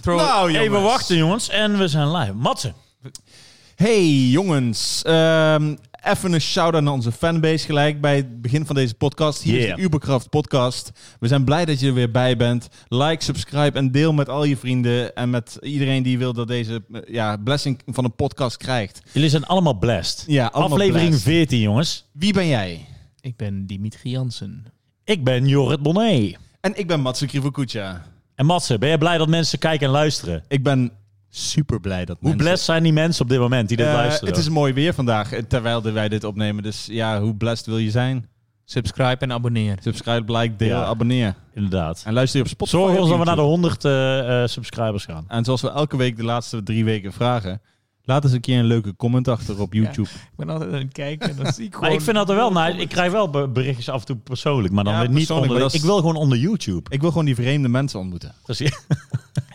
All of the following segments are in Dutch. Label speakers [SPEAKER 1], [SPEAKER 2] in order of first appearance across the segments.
[SPEAKER 1] Pro.
[SPEAKER 2] Nou,
[SPEAKER 1] Even
[SPEAKER 2] jongens.
[SPEAKER 1] wachten, jongens. En we zijn live. Matsen.
[SPEAKER 2] Hey jongens, Ehm, even een shout-out naar onze fanbase gelijk bij het begin van deze podcast. Hier
[SPEAKER 1] Yeah.
[SPEAKER 2] is de Uberkraft podcast. We zijn blij dat je er weer bij bent. Like, subscribe en deel met al je vrienden en met iedereen die wil dat deze eh, ja, blessing van een podcast krijgt.
[SPEAKER 1] Jullie zijn allemaal blessed.
[SPEAKER 2] Ja, allemaal
[SPEAKER 1] Aflevering
[SPEAKER 2] blessed.
[SPEAKER 1] 14, jongens.
[SPEAKER 2] Wie ben jij?
[SPEAKER 3] Ik ben Dimitri Jansen.
[SPEAKER 1] Ik ben Jorrit Bonnet.
[SPEAKER 2] En ik ben Matsu Krivokucha.
[SPEAKER 1] En Matsen, ben je blij dat mensen kijken en luisteren?
[SPEAKER 2] Ik ben super blij dat
[SPEAKER 1] Hoe blessed zijn die mensen op dit moment die dit
[SPEAKER 2] Eh,
[SPEAKER 1] luisteren?
[SPEAKER 2] Het is mooi weer vandaag, eh, terwijl wij dit opnemen. Dus ja, hoe blessed wil je zijn?
[SPEAKER 3] Subscribe en abonneer.
[SPEAKER 2] Subscribe, like, deel,
[SPEAKER 1] Ja.
[SPEAKER 2] abonneer.
[SPEAKER 1] Inderdaad.
[SPEAKER 2] En luister je op Spotify.
[SPEAKER 1] Zorg
[SPEAKER 2] of
[SPEAKER 1] ons dat we
[SPEAKER 2] YouTube.
[SPEAKER 1] naar de 100 eh, eh, subscribers gaan.
[SPEAKER 2] En zoals we elke week de laatste drie weken vragen, laat eens een keer een leuke comment achter op YouTube.
[SPEAKER 3] Ik ben altijd aan het kijken en dan zie ik gewoon...
[SPEAKER 1] Maar ik vind dat er wel naar. Ik krijg wel be- berichtjes af en toe persoonlijk, maar dan
[SPEAKER 2] Ja,
[SPEAKER 1] weer niet
[SPEAKER 2] persoonlijk,
[SPEAKER 1] onder.
[SPEAKER 2] maar dat is-
[SPEAKER 1] Ik wil gewoon onder YouTube.
[SPEAKER 2] Ik wil gewoon die vreemde mensen ontmoeten.
[SPEAKER 1] Precies.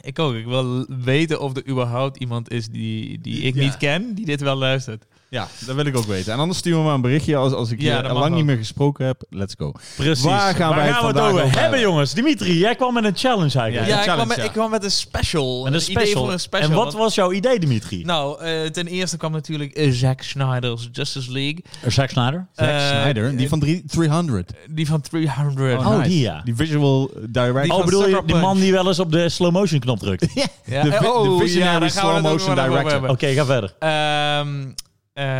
[SPEAKER 3] Ik ook. Ik wil weten of er überhaupt iemand is die, die ik
[SPEAKER 2] Ja.
[SPEAKER 3] niet ken, die dit wel luistert.
[SPEAKER 2] Ja, dat wil ik ook weten. En anders stuur me maar een berichtje als, als ik
[SPEAKER 3] Ja,
[SPEAKER 2] je
[SPEAKER 3] dat
[SPEAKER 2] al
[SPEAKER 3] mag
[SPEAKER 2] lang niet
[SPEAKER 3] ook.
[SPEAKER 2] meer gesproken heb. Let's go.
[SPEAKER 1] Precies.
[SPEAKER 2] Waar gaan wij het
[SPEAKER 1] we het
[SPEAKER 2] vandaag
[SPEAKER 1] over
[SPEAKER 2] over
[SPEAKER 1] hebben,
[SPEAKER 2] hebben?
[SPEAKER 1] jongens? Dimitri, jij kwam met een challenge eigenlijk.
[SPEAKER 2] Ja,
[SPEAKER 3] Ja, ik kwam,
[SPEAKER 2] challenge,
[SPEAKER 3] met,
[SPEAKER 2] ja.
[SPEAKER 3] ik kwam met een special.
[SPEAKER 1] En een
[SPEAKER 3] idee
[SPEAKER 1] special.
[SPEAKER 3] voor een special.
[SPEAKER 1] En wat
[SPEAKER 3] Want-
[SPEAKER 1] was jouw idee, Dimitri?
[SPEAKER 3] Nou, eh, ten eerste kwam natuurlijk eh, Zack Snyder's Justice League.
[SPEAKER 1] Zack Snyder.
[SPEAKER 2] Zack
[SPEAKER 3] Eh,
[SPEAKER 2] Snyder, die van drie- 300.
[SPEAKER 3] Die van 300.
[SPEAKER 1] Oh, die ja.
[SPEAKER 2] Die visual director.
[SPEAKER 3] Die
[SPEAKER 1] Oh,
[SPEAKER 3] van
[SPEAKER 1] bedoel je
[SPEAKER 3] Sucker
[SPEAKER 1] die man
[SPEAKER 3] Punch.
[SPEAKER 1] die wel eens op de slow motion knop drukt? Oké,
[SPEAKER 3] Ja,
[SPEAKER 2] de
[SPEAKER 3] eh,
[SPEAKER 2] vi- de visionary
[SPEAKER 3] daar gaan we het ook
[SPEAKER 2] slow-motion
[SPEAKER 3] nog wel over
[SPEAKER 2] director.
[SPEAKER 3] hebben.
[SPEAKER 1] ga verder.
[SPEAKER 3] Ehm,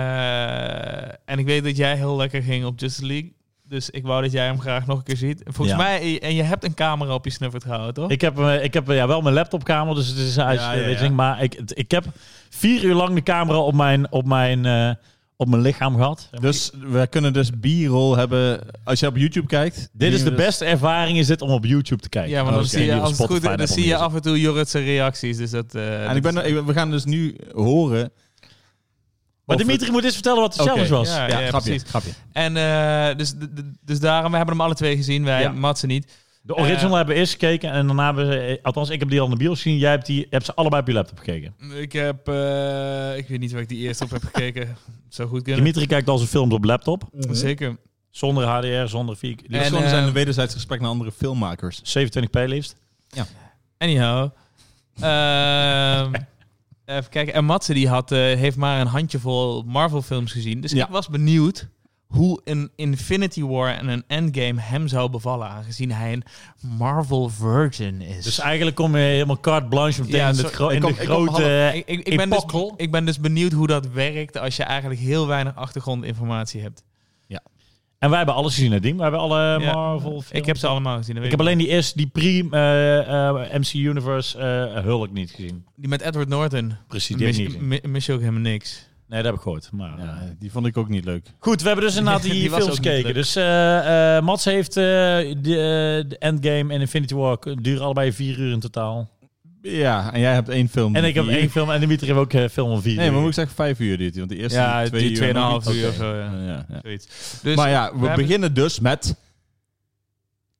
[SPEAKER 3] eh, en ik weet dat jij heel lekker ging op Justice League. Dus ik wou dat jij hem graag nog een keer ziet. Volgens
[SPEAKER 1] Ja.
[SPEAKER 3] mij, en je hebt een camera op je snuffert gehouden, toch?
[SPEAKER 1] Ik heb, eh, ik heb eh, ja, wel mijn laptopkamer, dus het is een
[SPEAKER 2] ja,
[SPEAKER 1] uitzending.
[SPEAKER 2] ja.
[SPEAKER 1] Maar ik, het- ik heb vier uur lang de camera op mijn, op mijn, eh, op mijn lichaam gehad.
[SPEAKER 2] Dus we kunnen dus b-roll hebben. Als je op YouTube kijkt. dus-
[SPEAKER 1] Dit is de beste ervaring is dit om op YouTube te kijken. Oh,
[SPEAKER 3] ja, maar dan
[SPEAKER 1] Oké.
[SPEAKER 3] zie je,
[SPEAKER 1] dus Die op
[SPEAKER 3] als het goed
[SPEAKER 1] Spotify
[SPEAKER 3] is, dan
[SPEAKER 1] en
[SPEAKER 3] zie je
[SPEAKER 1] Apple
[SPEAKER 3] af en toe Jorrit zijn reacties. Dus dat, eh,
[SPEAKER 2] En ik ben, ik- we gaan dus nu horen.
[SPEAKER 1] Maar
[SPEAKER 2] Of het-
[SPEAKER 1] Dimitri moet eens vertellen wat de
[SPEAKER 2] Oké,
[SPEAKER 1] challenge was.
[SPEAKER 3] ja,
[SPEAKER 2] Ja,
[SPEAKER 3] ja,
[SPEAKER 2] grapje,
[SPEAKER 3] precies.
[SPEAKER 2] grapje.
[SPEAKER 3] En eh, dus, d- d- dus daarom, we hebben hem alle twee gezien. Wij,
[SPEAKER 2] Ja.
[SPEAKER 3] Matze niet.
[SPEAKER 1] De original hebben we eerst gekeken en daarna hebben ze... eh, Althans, ik heb die al in de bios gezien. Jij hebt, die, hebt ze allebei op je laptop gekeken.
[SPEAKER 3] Ik heb, eh, ik weet niet waar ik die eerst op heb gekeken. Het zou goed kunnen.
[SPEAKER 1] Dimitri kijkt al zijn films op laptop.
[SPEAKER 3] Zeker.
[SPEAKER 1] Zonder HDR, zonder 4K.
[SPEAKER 3] En,
[SPEAKER 2] En, soms
[SPEAKER 3] eh,
[SPEAKER 2] Dus zijn een wederzijds gesprek naar andere filmmakers.
[SPEAKER 1] 27p liefst.
[SPEAKER 3] Anyhow. Ehm, even kijken. En Matze die had, eh, heeft maar een handjevol Marvel films gezien. Dus
[SPEAKER 2] Ja.
[SPEAKER 3] ik was benieuwd hoe een Infinity War en een Endgame hem zou bevallen. Aangezien hij een Marvel virgin is. Eh,
[SPEAKER 1] Dus eigenlijk kom je helemaal carte blanche meteen
[SPEAKER 3] Ja,
[SPEAKER 1] in,
[SPEAKER 3] zo-
[SPEAKER 1] het gro-
[SPEAKER 2] ik
[SPEAKER 1] in
[SPEAKER 2] kom-
[SPEAKER 1] de
[SPEAKER 2] ik kom
[SPEAKER 1] grote...
[SPEAKER 3] ik, ik, ik, ben dus,
[SPEAKER 1] Epochal.
[SPEAKER 3] ik ben dus benieuwd hoe dat werkt als je eigenlijk heel weinig achtergrondinformatie hebt.
[SPEAKER 1] En wij hebben alles gezien, Nadine. We hebben alle
[SPEAKER 3] Ja.
[SPEAKER 1] Marvel films.
[SPEAKER 3] Ik heb ze allemaal gezien. dat
[SPEAKER 1] Ik
[SPEAKER 3] weet
[SPEAKER 1] heb alleen die eerste, die pre eh, eh, MC Universe eh, Hulk niet gezien.
[SPEAKER 3] die met Edward Norton.
[SPEAKER 1] Precies, die heb
[SPEAKER 3] Mis,
[SPEAKER 1] ik niet gezien.
[SPEAKER 3] mi- mis je ook helemaal niks.
[SPEAKER 1] Nee, dat heb ik gehoord. Maar, eh,
[SPEAKER 2] Ja, die vond ik ook niet leuk.
[SPEAKER 1] Goed, we hebben dus inderdaad die,
[SPEAKER 3] Die was
[SPEAKER 1] films
[SPEAKER 3] ook niet
[SPEAKER 1] gekeken.
[SPEAKER 3] leuk.
[SPEAKER 1] Dus eh eh, Mats heeft eh, de, eh, de Endgame en Infinity War k- duren allebei vier uur in totaal.
[SPEAKER 2] Ja, en jij hebt één film.
[SPEAKER 1] En ik heb
[SPEAKER 2] Die-
[SPEAKER 1] één film en Dimitri heeft ook eh, film van vier
[SPEAKER 2] Nee, maar
[SPEAKER 1] uur.
[SPEAKER 2] moet ik zeggen vijf uur duurt die, want de eerste
[SPEAKER 3] Ja,
[SPEAKER 2] twee
[SPEAKER 3] die
[SPEAKER 2] uur.
[SPEAKER 3] tweeënhalf uur of
[SPEAKER 2] Oké.
[SPEAKER 3] zo, ja.
[SPEAKER 2] Ja, ja.
[SPEAKER 3] Zoiets. Dus
[SPEAKER 2] maar ja, we,
[SPEAKER 3] we hebben-
[SPEAKER 2] beginnen dus met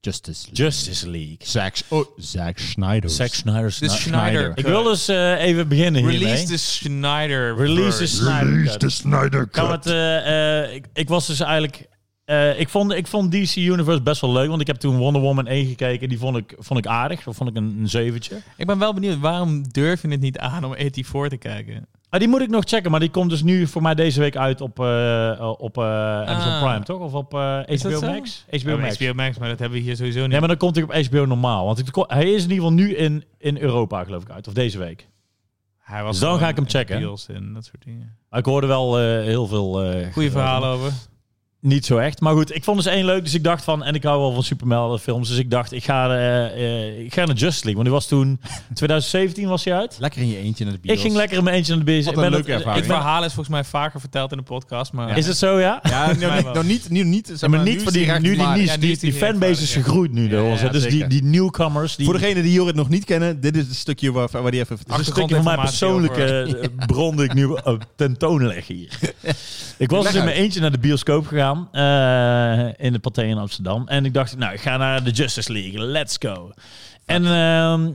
[SPEAKER 2] Justice League.
[SPEAKER 1] Justice League.
[SPEAKER 2] Zack, oh, Zack Snyder.
[SPEAKER 1] Zack Snyder's
[SPEAKER 3] Dus
[SPEAKER 1] Snyder.
[SPEAKER 3] Schneider.
[SPEAKER 1] Ik wil dus eh, even beginnen
[SPEAKER 3] Release
[SPEAKER 1] hiermee.
[SPEAKER 3] the Schneider.
[SPEAKER 1] Release the
[SPEAKER 3] verse.
[SPEAKER 1] Snyder. Cut.
[SPEAKER 2] Snyder
[SPEAKER 1] Kan het, eh, eh, ik, ik was dus eigenlijk... eh, ik, vond, ik vond DC Universe best wel leuk, want ik heb toen Wonder Woman 1 gekeken. Die vond ik, vond ik aardig. Dat vond ik een, een zeventje.
[SPEAKER 3] Ik ben wel benieuwd, waarom durf je het niet aan om 84 te kijken?
[SPEAKER 1] Ah, die moet ik nog checken, maar die komt dus nu voor mij deze week uit op, eh, op eh, Amazon
[SPEAKER 3] Ah.
[SPEAKER 1] Prime, toch? Of op eh,
[SPEAKER 3] dat
[SPEAKER 1] HBO
[SPEAKER 3] zo?
[SPEAKER 1] Max? HBO
[SPEAKER 3] Oh,
[SPEAKER 1] Max.
[SPEAKER 3] HBO Max, maar dat hebben we hier sowieso niet.
[SPEAKER 1] Nee, maar dan komt hij op HBO normaal. Want ik kon- hij is in ieder geval nu in, in Europa, geloof ik, uit. Of deze week.
[SPEAKER 3] Hij was
[SPEAKER 1] Dus dan
[SPEAKER 3] gewoon
[SPEAKER 1] ga ik hem
[SPEAKER 3] in
[SPEAKER 1] checken.
[SPEAKER 3] deals en dat soort dingen.
[SPEAKER 1] Maar ik hoorde wel eh, heel veel... eh,
[SPEAKER 3] Goeie
[SPEAKER 1] geweld.
[SPEAKER 3] verhalen over.
[SPEAKER 1] Niet zo echt. Maar goed, ik vond dus één leuk. Dus ik dacht van... En ik hou wel van Superman films. Dus ik dacht, ik ga, eh, eh, ik ga naar Justice League. Want die was toen... 2017 was hij uit.
[SPEAKER 2] Lekker in je eentje naar de bios.
[SPEAKER 1] Ik ging lekker in mijn eentje naar de bezig.
[SPEAKER 2] Wat een leuke ervaring.
[SPEAKER 3] Het verhaal is volgens mij vaker verteld in de podcast, maar...
[SPEAKER 1] Is het zo, ja?
[SPEAKER 2] Ja, nou,
[SPEAKER 3] mij
[SPEAKER 2] niet,
[SPEAKER 3] wel.
[SPEAKER 2] nou niet, nu niet, zeg
[SPEAKER 1] Ja, maar
[SPEAKER 2] maar,
[SPEAKER 1] niet
[SPEAKER 2] nu is
[SPEAKER 1] van die,
[SPEAKER 2] die
[SPEAKER 1] nu die,
[SPEAKER 2] rechtvaardig.
[SPEAKER 1] niche,
[SPEAKER 3] Ja, nu
[SPEAKER 1] die,
[SPEAKER 3] is die
[SPEAKER 1] die fanbase is
[SPEAKER 3] rechtvaardig,
[SPEAKER 1] gegroeid nu door
[SPEAKER 2] Ja,
[SPEAKER 1] ons. hè.
[SPEAKER 2] ja,
[SPEAKER 1] dus die,
[SPEAKER 2] zeker.
[SPEAKER 1] die newcomers. Die,
[SPEAKER 2] Voor degenen die Jorrit nog niet kennen, dit is het stukje waar, waar die
[SPEAKER 3] Dus-
[SPEAKER 2] even
[SPEAKER 1] dit
[SPEAKER 2] vertelt.
[SPEAKER 1] is een stukje van mijn
[SPEAKER 3] achtergrondinformatie
[SPEAKER 1] persoonlijke eh, bron die ik nu eh, tentoonleg hier. Ik was dus in
[SPEAKER 2] uit.
[SPEAKER 1] mijn eentje naar de bioscoop gegaan eh, in de Pathé in Amsterdam. En ik dacht, nou, ik ga naar de Justice League. Let's go. En ehm,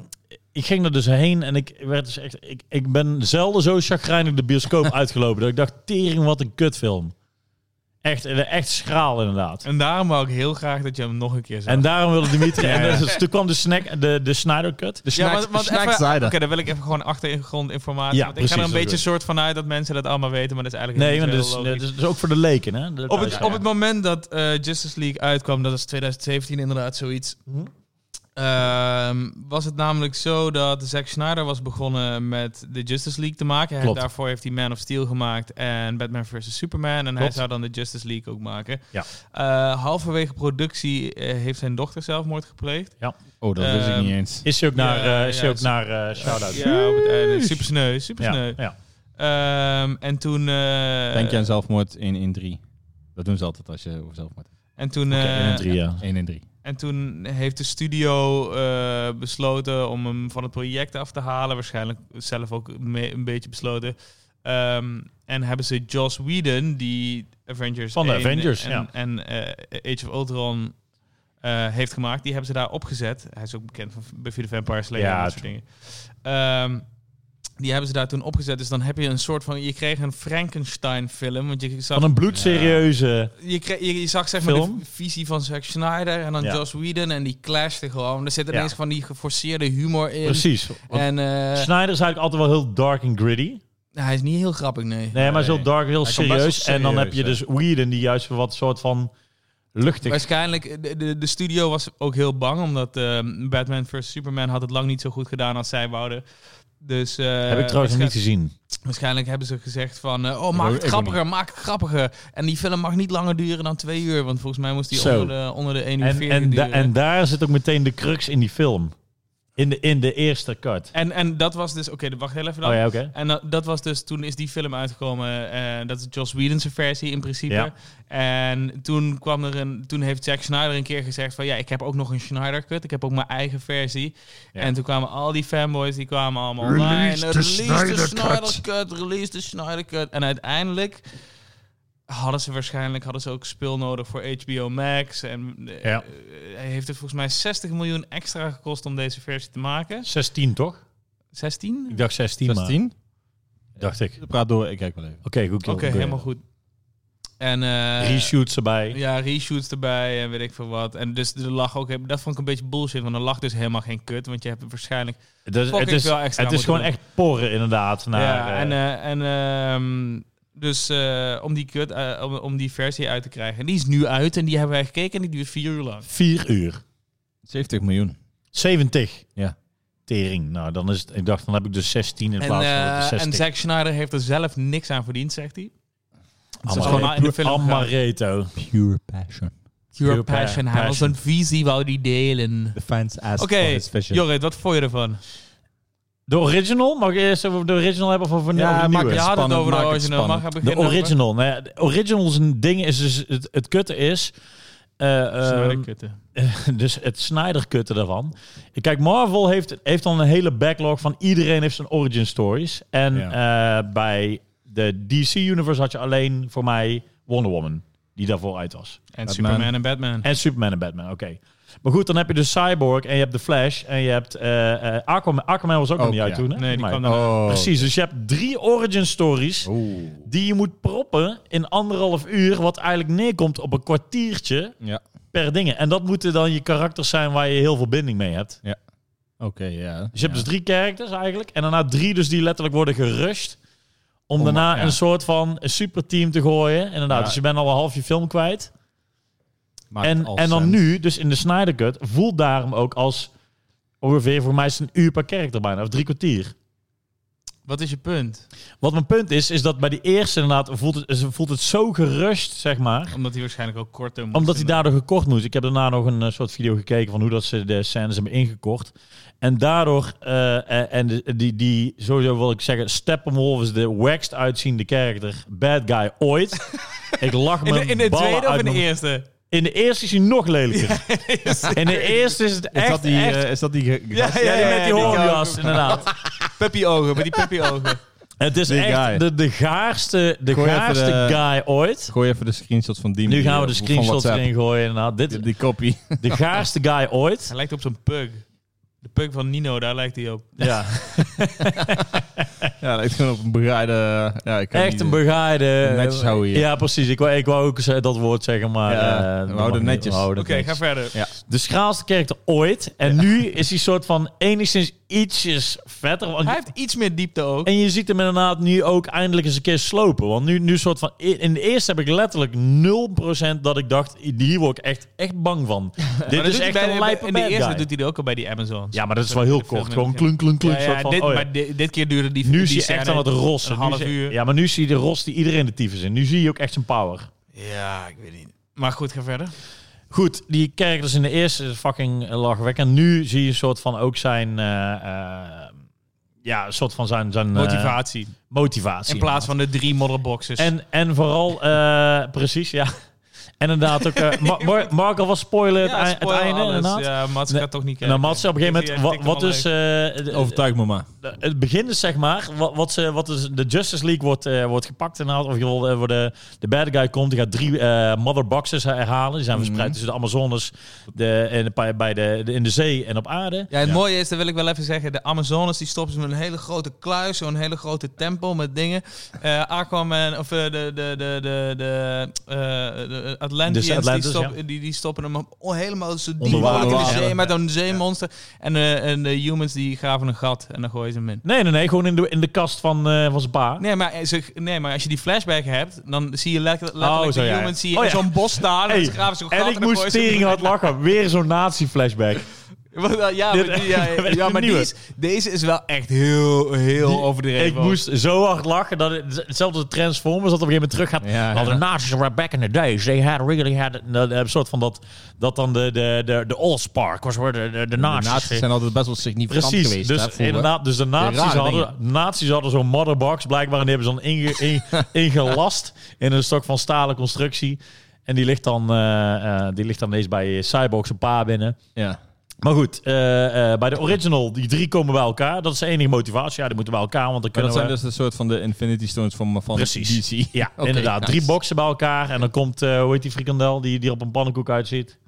[SPEAKER 1] ik ging er dus heen en ik werd dus echt... Ik, ik ben zelden zo chagrijnig de bioscoop uitgelopen. Dat ik dacht, tering, wat een kutfilm. Echt, echt schraal inderdaad.
[SPEAKER 3] En daarom wou ik heel graag dat je hem nog een keer zag.
[SPEAKER 1] En daarom wilde Dimitri. En dat is- toen kwam de, snack, de, de Snyder Cut.
[SPEAKER 2] De
[SPEAKER 3] ja,
[SPEAKER 2] snack,
[SPEAKER 3] want, want
[SPEAKER 2] snack
[SPEAKER 3] even-
[SPEAKER 2] cider.
[SPEAKER 3] Oké, daar wil ik even gewoon achtergrondinformatie.
[SPEAKER 1] Ja,
[SPEAKER 3] want ik
[SPEAKER 1] precies,
[SPEAKER 3] ga er
[SPEAKER 1] dat
[SPEAKER 3] een
[SPEAKER 1] is
[SPEAKER 3] beetje soort van uit dat mensen dat allemaal weten, maar dat is eigenlijk
[SPEAKER 1] Nee,
[SPEAKER 3] niet
[SPEAKER 1] want dus
[SPEAKER 3] zo
[SPEAKER 1] dat is,
[SPEAKER 3] heel
[SPEAKER 1] dat
[SPEAKER 3] logisch.
[SPEAKER 1] is- dat is ook voor de leken, hè? De
[SPEAKER 3] Op het,
[SPEAKER 1] thuiswerk.
[SPEAKER 3] op het moment dat eh, Justice League uitkwam, dat is 2017 inderdaad zoiets,
[SPEAKER 1] Mhm.
[SPEAKER 3] ehm, was het namelijk zo dat Zack Snyder was begonnen met de Justice League te maken. Hij-
[SPEAKER 1] Klopt.
[SPEAKER 3] daarvoor heeft hij Man of Steel gemaakt en Batman vs. Superman. En hij
[SPEAKER 1] Klopt.
[SPEAKER 3] zou dan de Justice League ook maken.
[SPEAKER 1] Ja.
[SPEAKER 3] Eh, halverwege productie eh, heeft zijn dochter zelfmoord gepleegd.
[SPEAKER 2] Oh, dat wist ik
[SPEAKER 3] Ehm,
[SPEAKER 2] niet eens.
[SPEAKER 1] Is hij ook naar,
[SPEAKER 3] Ja,
[SPEAKER 1] eh, is
[SPEAKER 3] ja,
[SPEAKER 1] hij ook
[SPEAKER 3] is-
[SPEAKER 1] naar eh, shout-out?
[SPEAKER 3] Ja, op het einde. Super sneu, super
[SPEAKER 1] Ja,
[SPEAKER 3] sneu.
[SPEAKER 1] ja.
[SPEAKER 3] Ehm, en toen... eh,
[SPEAKER 2] Denk je aan zelfmoord 1 in 3? Dat doen ze altijd als je over zelfmoord hebt.
[SPEAKER 3] En toen...
[SPEAKER 1] Oké,
[SPEAKER 3] eh,
[SPEAKER 1] één en drie, ja.
[SPEAKER 2] 1 in 3.
[SPEAKER 3] En toen heeft de studio eh, besloten om hem van het project af te halen. Waarschijnlijk zelf ook me- een beetje besloten. Ehm, en hebben ze Joss Whedon, die Avengers
[SPEAKER 1] Van de
[SPEAKER 3] 1
[SPEAKER 1] Avengers,
[SPEAKER 3] en,
[SPEAKER 1] ja.
[SPEAKER 3] en eh, Age of Ultron eh, heeft gemaakt, die hebben ze daar opgezet. Hij is ook bekend van Buffy the Vampire Slayer
[SPEAKER 1] Ja,
[SPEAKER 3] en dat soort dingen. Ehm, die hebben ze daar toen opgezet. Dus dan heb je een soort van... Je kreeg een Frankenstein-film. Want je zag
[SPEAKER 1] Van een bloedserieuze...
[SPEAKER 3] je, kre- je, je zag zeg maar
[SPEAKER 1] Film.
[SPEAKER 3] de v- visie van Zack Snyder en dan
[SPEAKER 1] Ja.
[SPEAKER 3] Joss Whedon en die clashten gewoon. Er zit
[SPEAKER 1] Ja.
[SPEAKER 3] ineens van die geforceerde humor in.
[SPEAKER 1] Precies. Want
[SPEAKER 3] En eh, nou,
[SPEAKER 1] Snyder is eigenlijk altijd wel heel dark en gritty.
[SPEAKER 3] hij is niet heel grappig, nee.
[SPEAKER 1] Nee, maar is heel
[SPEAKER 2] Nee.
[SPEAKER 1] dark, heel
[SPEAKER 2] Hij kan best wel
[SPEAKER 1] serieus. En dan heb je
[SPEAKER 2] serieus,
[SPEAKER 1] dus Whedon die juist wat soort van luchtig...
[SPEAKER 3] Waarschijnlijk, eh, de, de, de studio was ook heel bang, omdat eh, Batman vs. Superman had het lang niet zo goed gedaan als zij wouden. Dus, eh,
[SPEAKER 1] heb ik trouwens nog
[SPEAKER 3] waarschijn-
[SPEAKER 1] niet gezien.
[SPEAKER 3] Waarschijnlijk hebben ze gezegd van, eh, oh,
[SPEAKER 2] Ik
[SPEAKER 3] maak
[SPEAKER 2] ook-
[SPEAKER 3] het
[SPEAKER 2] ik ook
[SPEAKER 3] grappiger, maak het grappiger. En die film mag niet langer duren dan twee uur, want volgens mij moest die eh,
[SPEAKER 1] Zo.
[SPEAKER 3] onder de, onder de 1 uur
[SPEAKER 1] En,
[SPEAKER 3] 40
[SPEAKER 1] en, da-
[SPEAKER 3] duren.
[SPEAKER 1] en daar zit ook meteen de crux in die film. In de, in de eerste cut.
[SPEAKER 3] en, en dat was dus, oké, wacht heel even dan.
[SPEAKER 1] Oh ja, oké.
[SPEAKER 3] En dat, dat was dus, toen is die film uitgekomen. eh, dat is Joss Whedon's versie in principe.
[SPEAKER 1] Ja.
[SPEAKER 3] En toen kwam er een, toen heeft Zack Snyder een keer gezegd van ja, ik heb ook nog een Snyder cut. Ik heb ook mijn eigen versie.
[SPEAKER 1] Ja.
[SPEAKER 3] En toen kwamen al die fanboys, die kwamen allemaal online. Release de Snyder, cut. release de Snyder cut. En uiteindelijk hadden ze waarschijnlijk hadden ze ook speel nodig voor HBO Max. En eh,
[SPEAKER 1] Ja.
[SPEAKER 3] eh, heeft het volgens mij 60 miljoen extra gekost om deze versie te maken.
[SPEAKER 1] 16 toch?
[SPEAKER 3] 16?
[SPEAKER 1] Ik dacht 16, maar...
[SPEAKER 2] 16?
[SPEAKER 1] Dacht ik. Oké,
[SPEAKER 2] Praat door, ik kijk wel even.
[SPEAKER 1] goed.
[SPEAKER 3] Oké, helemaal goed. En, eh,
[SPEAKER 1] Reshoots erbij.
[SPEAKER 3] Ja, reshoots erbij en weet ik veel wat. En dus er lag ook, dat vond ik een beetje bullshit, want er lag dus helemaal geen kut. Want je hebt waarschijnlijk.
[SPEAKER 1] Het is,
[SPEAKER 3] Fuck,
[SPEAKER 1] het
[SPEAKER 3] ik
[SPEAKER 1] is,
[SPEAKER 3] wil extra
[SPEAKER 1] het is
[SPEAKER 3] moeten
[SPEAKER 1] gewoon echt porren inderdaad. Naar,
[SPEAKER 3] ja,
[SPEAKER 1] eh,
[SPEAKER 3] en. eh, en ehm, dus eh, om die kut, eh, om, om die versie uit te krijgen. En die is nu uit en die hebben wij gekeken en die duurt vier uur lang.
[SPEAKER 1] Vier uur.
[SPEAKER 2] 70 miljoen.
[SPEAKER 1] 70.
[SPEAKER 2] Ja.
[SPEAKER 1] Tering. Nou, dan is het, ik dacht, dan heb ik dus 16 in
[SPEAKER 3] En,
[SPEAKER 1] plaats van
[SPEAKER 3] eh,
[SPEAKER 1] de 60.
[SPEAKER 3] en Zack Snyder heeft er zelf niks aan verdiend, zegt hij. Het is
[SPEAKER 1] Amaretto.
[SPEAKER 3] gewoon in de film. gegaan.
[SPEAKER 1] Amaretto.
[SPEAKER 2] Pure passion.
[SPEAKER 3] Pure
[SPEAKER 1] Pure
[SPEAKER 3] passion. Hij was
[SPEAKER 1] passion.
[SPEAKER 3] een visie, wou die delen.
[SPEAKER 2] The fans asked
[SPEAKER 3] Oké, Jorrit, wat vond je ervan?
[SPEAKER 1] De original? Mag ik eerst over de original hebben of over
[SPEAKER 2] Ja,
[SPEAKER 1] over de
[SPEAKER 2] maak
[SPEAKER 1] nieuwe?
[SPEAKER 3] Je had het
[SPEAKER 2] spannend,
[SPEAKER 3] over de
[SPEAKER 2] maak het
[SPEAKER 3] original. Mag
[SPEAKER 2] spannend.
[SPEAKER 3] ik beginnen?
[SPEAKER 1] De
[SPEAKER 3] over-
[SPEAKER 1] original. Nou ja, de original zijn ding is dus... Het, het kutte is... eh, ehm,
[SPEAKER 3] Snyder kutten.
[SPEAKER 1] dus het Snyder-kutte daarvan. Kijk, Marvel heeft, heeft dan een hele backlog van iedereen heeft zijn origin stories. En eh, bij de DC-universe had je alleen voor mij Wonder Woman, die daarvoor uit was.
[SPEAKER 3] En
[SPEAKER 2] Batman.
[SPEAKER 3] Superman en Batman.
[SPEAKER 1] En Superman en Batman, oké. Maar goed, dan heb je dus Cyborg en je hebt The Flash en je hebt eh, eh, Aquaman. Aquaman was ook, nog
[SPEAKER 2] Ook,
[SPEAKER 1] niet uit
[SPEAKER 2] ja.
[SPEAKER 1] toen, hè?
[SPEAKER 3] Nee, die
[SPEAKER 1] Maar-
[SPEAKER 3] kwam daarna.
[SPEAKER 2] Oh.
[SPEAKER 1] Precies, dus je hebt drie origin stories
[SPEAKER 2] Oeh.
[SPEAKER 1] die je moet proppen in anderhalf uur, wat eigenlijk neerkomt op een kwartiertje
[SPEAKER 2] Ja.
[SPEAKER 1] per dingen. En dat moeten dan je karakters zijn waar je heel veel binding mee hebt.
[SPEAKER 2] Oké, ja.
[SPEAKER 1] Dus je hebt dus drie characters eigenlijk. En daarna drie dus die letterlijk worden gerusht. Om
[SPEAKER 2] Om-
[SPEAKER 1] daarna
[SPEAKER 2] ja.
[SPEAKER 1] een soort van een superteam te gooien. Inderdaad,
[SPEAKER 2] Ja.
[SPEAKER 1] dus je bent al half je film kwijt.
[SPEAKER 2] Maakt
[SPEAKER 1] En,
[SPEAKER 2] al
[SPEAKER 1] en dan
[SPEAKER 2] sens.
[SPEAKER 1] nu, dus in de Snyder Cut, voelt daarom ook als... Ongeveer voor mij is het een uur per character bijna, of drie kwartier.
[SPEAKER 3] Wat is je punt?
[SPEAKER 1] Wat mijn punt is, is dat bij die eerste inderdaad voelt het, is- voelt het zo gerust, zeg maar.
[SPEAKER 3] Omdat hij waarschijnlijk ook korter moet.
[SPEAKER 1] Omdat hij daardoor gekort moest. Ik heb daarna nog een eh, soort video gekeken van hoe dat ze de scènes hebben ingekort. En daardoor, eh, eh, en de- die, die, sowieso wil ik zeggen, Steppenwolf is de waxed uitziende character, bad guy ooit. ik lach
[SPEAKER 3] In
[SPEAKER 1] me
[SPEAKER 3] de, in de tweede of in de e- eerste?
[SPEAKER 1] In de eerste is hij nog lelijker. in de eerste is het
[SPEAKER 2] Is,
[SPEAKER 1] echt,
[SPEAKER 2] dat die,
[SPEAKER 1] echt-
[SPEAKER 2] eh, is dat die... ge- gast?
[SPEAKER 1] ja, die met die hoornjas,
[SPEAKER 3] ook.
[SPEAKER 1] inderdaad.
[SPEAKER 3] Puppy ogen, met die puppy ogen.
[SPEAKER 1] Het is
[SPEAKER 2] Die guy.
[SPEAKER 1] echt de, de gaarste, de
[SPEAKER 2] Gooi even
[SPEAKER 1] gaarste
[SPEAKER 2] de-
[SPEAKER 1] guy ooit.
[SPEAKER 2] Gooi even de screenshots van die
[SPEAKER 1] Nu gaan we de
[SPEAKER 2] van
[SPEAKER 1] screenshots
[SPEAKER 2] WhatsApp.
[SPEAKER 1] erin gooien. inderdaad. dit is
[SPEAKER 2] Die copy.
[SPEAKER 1] de gaarste guy ooit.
[SPEAKER 3] Hij lijkt op zo'n pug. De pug van Nino, daar lijkt hij op.
[SPEAKER 1] Ja.
[SPEAKER 2] Ja, lijkt gewoon op een bereide... Ja, ik kan
[SPEAKER 1] Echt
[SPEAKER 2] niet- eh,
[SPEAKER 1] een begaaide...
[SPEAKER 2] Netjes houden hier.
[SPEAKER 1] Ja, precies. Ik wou, ik wou ook ze- dat woord zeggen, maar...
[SPEAKER 2] Ja,
[SPEAKER 1] eh,
[SPEAKER 2] we houden
[SPEAKER 1] dat mag
[SPEAKER 2] het
[SPEAKER 1] niet.
[SPEAKER 2] netjes.
[SPEAKER 1] We houden
[SPEAKER 3] Oké,
[SPEAKER 1] het netjes.
[SPEAKER 3] ga verder.
[SPEAKER 2] Ja.
[SPEAKER 1] De schraalste kerkte ooit. En nu is hij soort van enigszins ietsjes vetter. Want
[SPEAKER 3] Hij heeft iets meer diepte ook.
[SPEAKER 1] En je ziet hem inderdaad nu ook eindelijk eens een keer slopen. Want nu, nu soort van... In de eerste heb ik letterlijk 0% dat ik dacht... Hier word ik echt, echt bang van.
[SPEAKER 3] Maar
[SPEAKER 1] Dit
[SPEAKER 3] dat
[SPEAKER 1] is
[SPEAKER 3] doet hij
[SPEAKER 1] echt
[SPEAKER 3] bij-
[SPEAKER 1] een lijpe
[SPEAKER 3] In de
[SPEAKER 1] bad
[SPEAKER 3] eerste
[SPEAKER 1] guy.
[SPEAKER 3] doet hij dat ook al bij die Amazons.
[SPEAKER 1] Ja, maar dat is wel heel kort. Gewoon klunk, klunk, klunk.
[SPEAKER 3] Ja,
[SPEAKER 1] soort
[SPEAKER 3] ja,
[SPEAKER 1] van,
[SPEAKER 3] dit,
[SPEAKER 1] oh ja.
[SPEAKER 3] Maar dit, dit keer duurde die
[SPEAKER 1] Nu
[SPEAKER 3] die
[SPEAKER 1] is hij echt
[SPEAKER 3] scène
[SPEAKER 1] aan het rossen.
[SPEAKER 3] Een
[SPEAKER 1] Nu
[SPEAKER 3] half
[SPEAKER 1] zie-
[SPEAKER 3] uur.
[SPEAKER 1] Ja, maar nu zie je de ros die iedereen de tyfus in. Nu zie je ook echt zijn power.
[SPEAKER 3] Ja, ik weet niet. Maar goed, ga verder.
[SPEAKER 1] Goed, die characters in de eerste is fucking lachwekkend. Nu zie je een soort van ook zijn... eh, eh, ja, een soort van zijn... zijn eh,
[SPEAKER 3] Motivatie.
[SPEAKER 1] motivatie.
[SPEAKER 3] in plaats van de drie modderboxes.
[SPEAKER 1] En, en vooral... eh, precies, ja. En inderdaad ook... eh, Ma- Mar- Mark alvast spoilen eh, het,
[SPEAKER 3] Ja,
[SPEAKER 1] ei-
[SPEAKER 3] spoiler
[SPEAKER 1] het einde,
[SPEAKER 3] alles.
[SPEAKER 1] inderdaad.
[SPEAKER 3] Ja, Mats
[SPEAKER 1] Nee,
[SPEAKER 3] gaat toch niet
[SPEAKER 1] En
[SPEAKER 3] kijken.
[SPEAKER 1] dan Mats op een gegeven moment, wat, wat dus eh, de-
[SPEAKER 2] Overtuig me maar.
[SPEAKER 1] de- het begin is zeg maar, wat, wat, ze, wat dus de Justice League wordt, eh, wordt gepakt inderdaad, of je wil, eh, voor de, de bad guy komt, die gaat drie eh mother boxes herhalen, die zijn verspreid
[SPEAKER 2] Mhm.
[SPEAKER 1] tussen de Amazones de, en bij, bij de, de- in de zee en op aarde.
[SPEAKER 3] Ja, het mooie is, dat wil ik wel even zeggen. De Amazones die stoppen ze met een hele grote kluis, zo'n hele grote tempel met dingen. Eh, Aquaman, of eh, de, de, de, de, de, eh, de Atlanteans,
[SPEAKER 1] Dus Atlantis,
[SPEAKER 3] die, stoppen, die, die stoppen hem op- oh, helemaal zo diep
[SPEAKER 1] Onder water,
[SPEAKER 3] in de
[SPEAKER 1] water.
[SPEAKER 3] zee met een zeemonster. En, eh, en de humans die graven een gat en dan gooien ze hem in.
[SPEAKER 1] Nee, nee, nee, gewoon in de, in de kast van, eh van zijn pa.
[SPEAKER 3] Nee maar, ze- nee, maar als je die flashback hebt, dan zie je lekker- letterlijk
[SPEAKER 1] Oh, zo,
[SPEAKER 3] de
[SPEAKER 1] ja.
[SPEAKER 3] humans zie je
[SPEAKER 1] Oh,
[SPEAKER 3] in
[SPEAKER 1] ja.
[SPEAKER 3] zo'n bos staan.
[SPEAKER 1] Hey,
[SPEAKER 3] en ze graven zo'n gat
[SPEAKER 1] en ik
[SPEAKER 3] dan
[SPEAKER 1] moest
[SPEAKER 3] gooien ze hem
[SPEAKER 1] tering
[SPEAKER 3] in.
[SPEAKER 1] hard lachen. Weer zo'n nazi-flashback.
[SPEAKER 3] Wel, Ja, maar,
[SPEAKER 1] Dit-
[SPEAKER 3] die- ja, ja,
[SPEAKER 1] dit
[SPEAKER 3] ja,
[SPEAKER 1] is
[SPEAKER 3] maar
[SPEAKER 1] nieuw.
[SPEAKER 3] die is, deze is wel echt heel, heel
[SPEAKER 1] Die-
[SPEAKER 3] overdreven.
[SPEAKER 1] Ik
[SPEAKER 3] ook.
[SPEAKER 1] moest zo hard lachen dat het, hetzelfde als Transformers dat op een gegeven moment terug gaat.
[SPEAKER 2] Ja,
[SPEAKER 1] Well,
[SPEAKER 2] ja.
[SPEAKER 1] the Nazis were back in the days. They had really had en dan een soort van dat dat dan de de de de Allspark was where de de, de
[SPEAKER 2] De
[SPEAKER 1] Nazis.
[SPEAKER 2] nazi's zijn altijd best wel significant
[SPEAKER 1] Precies,
[SPEAKER 2] geweest. hè,
[SPEAKER 1] dus
[SPEAKER 2] vroeger.
[SPEAKER 1] inderdaad, dus de nazi's
[SPEAKER 2] rare
[SPEAKER 1] hadden, nazi's hadden zo'n motherbox blijkbaar en die hebben ze dan inge, in- ingelast in een stok van stalen constructie. En die ligt dan, eh, eh, die ligt dan ineens bij Cyborgs een paar binnen.
[SPEAKER 2] Ja.
[SPEAKER 1] Maar goed, eh, eh, bij de original, die drie komen bij elkaar. Dat is de enige motivatie. Ja, die moeten bij elkaar, want dan
[SPEAKER 2] Maar
[SPEAKER 1] kunnen
[SPEAKER 2] dat zijn
[SPEAKER 1] we...
[SPEAKER 2] dus een soort van de Infinity Stones van, van
[SPEAKER 1] Precies. Nou,
[SPEAKER 2] DC.
[SPEAKER 1] Ja,
[SPEAKER 2] Oké,
[SPEAKER 1] inderdaad.
[SPEAKER 2] nice.
[SPEAKER 1] Drie boxen bij elkaar. En dan komt, eh, hoe heet die frikandel die, die er op een pannenkoek uitziet?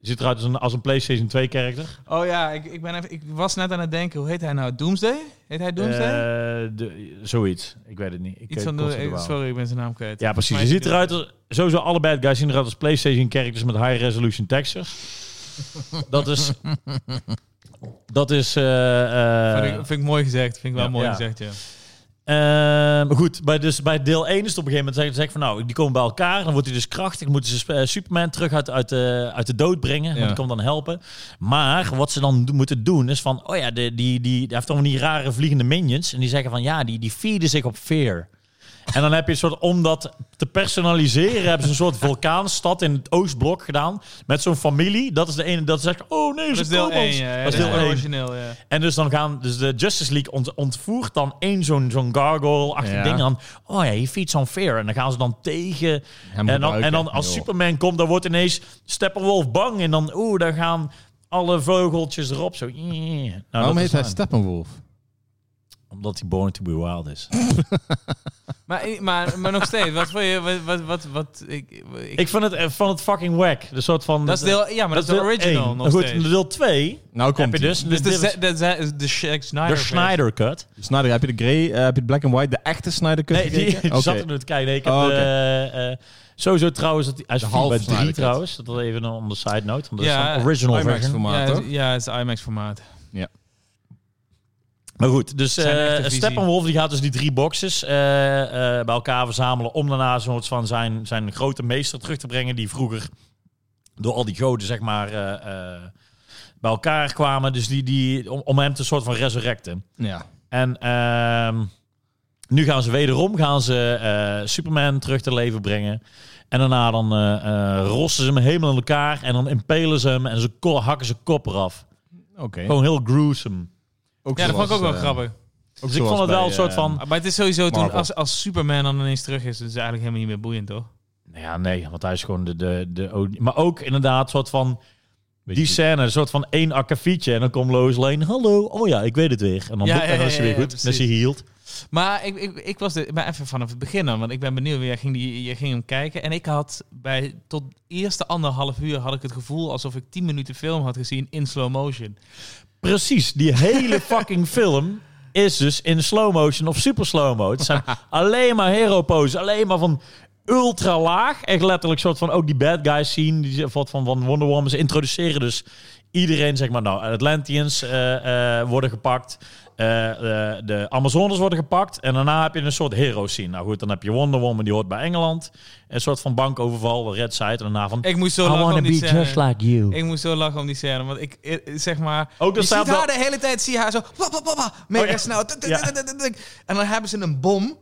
[SPEAKER 1] Ziet eruit als een, als een PlayStation 2 karakter.
[SPEAKER 3] Oh ja, ik, ik, ben even, ik was net aan het denken, hoe heet hij nou? Doomsday? Heet hij Doomsday?
[SPEAKER 1] Eh, de- zoiets. Ik weet het niet. Ik
[SPEAKER 3] Iets
[SPEAKER 1] eh,
[SPEAKER 3] van
[SPEAKER 1] kost het
[SPEAKER 3] eh,
[SPEAKER 1] er wel.
[SPEAKER 3] sorry, ik ben zijn naam kwijt.
[SPEAKER 1] Ja, precies.
[SPEAKER 3] Maar
[SPEAKER 1] Je ziet
[SPEAKER 3] dit-
[SPEAKER 1] eruit als... Sowieso alle bad guys zien eruit als PlayStation characters met high resolution textures. dat is... Dat is... eh, eh,
[SPEAKER 3] Vind ik, vind ik mooi gezegd, vind ik wel
[SPEAKER 1] Ja.
[SPEAKER 3] mooi
[SPEAKER 1] Ja. Dus
[SPEAKER 3] gezegd, ja.
[SPEAKER 1] Ehm, maar goed, bij, dus bij deel 1 is het op een gegeven moment zeg, zeg van nou, die komen bij elkaar. Dan wordt hij dus krachtig. Moeten ze eh, Superman terug uit, uit, de, uit de dood brengen. Want
[SPEAKER 2] Ja.
[SPEAKER 1] die komt dan helpen. Maar wat ze dan do- moeten doen is van, oh ja, de, die, die, hij heeft allemaal die rare vliegende minions. En die zeggen van ja, die, die feeden zich op fear. En dan heb je een soort, om dat te personaliseren, hebben ze een soort vulkaanstad in het Oostblok gedaan. Met zo'n familie. Dat is de ene dat zegt, oh nee,
[SPEAKER 3] Dat
[SPEAKER 1] ze
[SPEAKER 3] is deel
[SPEAKER 1] komen
[SPEAKER 3] 1,
[SPEAKER 1] ons.
[SPEAKER 3] ja. ja,
[SPEAKER 1] dat is deel
[SPEAKER 3] wel
[SPEAKER 1] 1.
[SPEAKER 3] origineel, ja.
[SPEAKER 1] En dus dan gaan dus de Justice League ont- ontvoert dan één zo'n zo'n gargoyle-achtig
[SPEAKER 2] Ja.
[SPEAKER 1] ding. Dan, oh ja, je feeds on fair. En dan gaan ze dan tegen.
[SPEAKER 2] Hem
[SPEAKER 1] en, dan, en
[SPEAKER 2] gebruiken,
[SPEAKER 1] dan als
[SPEAKER 2] joh.
[SPEAKER 1] Superman komt, dan wordt ineens Steppenwolf bang. En dan, oeh, daar gaan alle vogeltjes erop. Zo. Nou,
[SPEAKER 2] Waarom
[SPEAKER 1] dat
[SPEAKER 2] heet
[SPEAKER 1] is
[SPEAKER 2] hij
[SPEAKER 1] fijn.
[SPEAKER 2] Steppenwolf?
[SPEAKER 1] Omdat hij born to be wild is.
[SPEAKER 3] Maar, maar, maar nog steeds, wat wil je, wat, wat, wat, wat ik, ik-
[SPEAKER 1] Ik vind het, eh, van het fucking whack. De soort van...
[SPEAKER 3] dat is deel, ja, maar dat, is de original
[SPEAKER 1] één.
[SPEAKER 3] nog
[SPEAKER 1] Goed,
[SPEAKER 3] steeds.
[SPEAKER 1] deel 2
[SPEAKER 2] Nou
[SPEAKER 1] heb
[SPEAKER 2] komt
[SPEAKER 1] je
[SPEAKER 2] hij.
[SPEAKER 1] dus...
[SPEAKER 3] Dus
[SPEAKER 1] dit
[SPEAKER 3] de,
[SPEAKER 1] is
[SPEAKER 3] ze- de, ze- de, Zack Snyder.
[SPEAKER 1] de Snyder Cut.
[SPEAKER 2] Dus Snyder, heb je de grey, eh, heb je de black and white, de echte Snyder Cut
[SPEAKER 1] Nee, die,
[SPEAKER 2] gekeken?
[SPEAKER 1] die
[SPEAKER 2] Oké.
[SPEAKER 1] zat er dus nu te kijken. Nee, ik heb
[SPEAKER 2] Oh, oké.
[SPEAKER 1] eh, eh, sowieso trouwens, dat, hij is
[SPEAKER 2] De
[SPEAKER 1] vier
[SPEAKER 2] halve
[SPEAKER 1] bij drie
[SPEAKER 2] Snyder Cut.
[SPEAKER 1] trouwens. Dat is even een on the side note, want dat
[SPEAKER 3] Ja,
[SPEAKER 1] is een original
[SPEAKER 2] IMAX
[SPEAKER 1] version.
[SPEAKER 2] formaat.
[SPEAKER 3] Ja,
[SPEAKER 2] Formaat,
[SPEAKER 3] het-
[SPEAKER 2] toch?
[SPEAKER 3] ja, het is IMAX formaat.
[SPEAKER 1] Maar goed, dus
[SPEAKER 3] Zijn echte
[SPEAKER 1] eh
[SPEAKER 3] visie.
[SPEAKER 1] Steppenwolf die gaat dus die drie boxes eh, eh, bij elkaar verzamelen om daarna zo'n soort van zijn, zijn grote meester terug te brengen die vroeger door al die goden zeg maar eh, eh, bij elkaar kwamen. Dus die, die, om, om hem te soort van resurrecten.
[SPEAKER 2] Ja.
[SPEAKER 1] En ehm, nu gaan ze wederom gaan ze, eh, Superman terug te leven brengen. En daarna dan eh, eh, rossen ze hem helemaal in elkaar. En dan impelen ze hem en ze ko- hakken ze kop eraf.
[SPEAKER 2] Oké. eh,
[SPEAKER 1] Gewoon heel gruesome.
[SPEAKER 3] Ja, dat vond ik ook
[SPEAKER 1] eh,
[SPEAKER 3] wel grappig.
[SPEAKER 1] Dus ik vond het wel een soort van...
[SPEAKER 3] Eh, Maar het is sowieso toen,
[SPEAKER 2] Marvel.
[SPEAKER 3] als, als Superman dan ineens terug is, dat is eigenlijk helemaal niet meer boeiend, toch?
[SPEAKER 1] Nou ja, nee, want hij is gewoon de... de, de o- maar ook inderdaad een soort van... Die scène, een soort van één akkefietje. En dan komt Lois Lane, hallo, oh ja, ik weet het weer. En dan,
[SPEAKER 3] Ja,
[SPEAKER 1] boep, en
[SPEAKER 3] ja,
[SPEAKER 1] dan is hij
[SPEAKER 3] ja,
[SPEAKER 1] weer
[SPEAKER 3] ja,
[SPEAKER 1] goed.
[SPEAKER 3] ja,
[SPEAKER 1] dan is hij healed.
[SPEAKER 3] Maar ik, ik, ik was de, maar even vanaf het begin dan, want ik ben benieuwd. Jij ging, die, jij ging hem kijken en ik had bij tot eerste anderhalf uur had ik het gevoel alsof ik tien minuten film had gezien in slow motion.
[SPEAKER 1] Precies, die hele fucking film is dus in slow motion of super slow mo. Het zijn alleen maar hero poses, alleen maar van ultra laag. Echt letterlijk soort van ook die bad guys zien, die wat van, van Wonder Woman. Ze introduceren dus iedereen, zeg maar, nou, Atlanteans eh, eh, worden gepakt. eh, eh, de Amazones worden gepakt. En daarna heb je een soort hero scene. Nou goed, dan heb je Wonder Woman, die hoort bij Engeland. Een soort van bankoverval, Red Side. En daarna van...
[SPEAKER 3] Ik moest zo
[SPEAKER 1] I
[SPEAKER 3] lachen
[SPEAKER 1] wanna
[SPEAKER 3] om
[SPEAKER 1] be
[SPEAKER 3] die scène.
[SPEAKER 1] just like you.
[SPEAKER 3] Ik moest zo lachen om die scène, want ik, eh, zeg maar...
[SPEAKER 1] Ook dat
[SPEAKER 3] je ziet
[SPEAKER 1] staat
[SPEAKER 3] haar
[SPEAKER 1] dat-
[SPEAKER 3] de hele tijd, zie je haar zo... Wap, wap, wap, wap, mega
[SPEAKER 1] Oh, ja.
[SPEAKER 3] snel. tuk, tuk,
[SPEAKER 1] Ja.
[SPEAKER 3] tuk, tuk, tuk, tuk. En dan hebben ze een bom.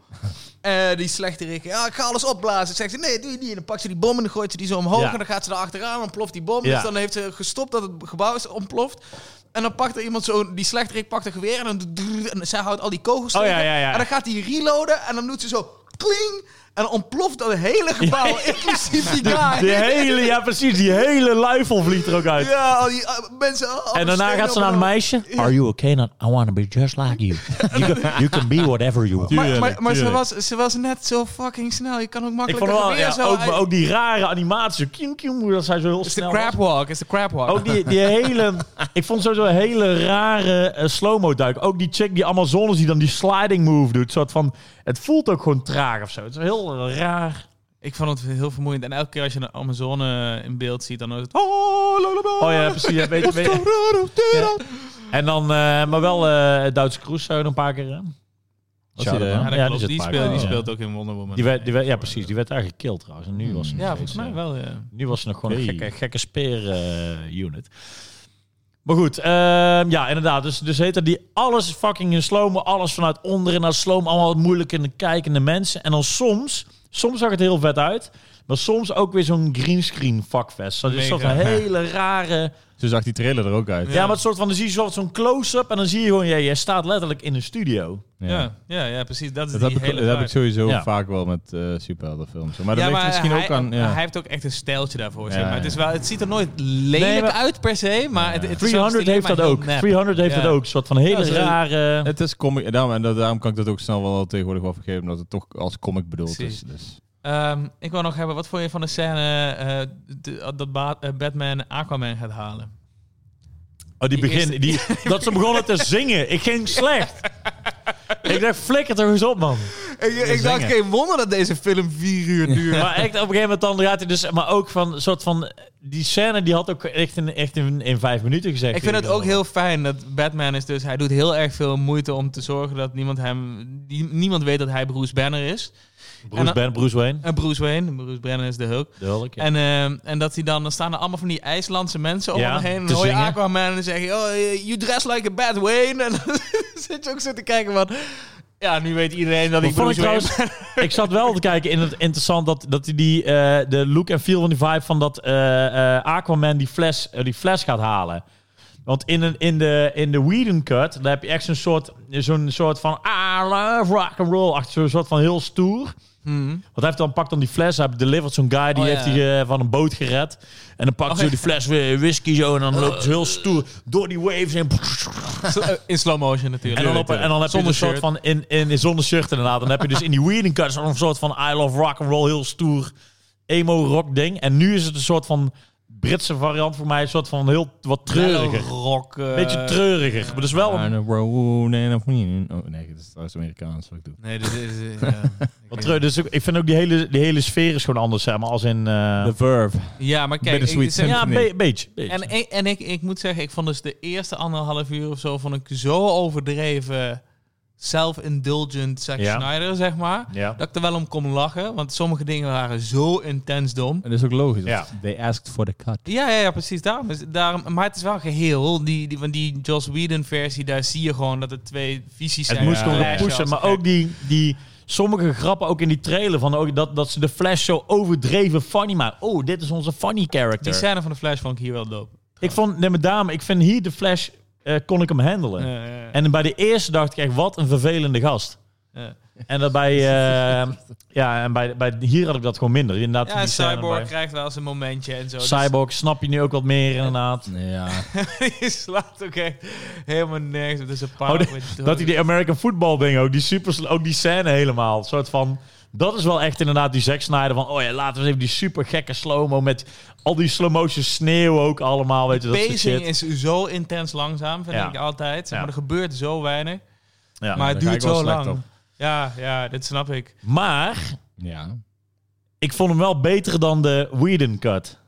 [SPEAKER 3] Eh die slechterik, ja, ik ga alles opblazen. Zegt ze, nee, doe je niet. En dan pakt ze die bom en dan gooit ze die zo omhoog.
[SPEAKER 1] Ja.
[SPEAKER 3] En dan gaat ze er achteraan, dan ploft die bom.
[SPEAKER 1] Ja.
[SPEAKER 3] Dus dan heeft ze gestopt dat het gebouw is ontploft. En dan pakt er iemand zo, die slechterik pakt een geweer en dan... doet drrr, En zij houdt al die kogels
[SPEAKER 1] Oh, ja,
[SPEAKER 3] tegen.
[SPEAKER 1] ja, ja.
[SPEAKER 3] En dan gaat hij reloaden en dan doet ze zo... Kling! En dan ontploft dat hele gebouw, inclusief die guy.
[SPEAKER 1] Die hele, ja precies, die hele luifel vliegt er ook uit.
[SPEAKER 3] Ja, al die eh, mensen. al-
[SPEAKER 1] En daarna
[SPEAKER 3] stenen
[SPEAKER 1] gaat ze naar een
[SPEAKER 3] op en
[SPEAKER 1] meisje. Are you okay? Not, I want to be just like you. You can, you can be whatever you want.
[SPEAKER 3] al. Maar, maar,
[SPEAKER 2] Tuurlijk,
[SPEAKER 3] maar ze,
[SPEAKER 2] tuurlijk.
[SPEAKER 3] was, ze was net zo fucking snel. Je kan ook
[SPEAKER 1] Ik
[SPEAKER 3] makkelijk
[SPEAKER 1] vond wel, ja,
[SPEAKER 3] zo
[SPEAKER 1] ook,
[SPEAKER 3] uit-
[SPEAKER 1] maar ook die rare animatie. Kium, kium, hoe dat zij zo heel
[SPEAKER 3] Is de
[SPEAKER 1] snel
[SPEAKER 3] crab
[SPEAKER 1] was.
[SPEAKER 3] walk, is de crab walk.
[SPEAKER 1] Ook die, die hele... Ik vond sowieso een hele rare eh, slow-mo duik. Ook die chick, die Amazones, die dan die sliding move doet. Soort van, het voelt ook gewoon traag of zo. Het is heel raar.
[SPEAKER 3] Ik vond het heel vermoeiend. En elke keer als je een Amazone in beeld ziet, dan is het... Oh,
[SPEAKER 1] Oh ja, precies. Ja, weet, weet- Ja. En dan, eh, maar wel eh, het Duitse Crusoe een paar keer. hè? Was
[SPEAKER 2] Shout-out,
[SPEAKER 1] er, hè?
[SPEAKER 2] man.
[SPEAKER 3] Ja, dat klopt.
[SPEAKER 1] zit
[SPEAKER 3] Die,
[SPEAKER 1] een paar
[SPEAKER 3] speelt,
[SPEAKER 1] keer.
[SPEAKER 3] die
[SPEAKER 1] Ja.
[SPEAKER 3] speelt ook in Wonder Woman.
[SPEAKER 1] Die werd, die werd- ja, precies. Die werd eigenlijk gekild trouwens. En nu was ze nog
[SPEAKER 3] ja,
[SPEAKER 1] steeds,
[SPEAKER 3] volgens mij
[SPEAKER 1] eh,
[SPEAKER 3] wel, ja.
[SPEAKER 1] Nu was ze nog gewoon een
[SPEAKER 2] Hey.
[SPEAKER 1] gekke, gekke speer-unit. maar goed, ehm, ja, inderdaad. Dus, dus heet dat die alles fucking in sloom, alles vanuit onderen naar sloom, allemaal moeilijk in de kijkende mensen. En dan soms, soms zag het heel vet uit, maar soms ook weer zo'n greenscreen fuckfest. Dat is
[SPEAKER 3] Mega.
[SPEAKER 1] zo'n hele rare.
[SPEAKER 2] Zo zag die trailer er ook uit.
[SPEAKER 1] Ja, maar het soort van, dan zie je zo- zo'n close-up en dan zie je gewoon, jij, jij staat letterlijk in een studio.
[SPEAKER 3] Ja. Ja, ja, precies. Dat is
[SPEAKER 2] Dat,
[SPEAKER 3] die
[SPEAKER 2] heb ik,
[SPEAKER 3] hele
[SPEAKER 2] dat heb ik
[SPEAKER 3] vibe.
[SPEAKER 2] sowieso
[SPEAKER 1] Ja.
[SPEAKER 2] vaak wel met eh superheldenfilms. Maar dat ligt misschien
[SPEAKER 3] hij,
[SPEAKER 2] ook aan... Ja.
[SPEAKER 3] hij heeft ook echt een stijltje daarvoor. zeg
[SPEAKER 2] Ja,
[SPEAKER 3] maar. Het,
[SPEAKER 2] ja.
[SPEAKER 3] is wel, het ziet er nooit lelijk
[SPEAKER 1] Nee, maar-
[SPEAKER 3] uit per se, maar het, het is wel
[SPEAKER 1] 300
[SPEAKER 3] stiekem
[SPEAKER 1] heeft dat
[SPEAKER 3] maar heel
[SPEAKER 1] ook.
[SPEAKER 3] nep.
[SPEAKER 1] 300 heeft
[SPEAKER 3] Ja.
[SPEAKER 1] dat ook. Een soort van hele
[SPEAKER 2] Ja, ze-
[SPEAKER 1] rare...
[SPEAKER 2] Het is comic, daarom, en dat- daarom kan ik dat ook snel wel tegenwoordig wel vergeven, omdat het toch als comic bedoeld
[SPEAKER 3] Precies.
[SPEAKER 2] is. Dus.
[SPEAKER 3] Ehm, ik wil nog hebben, wat vond je van de scène eh, de- dat Ba- eh, Batman Aquaman gaat halen?
[SPEAKER 1] Oh, die,
[SPEAKER 3] Die
[SPEAKER 1] begin, die, dat ze begonnen te zingen. Ik ging slecht. ik dacht, flikker toch eens op, man.
[SPEAKER 3] Ik,
[SPEAKER 1] ik dacht, zingen.
[SPEAKER 3] geen wonder dat deze film vier uur duurt.
[SPEAKER 1] Maar echt, op een gegeven moment dan gaat hij dus... Maar ook van, een soort van... Die scène, die had ook echt in, echt in, in vijf minuten gezegd. eh,
[SPEAKER 3] Ik vind het ook heel fijn dat Batman is dus... Hij doet heel erg veel moeite om te zorgen dat niemand hem... die- niemand weet dat hij Bruce Banner is.
[SPEAKER 1] Bruce, ben, Bruce Wayne.
[SPEAKER 3] En Bruce Wayne. Bruce Banner is de Hulk.
[SPEAKER 1] De Hulk, ja.
[SPEAKER 3] En, ehm, en dat hij dan, dan staan er allemaal van die IJslandse mensen om
[SPEAKER 1] Ja,
[SPEAKER 3] hem heen. En
[SPEAKER 1] te
[SPEAKER 3] dan hoor je
[SPEAKER 1] zingen.
[SPEAKER 3] Aquaman en dan zeg je, oh, eh, you dress like a bad Wayne. En dan zit je ook zo te kijken van, ja, nu weet iedereen dat
[SPEAKER 1] Maar
[SPEAKER 3] ik
[SPEAKER 1] vond ik
[SPEAKER 3] Bruce Wayne
[SPEAKER 1] trouwens- ik zat wel te kijken in het interessant dat, dat hij die, eh, de look en feel van die vibe van dat eh, eh, Aquaman die fles, eh, die fles gaat halen. Want in, een, in de, in de Whedon cut, daar heb je echt zo'n soort, zo'n soort van I love rock and roll, achter zo'n soort van heel stoer.
[SPEAKER 3] Hmm.
[SPEAKER 1] Want hij heeft dan, pakt dan die fles, hij heeft delivered zo'n guy, die
[SPEAKER 3] Oh, ja.
[SPEAKER 1] heeft hij eh, van een boot gered. En dan pakt hij
[SPEAKER 3] Oh,
[SPEAKER 1] zo
[SPEAKER 3] ja. Eh.
[SPEAKER 1] die fles weer whisky zo en dan loopt hij zo heel stoer door die waves heen.
[SPEAKER 3] Sl- eh, In slow motion natuurlijk.
[SPEAKER 1] En dan, op, en dan heb
[SPEAKER 3] Zonder
[SPEAKER 1] je dus een soort
[SPEAKER 3] shirt.
[SPEAKER 1] van in, in, in zonder shirt inderdaad. Dan heb je dus in die Whedon cut zo'n soort van I love rock and roll heel stoer emo rock ding. En nu is het een soort van Britse variant voor mij, een soort van heel wat treuriger.
[SPEAKER 3] Rock. eh,
[SPEAKER 1] Beetje treuriger, maar dus wel. een-
[SPEAKER 2] En een wow, nee, dat moet niet. Oh, nee, dat is trouwens Amerikaans wat ik doe.
[SPEAKER 3] Nee, dit is... eh, ja. Ik
[SPEAKER 1] Wat
[SPEAKER 3] weet
[SPEAKER 1] treur, dus ook- ik vind ook die hele, die hele sfeer is gewoon anders, zeg maar, als in... eh,
[SPEAKER 2] The Verve.
[SPEAKER 3] Ja, maar kijk,
[SPEAKER 2] Bittersweet
[SPEAKER 3] ik, zeg-
[SPEAKER 1] ja, een
[SPEAKER 2] Symphony.
[SPEAKER 1] be- beetje. beetje.
[SPEAKER 3] en, ik- en ik, ik moet zeggen, ik vond dus de eerste anderhalf uur of zo vond ik zo overdreven self-indulgent Zack
[SPEAKER 1] Ja.
[SPEAKER 3] Snyder, zeg maar.
[SPEAKER 1] ja.
[SPEAKER 3] Dat ik er wel om kon lachen, want sommige dingen waren zo intens dom.
[SPEAKER 2] En dat is ook logisch.
[SPEAKER 1] Ja.
[SPEAKER 2] want They asked for the cut.
[SPEAKER 3] Ja, ja, ja precies. Daarom is, daarom, maar het is wel geheel. Die, die, van die Joss Whedon-versie, daar zie je gewoon dat er twee visies
[SPEAKER 1] Het
[SPEAKER 3] zijn.
[SPEAKER 1] moest gewoon
[SPEAKER 3] Flash
[SPEAKER 1] pushen,
[SPEAKER 3] als
[SPEAKER 1] maar
[SPEAKER 3] gek.
[SPEAKER 1] ook die... die Sommige grappen ook in die trailer van ook dat, dat ze de Flash zo overdreven funny maken. Oh, dit is onze funny character.
[SPEAKER 3] Die scène van de Flash vond ik hier wel dope.
[SPEAKER 1] Ik vond, nee, maar daarom, ik vind hier de Flash, eh, kon ik hem handelen.
[SPEAKER 3] Ja, ja, ja.
[SPEAKER 1] En bij de eerste dacht ik echt, wat een vervelende gast.
[SPEAKER 3] Ja.
[SPEAKER 1] En dat bij, eh, ja, en bij, bij, hier had ik dat gewoon minder. Inderdaad,
[SPEAKER 3] Ja,
[SPEAKER 1] die
[SPEAKER 3] en
[SPEAKER 1] scène
[SPEAKER 3] Cyborg eh,
[SPEAKER 1] bij-
[SPEAKER 3] krijgt wel eens een momentje en zo. Dus
[SPEAKER 1] Cyborg, snap je nu ook wat meer inderdaad.
[SPEAKER 2] Ja.
[SPEAKER 3] die slaat ook echt helemaal nergens. op. Dat is een paar.
[SPEAKER 1] Oh, de- Dat hij die American football ding ook, die super, ook die scène helemaal. Een soort van, dat is wel echt inderdaad die Zack Snyder van, oh ja, laten we eens even die super gekke slow-mo met al die slow-motion sneeuw ook allemaal, weet je, dat soort
[SPEAKER 3] pacing
[SPEAKER 1] shit.
[SPEAKER 3] is zo intens langzaam, vind
[SPEAKER 1] Ja.
[SPEAKER 3] ik altijd. Zeg
[SPEAKER 1] Ja.
[SPEAKER 3] maar, er gebeurt zo weinig.
[SPEAKER 1] Ja.
[SPEAKER 3] maar het
[SPEAKER 2] daar ga
[SPEAKER 3] duurt
[SPEAKER 2] ik wel
[SPEAKER 3] zo
[SPEAKER 2] slecht
[SPEAKER 3] lang.
[SPEAKER 2] op.
[SPEAKER 3] Ja, ja, dat snap ik.
[SPEAKER 1] Maar
[SPEAKER 2] Ja.
[SPEAKER 1] ik vond hem wel beter dan de Whedon cut.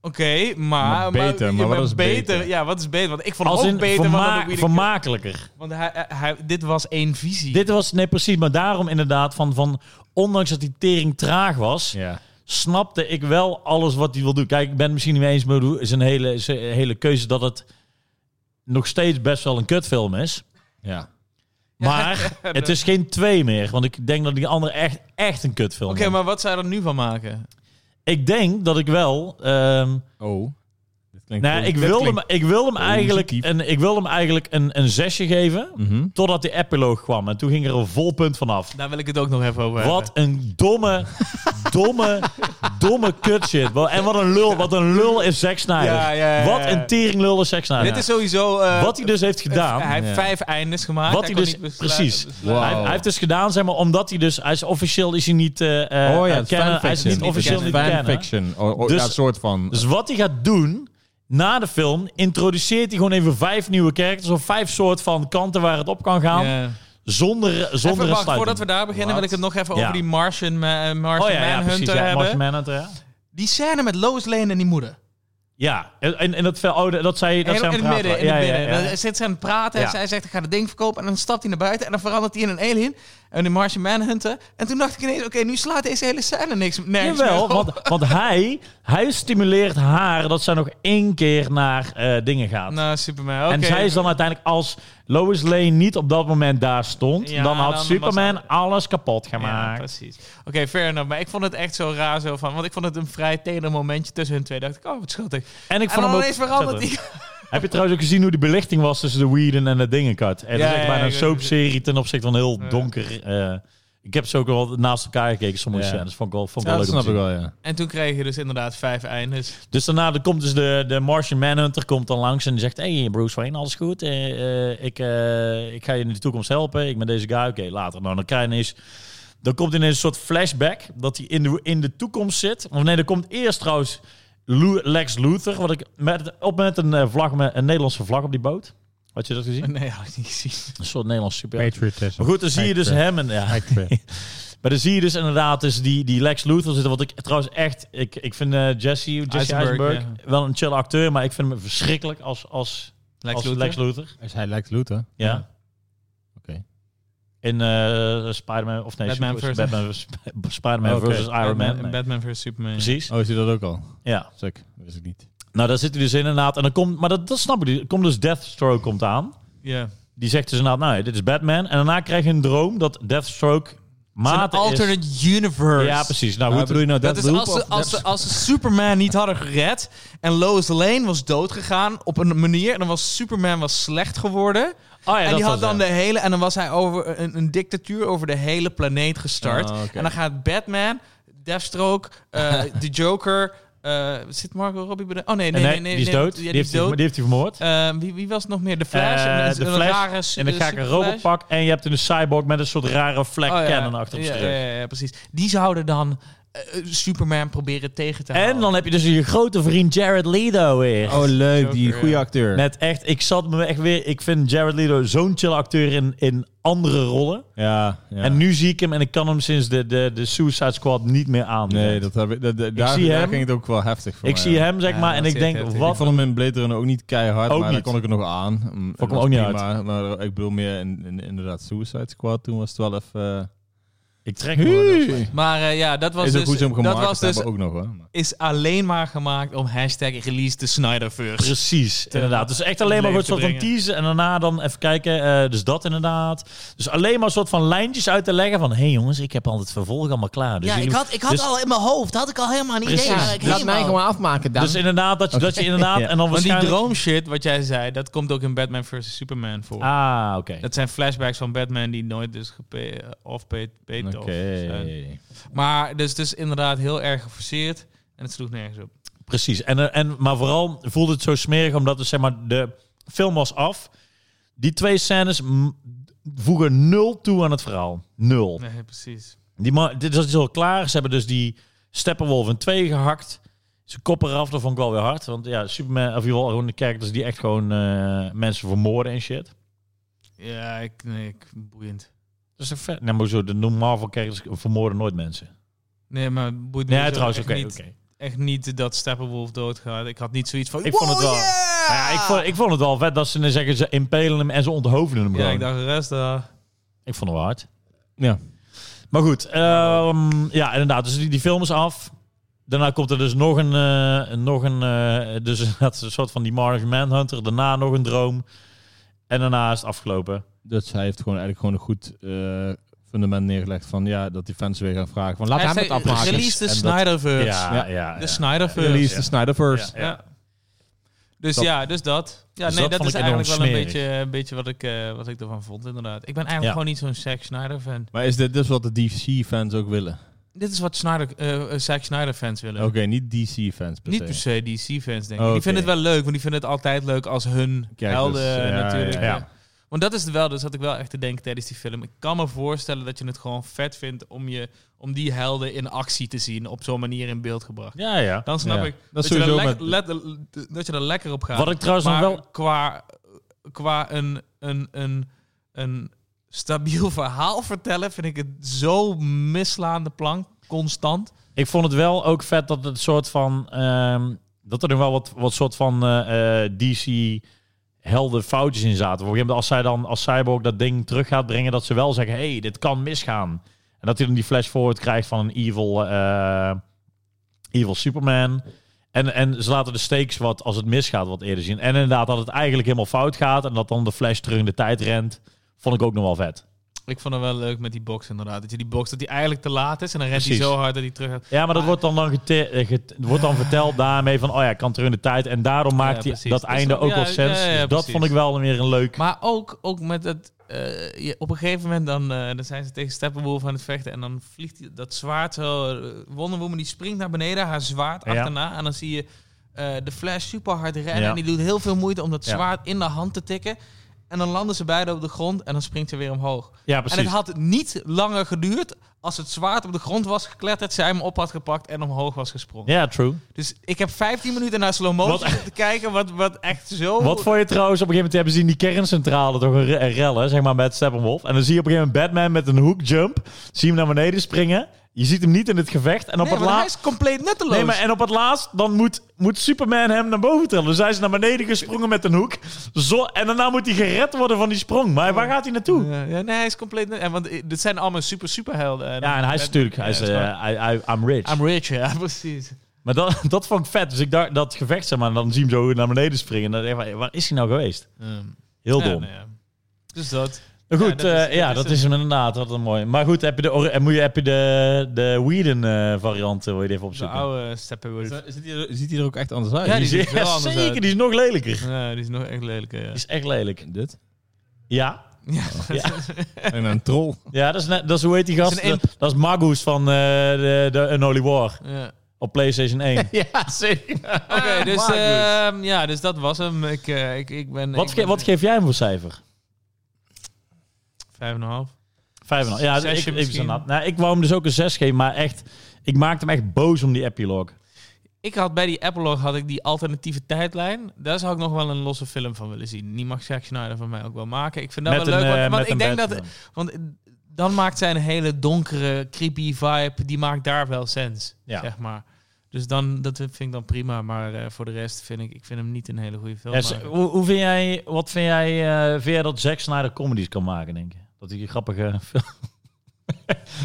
[SPEAKER 3] Oké, maar,
[SPEAKER 2] Maar beter,
[SPEAKER 3] je
[SPEAKER 2] maar wat
[SPEAKER 3] bent
[SPEAKER 2] is beter?
[SPEAKER 3] Ja, wat is beter? Want ik vond
[SPEAKER 1] Als
[SPEAKER 3] hem
[SPEAKER 1] in
[SPEAKER 3] ook beter dan
[SPEAKER 1] verma-
[SPEAKER 3] de Whedon-
[SPEAKER 1] vermakelijker.
[SPEAKER 3] Want hij, hij- hij- dit was één visie.
[SPEAKER 1] Dit was, nee precies, maar daarom inderdaad van, van ondanks dat die tering traag was,
[SPEAKER 2] Ja.
[SPEAKER 1] snapte ik wel alles wat hij wil doen. Kijk, ik ben het misschien niet mee eens met hoe- zijn hele, zijn hele keuze dat het nog steeds best wel een kutfilm is.
[SPEAKER 2] Ja.
[SPEAKER 1] Maar het is geen twee meer, want ik denk dat die andere echt, echt een kutfilm
[SPEAKER 3] Oké,
[SPEAKER 1] is.
[SPEAKER 3] maar wat zou je er nu van maken?
[SPEAKER 1] Ik denk dat ik wel... ehm,
[SPEAKER 2] Oh. Dit klinkt
[SPEAKER 1] nou, ik wilde, hem, ik wilde hem eigenlijk,
[SPEAKER 2] positief.
[SPEAKER 1] een, ik wilde hem eigenlijk een, een zesje geven,
[SPEAKER 2] Mhm.
[SPEAKER 1] totdat die epiloog kwam. En toen ging er een vol punt vanaf.
[SPEAKER 3] Daar wil ik het ook nog even over
[SPEAKER 1] Wat
[SPEAKER 3] hebben.
[SPEAKER 1] een domme, domme, domme kutshit. Wa- En wat een lul, wat een lul is Zack Snyder.
[SPEAKER 3] Ja, ja, ja, ja.
[SPEAKER 1] Wat een teringlul is Zack Snyder.
[SPEAKER 3] Dit is sowieso... eh,
[SPEAKER 1] wat hij dus heeft gedaan.
[SPEAKER 3] Hij heeft
[SPEAKER 2] Ja.
[SPEAKER 3] vijf eindes gemaakt.
[SPEAKER 1] Wat
[SPEAKER 3] hij
[SPEAKER 1] hij
[SPEAKER 3] kon
[SPEAKER 1] dus-
[SPEAKER 3] niet besluiten-
[SPEAKER 1] precies.
[SPEAKER 3] besluiten.
[SPEAKER 1] Hij,
[SPEAKER 2] Wauw.
[SPEAKER 1] hij heeft dus gedaan, zeg maar, omdat hij dus... Hij is officieel is hij niet eh, eh,
[SPEAKER 2] Oh ja,
[SPEAKER 1] eh,
[SPEAKER 2] het is
[SPEAKER 1] kennen. Hij is
[SPEAKER 2] fanfiction.
[SPEAKER 1] niet officieel
[SPEAKER 2] Het
[SPEAKER 1] niet
[SPEAKER 2] is
[SPEAKER 1] kennen.
[SPEAKER 2] fanfiction. Oh, oh,
[SPEAKER 1] Dus-
[SPEAKER 2] ja, een soort van.
[SPEAKER 1] Dus wat hij gaat doen... Na de film introduceert hij gewoon even vijf nieuwe characters... of vijf soort van kanten waar het op kan gaan...
[SPEAKER 3] Ja.
[SPEAKER 1] Nou, zonder, zonder
[SPEAKER 3] Even
[SPEAKER 1] een
[SPEAKER 3] wacht,
[SPEAKER 1] sluiting.
[SPEAKER 3] voordat we daar beginnen wil ik het nog even
[SPEAKER 1] Ja.
[SPEAKER 3] over die Martian, ma- Martian
[SPEAKER 1] oh ja, ja,
[SPEAKER 3] Manhunter
[SPEAKER 1] precies. Ja,
[SPEAKER 3] hebben.
[SPEAKER 1] Martian Manhunter, ja.
[SPEAKER 3] Die scène met Lois Lane en die moeder.
[SPEAKER 1] Ja, en, en- en dat, vel- oh, dat zei dat
[SPEAKER 3] En
[SPEAKER 1] zij aan
[SPEAKER 3] in het
[SPEAKER 1] praten
[SPEAKER 3] midden, in
[SPEAKER 1] waren.
[SPEAKER 3] het
[SPEAKER 1] Ja, ja,
[SPEAKER 3] midden.
[SPEAKER 1] ja.
[SPEAKER 3] Dan zit ze aan het praten
[SPEAKER 1] Ja.
[SPEAKER 3] en zij zegt, ik ga het ding verkopen. En dan stapt hij naar buiten en dan verandert hij in een alien. En die Martian Manhunter. En toen dacht ik ineens, oké, nu slaat deze hele scène niks, nergens meer
[SPEAKER 1] Jawel,
[SPEAKER 3] op.
[SPEAKER 1] want, want hij, hij stimuleert haar dat zij nog één keer naar eh, dingen gaat.
[SPEAKER 3] Nou, Superman, oké.
[SPEAKER 1] En zij is dan uiteindelijk, als Lois Lane niet op dat moment daar stond,
[SPEAKER 3] Ja,
[SPEAKER 1] dan had
[SPEAKER 3] dan was
[SPEAKER 1] Superman
[SPEAKER 3] dat-
[SPEAKER 1] alles kapot
[SPEAKER 3] Ja,
[SPEAKER 1] gemaakt.
[SPEAKER 3] precies. Oké, fair enough. Maar ik vond het echt zo raar zo van... Want ik vond het een vrij teder momentje tussen hun twee. dacht ik, oh, wat schattig.
[SPEAKER 1] en ik vond
[SPEAKER 3] en dan
[SPEAKER 1] hem ook...
[SPEAKER 3] ineens verandert hij.
[SPEAKER 1] Heb je trouwens ook gezien hoe die belichting was tussen de Whedon en de Dingencut? Het
[SPEAKER 3] Ja,
[SPEAKER 1] is echt
[SPEAKER 3] ja,
[SPEAKER 1] bijna een
[SPEAKER 3] ik weet het.
[SPEAKER 1] soapserie ten opzichte van heel
[SPEAKER 3] Ja.
[SPEAKER 1] donker... eh, ik heb ze ook wel naast elkaar gekeken, sommige
[SPEAKER 2] Ja.
[SPEAKER 1] scènes. Vond ik wel, vond ik
[SPEAKER 2] ja,
[SPEAKER 1] wel
[SPEAKER 2] dat
[SPEAKER 1] leuk om
[SPEAKER 2] snap
[SPEAKER 1] te
[SPEAKER 2] ik
[SPEAKER 1] zien.
[SPEAKER 2] wel, ja.
[SPEAKER 3] En toen kreeg je dus inderdaad vijf eindes.
[SPEAKER 1] Dus daarna er komt dus de, de Martian Manhunter komt dan langs en die zegt... Hey Bruce Wayne, alles goed? Eh, eh, ik, eh, ik ga je in de toekomst helpen. Ik ben deze guy. Oké, later. Nou, dan krijg je ineens... Dan komt ineens een soort flashback dat hij in de, in de toekomst zit. Of nee, er komt eerst trouwens Lu- Lex Luthor. Wat ik met, op met een, eh, vlag, met een Nederlandse vlag op die boot. Had je dat gezien?
[SPEAKER 3] Nee, had ik niet gezien.
[SPEAKER 1] Een soort Nederlands super.
[SPEAKER 2] Patriotism.
[SPEAKER 1] Maar goed, dan zie je dus
[SPEAKER 2] Actor.
[SPEAKER 1] hem en... Ja, maar dan zie je dus inderdaad dus die, die Lex Luthor zitten. Wat ik trouwens echt... Ik, ik vind eh, Jesse, Jesse Eisenberg,
[SPEAKER 3] Eisenberg,
[SPEAKER 1] wel een chill acteur. Maar ik vind hem verschrikkelijk als, als,
[SPEAKER 3] Lex
[SPEAKER 1] als
[SPEAKER 3] Luthor.
[SPEAKER 1] Lex Luthor.
[SPEAKER 2] Is hij Lex Luthor?
[SPEAKER 1] Ja.
[SPEAKER 2] Oké.
[SPEAKER 1] In eh Spider-Man... Of nee,
[SPEAKER 3] Batman
[SPEAKER 1] Super-
[SPEAKER 3] versus-
[SPEAKER 1] Batman Sp- Spider-Man
[SPEAKER 2] Oké.
[SPEAKER 1] versus Iron Man.
[SPEAKER 3] Batman,
[SPEAKER 1] Nee,
[SPEAKER 3] Batman vs Superman.
[SPEAKER 1] Precies.
[SPEAKER 2] Oh, is hij dat ook al?
[SPEAKER 1] Ja.
[SPEAKER 2] Stuk. Dat wist ik niet.
[SPEAKER 1] Nou, daar zit hij dus inderdaad. En dan komt... Maar dat, dat snap ik niet. Er komt dus Deathstroke komt aan.
[SPEAKER 3] Ja. Het
[SPEAKER 1] Die zegt dus inderdaad... Nou, ja, dit is Batman. En daarna krijg je een droom dat Deathstroke...
[SPEAKER 3] is
[SPEAKER 1] Maat
[SPEAKER 3] een alternate universe.
[SPEAKER 1] Ja, precies. Nou,
[SPEAKER 2] Maar
[SPEAKER 1] goed,
[SPEAKER 2] bedoel je nou
[SPEAKER 3] Dat is als ze,
[SPEAKER 2] of
[SPEAKER 3] als, ze,
[SPEAKER 2] Deathloop?
[SPEAKER 3] als ze Superman niet hadden gered en Lois Lane was doodgegaan op een manier en dan was Superman was slecht geworden
[SPEAKER 1] Oh ja,
[SPEAKER 3] en
[SPEAKER 1] dat
[SPEAKER 3] die
[SPEAKER 1] was
[SPEAKER 3] had dan
[SPEAKER 1] het.
[SPEAKER 3] de hele en dan was hij over een, een dictatuur over de hele planeet gestart
[SPEAKER 1] Oh,
[SPEAKER 2] Ah, oké.
[SPEAKER 3] en dan gaat Batman, Deathstroke, eh, de Joker, eh, zit Margot Robbie bij de- Oh nee nee
[SPEAKER 1] Nee,
[SPEAKER 3] nee, nee,
[SPEAKER 1] die is
[SPEAKER 3] nee,
[SPEAKER 1] dood.
[SPEAKER 3] ja,
[SPEAKER 1] die, heeft hij- die heeft hij vermoord.
[SPEAKER 3] Eh, wie, wie was het nog meer? De eh, Flash?
[SPEAKER 1] Eh,
[SPEAKER 3] en
[SPEAKER 1] de Flash en dan
[SPEAKER 3] de
[SPEAKER 1] ga ik een robotpak en je hebt een cyborg met een soort rare Flag Cannon achter op
[SPEAKER 3] Oh, ja,
[SPEAKER 1] zijn
[SPEAKER 3] ja,
[SPEAKER 1] rug.
[SPEAKER 3] ja, ja, precies. Die zouden dan eh, eh, Superman proberen tegen te houden.
[SPEAKER 1] En dan heb je dus je grote vriend Jared Leto weer.
[SPEAKER 2] Oh, leuk. Die
[SPEAKER 3] Joker,
[SPEAKER 2] goede
[SPEAKER 3] ja.
[SPEAKER 2] acteur.
[SPEAKER 1] Net echt, ik zat me echt weer. Ik vind Jared Leto zo'n chill acteur in, in andere rollen.
[SPEAKER 2] Ja, ja.
[SPEAKER 1] En nu zie ik hem en ik kan hem sinds de, de, de Suicide Squad niet meer aan.
[SPEAKER 2] Nee, dat heb ik, dat, dat- daar,
[SPEAKER 1] zie
[SPEAKER 2] daar
[SPEAKER 1] hem.
[SPEAKER 2] ging het ook wel heftig voor
[SPEAKER 1] ik
[SPEAKER 2] mij,
[SPEAKER 1] zie
[SPEAKER 2] ja.
[SPEAKER 1] hem, zeg
[SPEAKER 3] Ja,
[SPEAKER 1] maar,
[SPEAKER 3] dat
[SPEAKER 1] en ik
[SPEAKER 3] zit
[SPEAKER 1] denk,
[SPEAKER 3] heftig.
[SPEAKER 1] wat
[SPEAKER 2] Ik vond hem in Blade Runner ook niet keihard,
[SPEAKER 1] Ook
[SPEAKER 2] maar
[SPEAKER 1] niet.
[SPEAKER 2] daar kon ik er nog aan. Mm, Vond
[SPEAKER 1] hem ook niet
[SPEAKER 2] Maar ik bedoel meer in, in- inderdaad Suicide Squad. Toen was het wel even... eh,
[SPEAKER 1] ik trek me gewoon heel slecht.
[SPEAKER 3] Maar eh, ja, dat was
[SPEAKER 2] is
[SPEAKER 3] dus...
[SPEAKER 2] ook hoe ze hem
[SPEAKER 3] dat
[SPEAKER 2] gemaakt
[SPEAKER 3] was dus,
[SPEAKER 2] hebben ook nog hoor. Maar-
[SPEAKER 3] is alleen maar gemaakt om hashtag release de Snyderverse.
[SPEAKER 1] Precies, inderdaad. Dus echt alleen maar
[SPEAKER 3] leven
[SPEAKER 1] een
[SPEAKER 3] te
[SPEAKER 1] soort van
[SPEAKER 3] brengen.
[SPEAKER 1] teasen en daarna dan even kijken. eh, dus dat inderdaad. Dus alleen maar een soort van lijntjes uit te leggen van... hé hey jongens, ik heb al het vervolg allemaal klaar. Dus jullie-
[SPEAKER 3] ik
[SPEAKER 1] dus-
[SPEAKER 3] al in mijn hoofd, had ik al helemaal een
[SPEAKER 1] Precies.
[SPEAKER 3] waar ik
[SPEAKER 4] Laat
[SPEAKER 3] heen
[SPEAKER 4] mij
[SPEAKER 3] wou.
[SPEAKER 4] gewoon afmaken dan.
[SPEAKER 1] Dus inderdaad, dat je, dat je inderdaad...
[SPEAKER 2] Ja.
[SPEAKER 1] En dan
[SPEAKER 3] Want die
[SPEAKER 1] waarschijnlijk...
[SPEAKER 3] droomshit wat jij zei, dat komt ook in Batman vs. Superman voor.
[SPEAKER 1] Ah, oké.
[SPEAKER 3] Dat zijn flashbacks van Batman die nooit dus gepe- off-paid
[SPEAKER 2] Oké.
[SPEAKER 3] off zijn. Maar dus, dus inderdaad heel erg geforceerd en het sloeg nergens op.
[SPEAKER 1] Precies. En, eh, en, maar vooral voelde het zo smerig omdat dus, zeg maar, de film was af. Die twee scènes mm, voegen nul toe aan het verhaal. Nul.
[SPEAKER 3] Nee, precies.
[SPEAKER 1] Die ma- dit is al klaar. Ze hebben dus die Steppenwolf in twee gehakt. Ze kop eraf, dat vond ik wel weer hard. Want ja, Superman, of in ieder geval gewoon de characters die echt gewoon eh, mensen vermoorden en shit.
[SPEAKER 3] Ja, ik, nee, ik, boeiend.
[SPEAKER 1] Dat is een vet. Nee, maar zo, de Marvel-characters vermoorden nooit mensen.
[SPEAKER 3] Nee, maar boeit me
[SPEAKER 1] Nee,
[SPEAKER 3] zo
[SPEAKER 1] trouwens,
[SPEAKER 3] echt
[SPEAKER 1] oké.
[SPEAKER 3] niet,
[SPEAKER 1] oké.
[SPEAKER 3] echt niet dat Steppenwolf doodgaat. Ik had niet zoiets van.
[SPEAKER 1] Ik vond het
[SPEAKER 3] "Wow,
[SPEAKER 1] wel-
[SPEAKER 3] yeah!"
[SPEAKER 1] Nou ja, ik, vond, ik vond het wel vet dat ze dan zeggen, ze impelen hem en ze onthoofden hem
[SPEAKER 3] Ja,
[SPEAKER 1] gewoon.
[SPEAKER 3] ik dacht, de rest daar.
[SPEAKER 1] Ik vond het wel hard.
[SPEAKER 2] Ja.
[SPEAKER 1] Maar goed, ehm, ja, inderdaad. Dus die, die film is af. Daarna komt er dus nog een, eh, nog een, eh, dus inderdaad een soort van die Martian Manhunter. Daarna nog een droom. En daarna is het afgelopen.
[SPEAKER 2] Dus hij heeft gewoon eigenlijk gewoon een goed eh, fundament neergelegd van ja, dat die fans weer gaan vragen van laat
[SPEAKER 3] Hij
[SPEAKER 2] hem het
[SPEAKER 3] zei,
[SPEAKER 2] afmaken.
[SPEAKER 3] Release de
[SPEAKER 2] En dat-
[SPEAKER 3] Snyderverse.
[SPEAKER 1] Ja, ja, ja.
[SPEAKER 3] De Snyderverse.
[SPEAKER 2] Release
[SPEAKER 1] Ja.
[SPEAKER 2] the Snyderverse.
[SPEAKER 1] Ja,
[SPEAKER 3] Ja. Dus
[SPEAKER 2] Dat-
[SPEAKER 3] ja, dus dat. Ja,
[SPEAKER 1] Dus
[SPEAKER 3] nee,
[SPEAKER 1] dat
[SPEAKER 3] dat,
[SPEAKER 1] vond
[SPEAKER 3] is
[SPEAKER 1] ik enorm
[SPEAKER 3] eigenlijk wel een
[SPEAKER 1] smerig.
[SPEAKER 3] beetje, een beetje wat, ik, eh, wat ik ervan vond, inderdaad. Ik ben eigenlijk
[SPEAKER 1] Ja.
[SPEAKER 3] gewoon niet zo'n Zack Snyder-fan.
[SPEAKER 2] Maar is dit dus wat de DC-fans ook willen?
[SPEAKER 3] Dit is wat Snyder, eh, Zack Snyder-fans willen.
[SPEAKER 2] Oké, niet DC-fans per
[SPEAKER 3] Niet dus-
[SPEAKER 2] se. Oh,
[SPEAKER 3] per se DC-fans, denk ik.
[SPEAKER 2] Oké.
[SPEAKER 3] Die vinden het wel leuk, want die vinden het altijd leuk als hun
[SPEAKER 2] Kijk,
[SPEAKER 3] helden
[SPEAKER 2] dus, ja,
[SPEAKER 3] natuurlijk.
[SPEAKER 2] ja,
[SPEAKER 1] ja.
[SPEAKER 3] eh. Want dat is het wel, dus had ik wel echt te denken tijdens die film. Ik kan me voorstellen dat je het gewoon vet vindt om, je, om die helden in actie te zien, op zo'n manier in beeld gebracht.
[SPEAKER 1] Ja, ja.
[SPEAKER 3] Dan snap
[SPEAKER 2] Ja.
[SPEAKER 3] ik
[SPEAKER 2] Dat
[SPEAKER 3] dat,
[SPEAKER 2] is
[SPEAKER 3] je er
[SPEAKER 2] sowieso
[SPEAKER 3] lek-
[SPEAKER 2] met-
[SPEAKER 3] let- dat je er lekker op gaat.
[SPEAKER 1] Wat ik trouwens nog
[SPEAKER 3] Maar
[SPEAKER 1] wel...
[SPEAKER 3] qua, qua een, een, een, een stabiel verhaal vertellen vind ik het zo mislaande plank, constant.
[SPEAKER 1] Ik vond het wel ook vet dat het soort van... ehm, dat er nog wel wat, wat soort van eh, eh, DC helden foutjes in zaten. Op een gegeven moment als zij dan als Cyborg dat ding terug gaat brengen... dat ze wel zeggen, hey, dit kan misgaan. En dat hij dan die flash forward krijgt van een evil, eh, evil Superman. En, en ze laten de stakes wat, als het misgaat, wat eerder zien. En inderdaad dat het eigenlijk helemaal fout gaat... en dat dan de flash terug in de tijd rent... vond ik ook nog wel vet.
[SPEAKER 3] Ik vond het wel leuk met die box inderdaad. Dat je die box, dat die eigenlijk te laat is en dan rent hij
[SPEAKER 1] Precies.
[SPEAKER 3] zo hard dat hij terug gaat.
[SPEAKER 1] Ja, maar dat
[SPEAKER 3] Maar-
[SPEAKER 1] wordt dan, dan gete- eh, get- wordt dan verteld daarmee van, oh ja, ik kan terug in de tijd. En daarom maakt die-
[SPEAKER 3] precies.
[SPEAKER 1] dat
[SPEAKER 3] Dus
[SPEAKER 1] einde
[SPEAKER 3] dat-
[SPEAKER 1] ook
[SPEAKER 3] ja,
[SPEAKER 1] wel
[SPEAKER 3] ja,
[SPEAKER 1] sens.
[SPEAKER 3] ja,
[SPEAKER 1] Dus dat
[SPEAKER 3] precies.
[SPEAKER 1] vond ik wel weer een leuk...
[SPEAKER 3] Maar ook, ook met dat, eh, je, op een gegeven moment dan, eh, dan zijn ze tegen Steppenwolf aan het vechten en dan vliegt die- dat zwaard zo. eh, Wonder Woman die springt naar beneden, haar zwaard
[SPEAKER 1] Ja.
[SPEAKER 3] achterna en dan zie je eh, de Flash super hard rennen
[SPEAKER 1] Ja.
[SPEAKER 3] en die doet heel veel moeite om dat
[SPEAKER 1] Ja.
[SPEAKER 3] zwaard in de hand te tikken. En dan landen ze beide op de grond en dan springt ze weer omhoog.
[SPEAKER 1] ja, precies.
[SPEAKER 3] En het had niet langer geduurd als het zwaard op de grond was gekletterd, zij hem op had gepakt en omhoog was gesprongen.
[SPEAKER 1] Ja, true.
[SPEAKER 3] Dus ik heb 15 minuten naar slow motion
[SPEAKER 1] Wat-
[SPEAKER 3] zitten te kijken, wat, wat echt zo...
[SPEAKER 1] Wat vond je trouwens, op een gegeven moment hebben ze in die kerncentrale toch een, re- een rel, hè, zeg maar, met Steppenwolf. En dan zie je op een gegeven moment Batman met een hoekjump, zie je hem naar beneden springen. Je ziet hem niet in het gevecht. En op
[SPEAKER 3] nee,
[SPEAKER 1] het
[SPEAKER 3] maar hij
[SPEAKER 1] laatst...
[SPEAKER 3] is compleet nutteloos.
[SPEAKER 1] Nee, maar en op het laatst, dan moet, moet Superman hem naar boven tillen. Dus hij is naar beneden gesprongen met een hoek. Zo, en daarna moet hij gered worden van die sprong. Maar waar gaat hij naartoe?
[SPEAKER 3] Ja, ja, nee, hij is compleet. nut- En want eh, dit zijn allemaal super superhelden. En
[SPEAKER 1] Ja, en hij is natuurlijk... Hij is,
[SPEAKER 3] Ja, dat is
[SPEAKER 1] eh, I- I- I'm rich.
[SPEAKER 3] waar. I'm rich, ja, precies.
[SPEAKER 1] Maar dat, dat vond ik vet. Dus ik dacht dat gevecht, zeg maar, dan zie je hem zo naar beneden springen. En dan denk ik, van, waar is hij nou geweest? Heel
[SPEAKER 3] Ja,
[SPEAKER 1] dom.
[SPEAKER 3] nou ja. Dus dat.
[SPEAKER 1] Maar
[SPEAKER 3] Ja,
[SPEAKER 1] goed,
[SPEAKER 3] dat is-
[SPEAKER 1] eh, ja,
[SPEAKER 3] dat is
[SPEAKER 1] dat is hem inderdaad. Wat een mooi. Maar goed, heb je de, or- eh, moet je, heb je de, de Whedon eh, variant, eh, wil je die even
[SPEAKER 3] De
[SPEAKER 1] opzoeken?
[SPEAKER 3] oude Steppenwolf.
[SPEAKER 2] Is- Ziet hij er- ziet hij er ook echt anders uit?
[SPEAKER 3] Ja, die ziet er
[SPEAKER 1] Ja,
[SPEAKER 3] wel anders
[SPEAKER 1] zeker,
[SPEAKER 3] uit.
[SPEAKER 1] die is nog lelijker. Die
[SPEAKER 3] Ja, die is nog echt lelijk. hè, Ja.
[SPEAKER 1] is echt lelijk.
[SPEAKER 2] Dit?
[SPEAKER 1] Ja,
[SPEAKER 3] Ja,
[SPEAKER 2] En een troll.
[SPEAKER 1] ja dat, is net, dat is hoe heet die
[SPEAKER 3] Dat is
[SPEAKER 1] gast?
[SPEAKER 3] een
[SPEAKER 1] Dat, dat is Magus van eh, de, de Unholy War
[SPEAKER 3] ja.
[SPEAKER 1] op PlayStation 1.
[SPEAKER 2] ja, zeker.
[SPEAKER 3] Oké,
[SPEAKER 1] Ah,
[SPEAKER 3] dus, ehm, ja, dus dat was hem. Ik, eh, ik, ik ben.
[SPEAKER 1] wat,
[SPEAKER 3] ik
[SPEAKER 1] ge-
[SPEAKER 3] ben
[SPEAKER 1] wat geef jij hem voor cijfer?
[SPEAKER 3] Vijf en een half.
[SPEAKER 1] Vijf en een half. Ja, dus
[SPEAKER 3] Zesje
[SPEAKER 1] ik, ik,
[SPEAKER 3] misschien.
[SPEAKER 1] ik, nou, ik wou hem dus ook een 6 geven, maar echt, ik maakte hem echt boos om die epilogue.
[SPEAKER 3] Ik had bij die epilogue had ik die alternatieve tijdlijn. Daar zou ik nog wel een losse film van willen zien. Die mag Zack Snyder van mij ook wel maken. Ik vind dat
[SPEAKER 1] Met
[SPEAKER 3] wel
[SPEAKER 1] een,
[SPEAKER 3] leuk.
[SPEAKER 1] eh,
[SPEAKER 3] Want, want
[SPEAKER 1] met
[SPEAKER 3] ik
[SPEAKER 1] een
[SPEAKER 3] denk dat
[SPEAKER 1] Batman.
[SPEAKER 3] Want eh, dan maakt zijn hele donkere, creepy vibe, die maakt daar wel sens,
[SPEAKER 1] Ja.
[SPEAKER 3] zeg maar. Dus dan, dat vind ik dan prima, maar eh, voor de rest vind ik, ik vind hem niet een hele goede film.
[SPEAKER 1] Ja, z-
[SPEAKER 3] maken.
[SPEAKER 1] hoe, hoe vind jij, wat vind jij, eh, vind jij dat Zack Snyder comedies kan maken, denk je? Dat hij grappige film...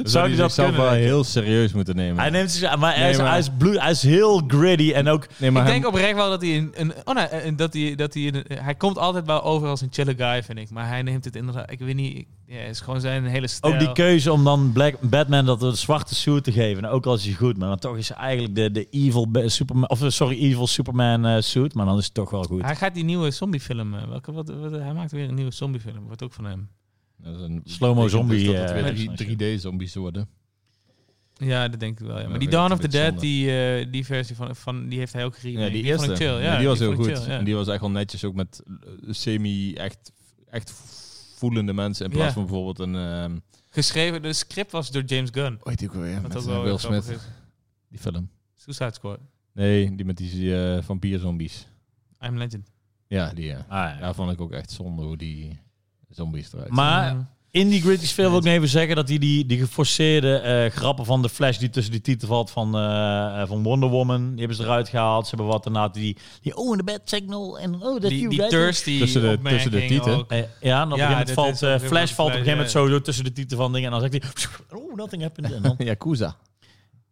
[SPEAKER 2] Zou
[SPEAKER 1] die
[SPEAKER 2] hij
[SPEAKER 1] dat
[SPEAKER 2] zichzelf
[SPEAKER 1] kunnen,
[SPEAKER 2] wel
[SPEAKER 1] denk je?
[SPEAKER 2] heel serieus moeten nemen?
[SPEAKER 1] Hij neemt zich, maar, hij
[SPEAKER 2] Nee,
[SPEAKER 1] is,
[SPEAKER 2] maar-
[SPEAKER 1] Hij, is bloed, hij is heel gritty en ook...
[SPEAKER 2] nee, maar
[SPEAKER 3] ik
[SPEAKER 2] hij-
[SPEAKER 3] denk oprecht wel dat hij een, een oh nee, eh, dat hij, dat hij, een- hij komt altijd wel over als een chille guy, vind ik. Maar hij neemt het inderdaad, ik weet niet, ik- ja, het is gewoon zijn hele stijl.
[SPEAKER 1] Ook die keuze om dan Black, Batman dat een zwarte suit te geven. Nou, ook al is hij goed, maar dan toch is hij eigenlijk de, de evil Ba- Superman... Of eh, sorry, evil Superman eh, suit, maar dan is het toch wel goed.
[SPEAKER 3] Hij gaat die nieuwe zombiefilm, eh, welke, wat, wat- hij maakt weer een nieuwe zombiefilm, wordt ook van hem.
[SPEAKER 2] Dat is een
[SPEAKER 1] Slow-mo zombie,
[SPEAKER 2] Ik denk dus Dat
[SPEAKER 1] eh,
[SPEAKER 2] het
[SPEAKER 1] is
[SPEAKER 2] weer drie 3D-zombies worden.
[SPEAKER 3] Ja, dat denk ik wel.
[SPEAKER 2] Ja,
[SPEAKER 3] Ja. Maar
[SPEAKER 2] weet
[SPEAKER 3] die
[SPEAKER 2] ik
[SPEAKER 3] Dawn
[SPEAKER 2] een
[SPEAKER 3] of the
[SPEAKER 2] beetje
[SPEAKER 3] Dead,
[SPEAKER 2] zonde.
[SPEAKER 3] die, eh, die versie van, van, die heeft hij ook gereden.
[SPEAKER 2] Ja, die eerste.
[SPEAKER 3] Vond ik chill, ja,
[SPEAKER 2] die was heel
[SPEAKER 3] vond ik
[SPEAKER 2] goed.
[SPEAKER 3] chill, ja.
[SPEAKER 2] En die was echt wel netjes, ook met eh, semi echt, echt voelende mensen. In plaats
[SPEAKER 3] Ja.
[SPEAKER 2] van bijvoorbeeld een... ehm
[SPEAKER 3] Geschreven, de script was door James Gunn.
[SPEAKER 2] hoe heet die ook alweer?
[SPEAKER 3] Wat
[SPEAKER 2] Met,
[SPEAKER 3] ook
[SPEAKER 2] eh,
[SPEAKER 3] wel
[SPEAKER 2] Will
[SPEAKER 3] grappig
[SPEAKER 2] Smith.
[SPEAKER 3] is.
[SPEAKER 2] Die film.
[SPEAKER 3] Suicide Squad.
[SPEAKER 2] Nee, die met die eh vampierzombies.
[SPEAKER 3] I'm Legend.
[SPEAKER 2] Ja, die eh, ja.
[SPEAKER 1] Ah, ja.
[SPEAKER 2] Daar vond ik ook echt zonde hoe die... Zombies eruit.
[SPEAKER 1] Maar
[SPEAKER 3] Ja.
[SPEAKER 1] in die Gritty Sphere wil ik nog even zeggen dat die, die, die geforceerde eh, grappen van de Flash die tussen die titel valt van, eh, eh, van Wonder Woman, die hebben ze eruit gehaald. Ze hebben wat daarna die, die oh, in de bad signal en oh, dat
[SPEAKER 3] die,
[SPEAKER 1] you
[SPEAKER 3] die
[SPEAKER 1] right
[SPEAKER 3] thirsty
[SPEAKER 2] Tussen de-
[SPEAKER 3] opmerking
[SPEAKER 2] tussen de tieten.
[SPEAKER 3] ook.
[SPEAKER 1] Eh, ja, en op een
[SPEAKER 3] Ja,
[SPEAKER 1] gegeven moment
[SPEAKER 3] dit
[SPEAKER 1] valt
[SPEAKER 3] is op een
[SPEAKER 1] eh,
[SPEAKER 3] gegeven
[SPEAKER 1] Flash valt op een gegeven moment
[SPEAKER 3] moment,
[SPEAKER 1] sowieso tussen de titel van dingen en dan zegt hij, oh, nothing happened. En dan,
[SPEAKER 2] Yakuza.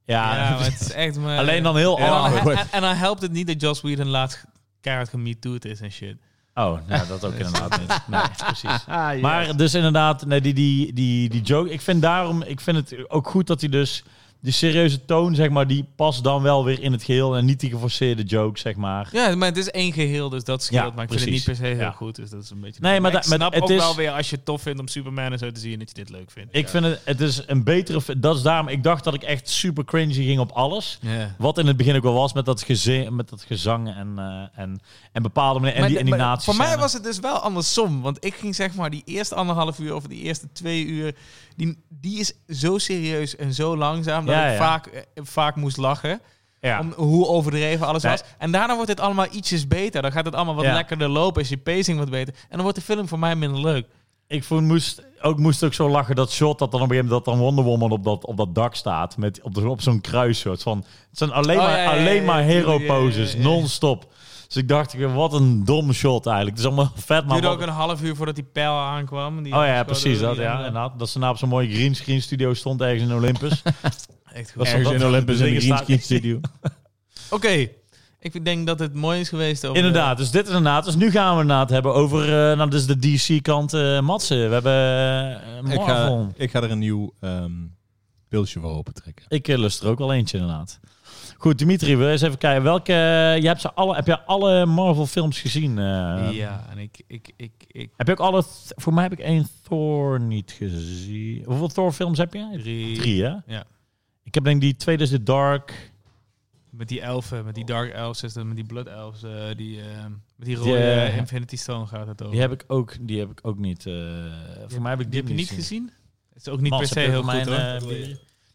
[SPEAKER 1] ja, dus
[SPEAKER 3] Ja, maar het is echt maar...
[SPEAKER 1] alleen dan heel
[SPEAKER 3] En dan-
[SPEAKER 1] awkward.
[SPEAKER 3] en- En dan helpt het niet dat Joss Whedon laatst keihard gemetoed is en shit.
[SPEAKER 1] Oh, nou, dat ook inderdaad niet. Nee, precies.
[SPEAKER 3] Ah,
[SPEAKER 1] Maar dus inderdaad, nee, die, die, die, die joke. Ik vind daarom, ik vind het ook goed dat hij dus die serieuze toon, zeg maar, die past dan wel weer in het geheel en niet die geforceerde joke, zeg maar.
[SPEAKER 3] Ja, maar het is één geheel, dus dat scheelt.
[SPEAKER 1] Ja,
[SPEAKER 3] maar ik vind
[SPEAKER 1] precies.
[SPEAKER 3] het niet per se heel
[SPEAKER 1] Ja.
[SPEAKER 3] goed, dus dat is een beetje...
[SPEAKER 1] Nee, maar
[SPEAKER 3] ik
[SPEAKER 1] da- maar
[SPEAKER 3] snap
[SPEAKER 1] het
[SPEAKER 3] ook
[SPEAKER 1] is-
[SPEAKER 3] wel weer als je het tof vindt om Superman en zo te zien, dat je dit leuk vindt.
[SPEAKER 1] Ik
[SPEAKER 3] Ja.
[SPEAKER 1] vind het, het is een betere, fi- dat is daarom, ik dacht dat ik echt super cringy ging op alles.
[SPEAKER 3] Ja.
[SPEAKER 1] Wat in het begin ook wel was met dat, geze- met dat gezang en, eh, en, en bepaalde manier, en die, en die nazi
[SPEAKER 3] Voor mij was het dus wel andersom. Want ik ging zeg maar die eerste anderhalf uur of die eerste twee uur. Die, die is zo serieus en zo langzaam. Dat
[SPEAKER 1] Ja, ja.
[SPEAKER 3] ik vaak, eh, vaak moest lachen.
[SPEAKER 1] ja.
[SPEAKER 3] Om hoe overdreven alles
[SPEAKER 1] Nee.
[SPEAKER 3] was. En daarna wordt het allemaal ietsjes beter. Dan gaat het allemaal wat
[SPEAKER 1] Ja.
[SPEAKER 3] lekkerder lopen. Is je pacing wat beter. En dan wordt de film voor mij minder leuk.
[SPEAKER 1] Ik vond, moest, ook, moest ook zo lachen dat shot dat dan op een gegeven moment dat dan Wonder Woman op dat, op dat dak staat. Met, op, de- op zo'n kruissoort. Van, het zijn alleen
[SPEAKER 3] Oh,
[SPEAKER 1] maar,
[SPEAKER 3] ja, ja, ja,
[SPEAKER 1] alleen
[SPEAKER 3] ja,
[SPEAKER 1] maar
[SPEAKER 3] ja,
[SPEAKER 1] hero
[SPEAKER 3] ja, ja, ja,
[SPEAKER 1] poses,
[SPEAKER 3] ja.
[SPEAKER 1] non-stop. Dus ik dacht, wat een dom shot eigenlijk. Het is allemaal vet, maar...
[SPEAKER 3] duurde
[SPEAKER 1] wat-
[SPEAKER 3] ook een half uur voordat die pijl aankwam. Die
[SPEAKER 1] Oh ja,
[SPEAKER 3] schoten
[SPEAKER 1] precies
[SPEAKER 3] door
[SPEAKER 1] dat.
[SPEAKER 3] die-
[SPEAKER 1] Ja, inderdaad. dat ze na op zo'n mooie greenscreen studio stond ergens in Olympus.
[SPEAKER 3] Echt goed.
[SPEAKER 1] Dat ze
[SPEAKER 2] Ergens
[SPEAKER 1] op
[SPEAKER 2] in
[SPEAKER 1] dat-
[SPEAKER 2] Olympus in de
[SPEAKER 1] dingen staan-
[SPEAKER 2] Greenskin Studio.
[SPEAKER 3] Oké. Ik denk dat het mooi is geweest. Over
[SPEAKER 1] Inderdaad, dus dit is inderdaad. Dus nu gaan we inderdaad hebben over, eh, nou, dus de DC-kant eh Matsen. We hebben eh,
[SPEAKER 2] ik,
[SPEAKER 1] Marvel.
[SPEAKER 2] ga, ik ga er een nieuw ehm pilsje voor opentrekken.
[SPEAKER 1] Ik eh, lust er ook wel eentje inderdaad. Goed, Dimitri, wil je eens even kijken. Welke, eh, je hebt ze alle, heb je alle Marvel films gezien? eh?
[SPEAKER 3] Ja, en ik, ik, ik, ik
[SPEAKER 1] Heb je ook alle... th- voor mij heb ik één Thor niet gezien. Hoeveel Thor films heb je?
[SPEAKER 3] drie.
[SPEAKER 1] Drie, hè?
[SPEAKER 3] Ja.
[SPEAKER 1] Ik heb denk ik die tweede is The Dark.
[SPEAKER 3] Met die elfen, met die Dark Elves, is dat met die Blood Elves, eh, die, eh, met die rode
[SPEAKER 1] eh,
[SPEAKER 3] eh, Infinity Stone gaat het over.
[SPEAKER 1] Die heb ik ook, die heb ik ook niet. eh, voor mij heb ik die,
[SPEAKER 3] Oh. Die heb je niet gezien? Het is ook niet
[SPEAKER 1] Mats,
[SPEAKER 3] per
[SPEAKER 1] heb
[SPEAKER 3] se
[SPEAKER 1] je voor
[SPEAKER 3] heel goed
[SPEAKER 1] mij
[SPEAKER 3] hoor.
[SPEAKER 1] een, eh, bier?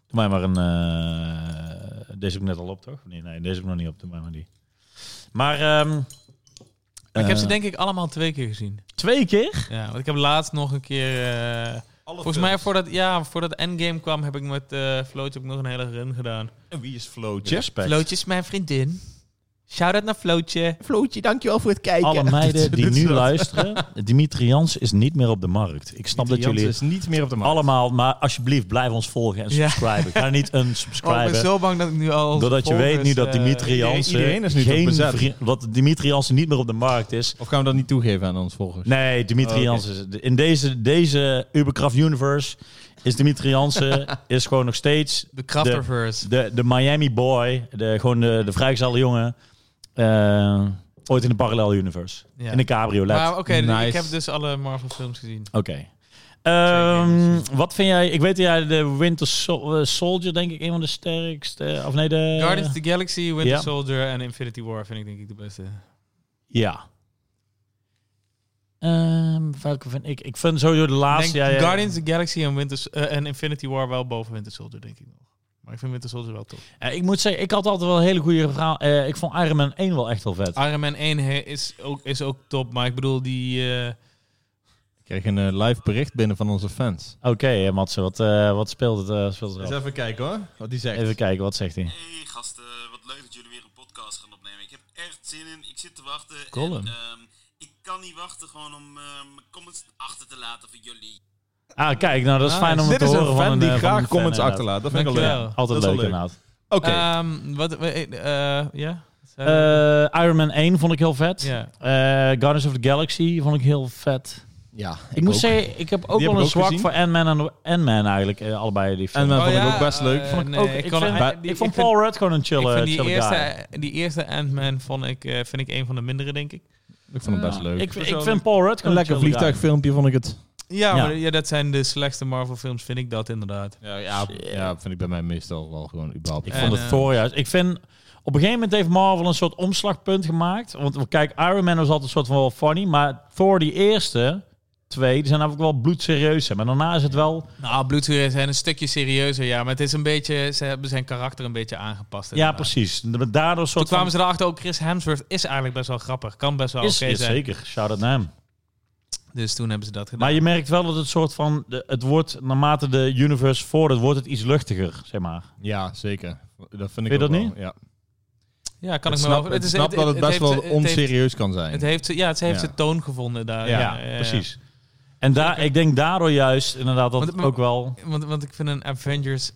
[SPEAKER 1] Doe mij maar een... eh, deze heb ik net al op, toch? Nee, nee, deze heb ik nog niet op. Doe mij maar die. Maar... ehm,
[SPEAKER 3] Maar ik heb
[SPEAKER 1] eh,
[SPEAKER 3] ze denk ik allemaal twee keer gezien.
[SPEAKER 1] Twee keer?
[SPEAKER 3] Ja, want ik heb laatst nog een keer... eh, volgens mij voordat, ja, voordat Endgame kwam heb ik met eh Flootje ook nog een hele run gedaan.
[SPEAKER 2] Wie is Flootje?
[SPEAKER 1] Respect.
[SPEAKER 3] Flootje is mijn vriendin. Shout-out naar Flootje.
[SPEAKER 2] Flootje, dankjewel voor het kijken.
[SPEAKER 1] Alle meiden die nu luisteren, Dimitri Jans is niet meer op de markt. Ik snap dat jullie
[SPEAKER 2] is niet meer op de markt.
[SPEAKER 1] allemaal, maar alsjeblieft blijf ons volgen en
[SPEAKER 3] Ja.
[SPEAKER 1] subscriben. Ga niet een
[SPEAKER 3] Oh, ik ben
[SPEAKER 1] subscriben.
[SPEAKER 3] zo bang dat ik nu al... onze
[SPEAKER 1] Doordat je
[SPEAKER 3] volgers,
[SPEAKER 1] weet nu dat
[SPEAKER 3] eh,
[SPEAKER 1] Dimitri
[SPEAKER 2] iedereen-
[SPEAKER 1] Jansen
[SPEAKER 2] dus, iedereen is nu toch
[SPEAKER 1] geen
[SPEAKER 2] bezet?
[SPEAKER 1] vriend- wat Dimitri Jansen niet meer op de markt is.
[SPEAKER 2] Of gaan we dat niet toegeven aan ons volgers?
[SPEAKER 1] Nee, Dimitri
[SPEAKER 2] Oh, oké.
[SPEAKER 1] Jansen is- in deze deze Ubercraft Universe is Dimitri Jansen is gewoon nog steeds
[SPEAKER 3] De Crafterverse.
[SPEAKER 1] de, de Miami boy, de, gewoon de, de vrijgezelde jongen. eh, ooit in een parallel universe.
[SPEAKER 3] Ja.
[SPEAKER 1] In een cabriolet.
[SPEAKER 3] Maar oké, dus ik
[SPEAKER 2] Nice.
[SPEAKER 3] heb dus alle Marvel films gezien.
[SPEAKER 1] Oké. Ehm, wat vind jij? Ik weet dat jij de Winter Sol- eh, Soldier, denk ik, een van de sterkste. Of nee, de.
[SPEAKER 3] Guardians of the Galaxy, Winter
[SPEAKER 1] ja.
[SPEAKER 3] Soldier en Infinity War vind ik denk ik de beste.
[SPEAKER 1] Ja. Ehm, welke vind ik? Ik vind sowieso de
[SPEAKER 3] Ik
[SPEAKER 1] laatste.
[SPEAKER 3] denk
[SPEAKER 1] ja, ja.
[SPEAKER 3] Guardians of the Galaxy en, Winter, S- eh, en Infinity War wel boven Winter Soldier, denk ik nog. Maar ik vind Winter Soldier wel top.
[SPEAKER 1] Eh, ik moet zeggen, ik had altijd wel een hele goede verhaal. eh, ik vond Iron Man 1 wel echt wel
[SPEAKER 2] Ah.
[SPEAKER 1] vet.
[SPEAKER 3] Iron Man 1 he- is ook, is ook top, maar ik bedoel die... eh,
[SPEAKER 2] Ik kreeg een eh, live bericht binnen van onze fans.
[SPEAKER 1] Oké, eh, Matze, wat, eh, wat speelt het? eh, speelt het af?
[SPEAKER 2] even kijken hoor, wat die zegt.
[SPEAKER 1] Even kijken, wat zegt hij?
[SPEAKER 4] Hey gasten, wat leuk dat jullie weer een podcast gaan opnemen. Ik heb echt zin in, ik zit te wachten.
[SPEAKER 3] Colin.
[SPEAKER 4] En, ehm, ik kan niet wachten gewoon om ehm, mijn comments achter te laten voor jullie.
[SPEAKER 1] Ah, kijk, nou dat is
[SPEAKER 3] Ah,
[SPEAKER 1] fijn om het
[SPEAKER 2] Dit
[SPEAKER 1] te
[SPEAKER 2] is
[SPEAKER 1] horen.
[SPEAKER 2] een
[SPEAKER 1] van
[SPEAKER 2] fan die
[SPEAKER 1] eh, van
[SPEAKER 2] graag
[SPEAKER 1] een fan,
[SPEAKER 2] comments
[SPEAKER 1] inderdaad.
[SPEAKER 2] achterlaat. Dat vind ik wel
[SPEAKER 3] Dankjewel.
[SPEAKER 2] leuk.
[SPEAKER 1] Altijd
[SPEAKER 2] Dat is wel
[SPEAKER 1] leuk,
[SPEAKER 2] leuk.
[SPEAKER 1] inderdaad.
[SPEAKER 2] Oké,
[SPEAKER 3] ehm, wat, eh, eh, eh, ja?
[SPEAKER 1] Eh, Iron Man 1 vond ik heel vet.
[SPEAKER 3] ja.
[SPEAKER 1] Eh, Guardians of the Galaxy vond ik heel vet.
[SPEAKER 2] ja,
[SPEAKER 1] Ik, moet zeggen, ik heb
[SPEAKER 2] Die
[SPEAKER 1] ook
[SPEAKER 2] heb
[SPEAKER 1] wel
[SPEAKER 2] ik
[SPEAKER 1] een
[SPEAKER 2] ook
[SPEAKER 1] zwak
[SPEAKER 2] gezien.
[SPEAKER 1] voor Ant-Man en Ant-Man eigenlijk. eh, allebei die films.
[SPEAKER 2] Ant-Man
[SPEAKER 1] Ook,
[SPEAKER 2] vond ik ook best leuk.
[SPEAKER 3] eh,
[SPEAKER 2] Vond
[SPEAKER 1] ik,
[SPEAKER 3] nee, ik
[SPEAKER 1] vond,
[SPEAKER 3] kan-
[SPEAKER 1] ik,
[SPEAKER 3] die-
[SPEAKER 1] vond
[SPEAKER 3] ik
[SPEAKER 1] Paul Rudd gewoon een
[SPEAKER 3] Ik
[SPEAKER 1] chille,
[SPEAKER 3] vind die
[SPEAKER 1] chille guy.
[SPEAKER 3] eerste, die eerste Ant-Man vond ik, eh, vind ik een van de mindere, denk ik.
[SPEAKER 2] ik vond hem best
[SPEAKER 1] Ja.
[SPEAKER 2] leuk.
[SPEAKER 1] Ik, ik
[SPEAKER 3] Persoonlijk.
[SPEAKER 1] vind Paul Rudd
[SPEAKER 2] een
[SPEAKER 1] gewoon
[SPEAKER 2] lekker
[SPEAKER 1] chille guy.
[SPEAKER 2] vliegtuigfilmpje vond ik het.
[SPEAKER 3] Ja,
[SPEAKER 1] Ja.
[SPEAKER 3] Maar, ja, dat zijn de slechtste Marvel films, vind ik dat inderdaad.
[SPEAKER 2] Ja, ja, vind ik bij mij meestal wel gewoon überhaupt.
[SPEAKER 1] Ik
[SPEAKER 3] En,
[SPEAKER 1] vond het
[SPEAKER 3] eh,
[SPEAKER 1] Thor juist. Ik vind... Op een gegeven moment heeft Marvel een soort omslagpunt gemaakt. Want kijk, Iron Man was altijd een soort van wel funny. Maar Thor, die eerste twee, die zijn namelijk wel bloedserieus. hè. Maar daarna is het wel...
[SPEAKER 3] Nou, bloedzuren zijn een stukje serieuzer, ja. Maar het is een beetje... Ze hebben zijn karakter een beetje aangepast.
[SPEAKER 1] Ja,
[SPEAKER 3] inderdaad.
[SPEAKER 1] precies. Daardoor een
[SPEAKER 3] Toen
[SPEAKER 1] soort
[SPEAKER 3] kwamen
[SPEAKER 1] van...
[SPEAKER 3] ze
[SPEAKER 2] Oh,
[SPEAKER 3] erachter ook Chris Hemsworth is eigenlijk best wel grappig. Kan best wel oké
[SPEAKER 1] Is, is
[SPEAKER 3] zijn.
[SPEAKER 1] zeker. Shout-out naar hem.
[SPEAKER 3] Dus toen hebben ze dat gedaan.
[SPEAKER 1] Maar je merkt wel dat het soort van, de- het wordt naarmate de universe vordert, wordt het iets luchtiger, zeg maar.
[SPEAKER 2] Ja, zeker. Dat vind ik
[SPEAKER 1] je
[SPEAKER 2] ook
[SPEAKER 1] dat
[SPEAKER 2] wel,
[SPEAKER 1] niet?
[SPEAKER 2] Ja.
[SPEAKER 3] ja, kan
[SPEAKER 2] ik
[SPEAKER 3] ik me
[SPEAKER 2] snap,
[SPEAKER 3] wel...
[SPEAKER 2] het
[SPEAKER 3] is-
[SPEAKER 2] snap dat het best
[SPEAKER 3] heeft-
[SPEAKER 2] wel
[SPEAKER 3] het heeft-
[SPEAKER 2] onserieus kan zijn.
[SPEAKER 3] Het heeft, ja, het heeft
[SPEAKER 2] Ja.
[SPEAKER 3] zijn toon gevonden daar. eh,
[SPEAKER 2] Ja,
[SPEAKER 1] Ja, precies. En daar, ik denk daardoor juist inderdaad dat
[SPEAKER 3] Want-
[SPEAKER 1] het ook wel...
[SPEAKER 3] Want, want ik vind een Avengers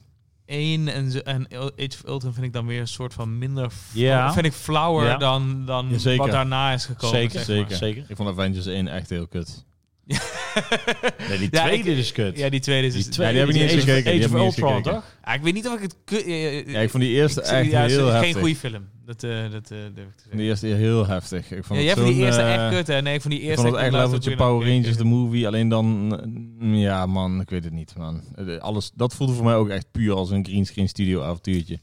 [SPEAKER 3] 1 en, zo- en Age of Ultron vind ik dan weer een soort van minder... fla-
[SPEAKER 1] Ja.
[SPEAKER 3] Vind ik flauwer
[SPEAKER 1] Ja.
[SPEAKER 3] dan, dan
[SPEAKER 2] Ja, zeker.
[SPEAKER 3] wat daarna is gekomen.
[SPEAKER 1] Zeker,
[SPEAKER 3] zeg maar.
[SPEAKER 1] zeker. zeker.
[SPEAKER 2] Ik vond Avengers 1 echt heel kut.
[SPEAKER 1] Nee, die
[SPEAKER 3] Ja,
[SPEAKER 1] tweede
[SPEAKER 3] ik-
[SPEAKER 1] is kut.
[SPEAKER 3] Ja, die tweede is...
[SPEAKER 1] die
[SPEAKER 3] dus-
[SPEAKER 1] tweede
[SPEAKER 2] die heb ik niet eens
[SPEAKER 1] Age of-
[SPEAKER 2] gekeken, die
[SPEAKER 1] Age
[SPEAKER 2] heb ik niet
[SPEAKER 1] of
[SPEAKER 2] eens
[SPEAKER 1] Ultron,
[SPEAKER 2] gekeken.
[SPEAKER 1] toch?
[SPEAKER 3] Ja, ik weet niet of ik het... ku- eh, eh,
[SPEAKER 2] Ja, ik vond die eerste
[SPEAKER 3] ik-
[SPEAKER 2] echt
[SPEAKER 3] ja,
[SPEAKER 2] heel
[SPEAKER 3] geen
[SPEAKER 2] heftig.
[SPEAKER 3] goede film. Dat, eh dat eh durf ik te zeggen.
[SPEAKER 2] De eerste heel heftig. Ik
[SPEAKER 3] Ja,
[SPEAKER 2] vond
[SPEAKER 3] jij
[SPEAKER 2] het
[SPEAKER 3] vond die
[SPEAKER 2] zo'n,
[SPEAKER 3] eerste
[SPEAKER 2] eh,
[SPEAKER 3] echt kut, hè? Nee, ik vond die
[SPEAKER 2] Ik
[SPEAKER 3] eerste...
[SPEAKER 2] vond het
[SPEAKER 3] echt
[SPEAKER 2] echt
[SPEAKER 3] laatst
[SPEAKER 2] leveltje
[SPEAKER 3] ook weer
[SPEAKER 2] Power
[SPEAKER 3] nog een
[SPEAKER 2] Rangers,
[SPEAKER 3] keer
[SPEAKER 2] de movie. Alleen dan... mm, Ja, man, ik weet het niet, man. Eh, Alles, dat voelde voor mij ook echt puur als een greenscreen studio avontuurtje.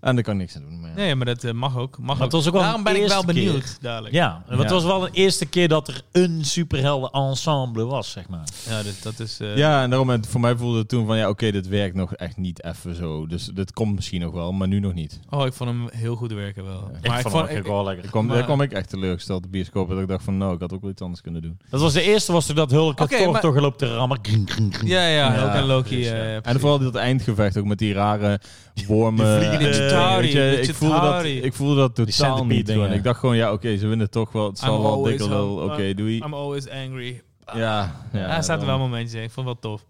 [SPEAKER 2] En daar kan ik niks aan doen. Maar ja.
[SPEAKER 3] gekeken. Nee, maar dat eh, mag ook. Mag
[SPEAKER 1] Maar het
[SPEAKER 3] ook.
[SPEAKER 1] was ook wel
[SPEAKER 3] Daarom
[SPEAKER 1] de
[SPEAKER 3] ben ik wel
[SPEAKER 1] eerste keer.
[SPEAKER 3] benieuwd dadelijk.
[SPEAKER 1] Ja, want het
[SPEAKER 2] Ja.
[SPEAKER 1] was wel de eerste keer dat er een superhelden ensemble was, zeg maar.
[SPEAKER 3] Ja, dat, dat is... eh,
[SPEAKER 2] Ja, en daarom, het- voor mij voelde het toen van, ja, oké, dit werkt nog echt niet even zo. Dus dit komt misschien nog wel, maar nu nog niet.
[SPEAKER 3] Oh, ik vond hem heel goed werken wel.
[SPEAKER 1] ik vond het ook
[SPEAKER 3] ik-
[SPEAKER 1] wel lekker.
[SPEAKER 2] Daar kwam, daar
[SPEAKER 3] Maar-
[SPEAKER 2] kwam ik echt teleurgesteld, de bioscoop, dat ik dacht van, nou, ik had ook wel iets anders kunnen doen.
[SPEAKER 1] Dat was de eerste, was toen dat Hulk
[SPEAKER 3] Oké,
[SPEAKER 1] het toch
[SPEAKER 3] maar-
[SPEAKER 1] toch loopt te rammen. Kring, kring, kring.
[SPEAKER 3] Ja, ja,
[SPEAKER 2] Ja,
[SPEAKER 3] ook een Loki.
[SPEAKER 1] precies,
[SPEAKER 3] eh,
[SPEAKER 1] ja.
[SPEAKER 2] En vooral dat eindgevecht ook met die rare wormen. Eh,
[SPEAKER 1] Die vliegende-
[SPEAKER 2] Weet je,
[SPEAKER 3] Chitauri, de
[SPEAKER 2] ik, voelde dat,
[SPEAKER 3] Chitauri.
[SPEAKER 2] ik voelde dat totaal
[SPEAKER 1] centipede
[SPEAKER 2] niet. gewoon.
[SPEAKER 1] dingen.
[SPEAKER 2] Ik dacht gewoon, ja, oké, ze winnen toch wel. Het zal
[SPEAKER 3] I'm
[SPEAKER 2] wel
[SPEAKER 3] always
[SPEAKER 2] dikke lul.
[SPEAKER 3] home.
[SPEAKER 2] Oké, doei.
[SPEAKER 3] I'm always angry.
[SPEAKER 2] ja, ja,
[SPEAKER 3] Ah. Ja, er zaten wel
[SPEAKER 2] dan-
[SPEAKER 3] momentjes in. Ik vond het wel tof.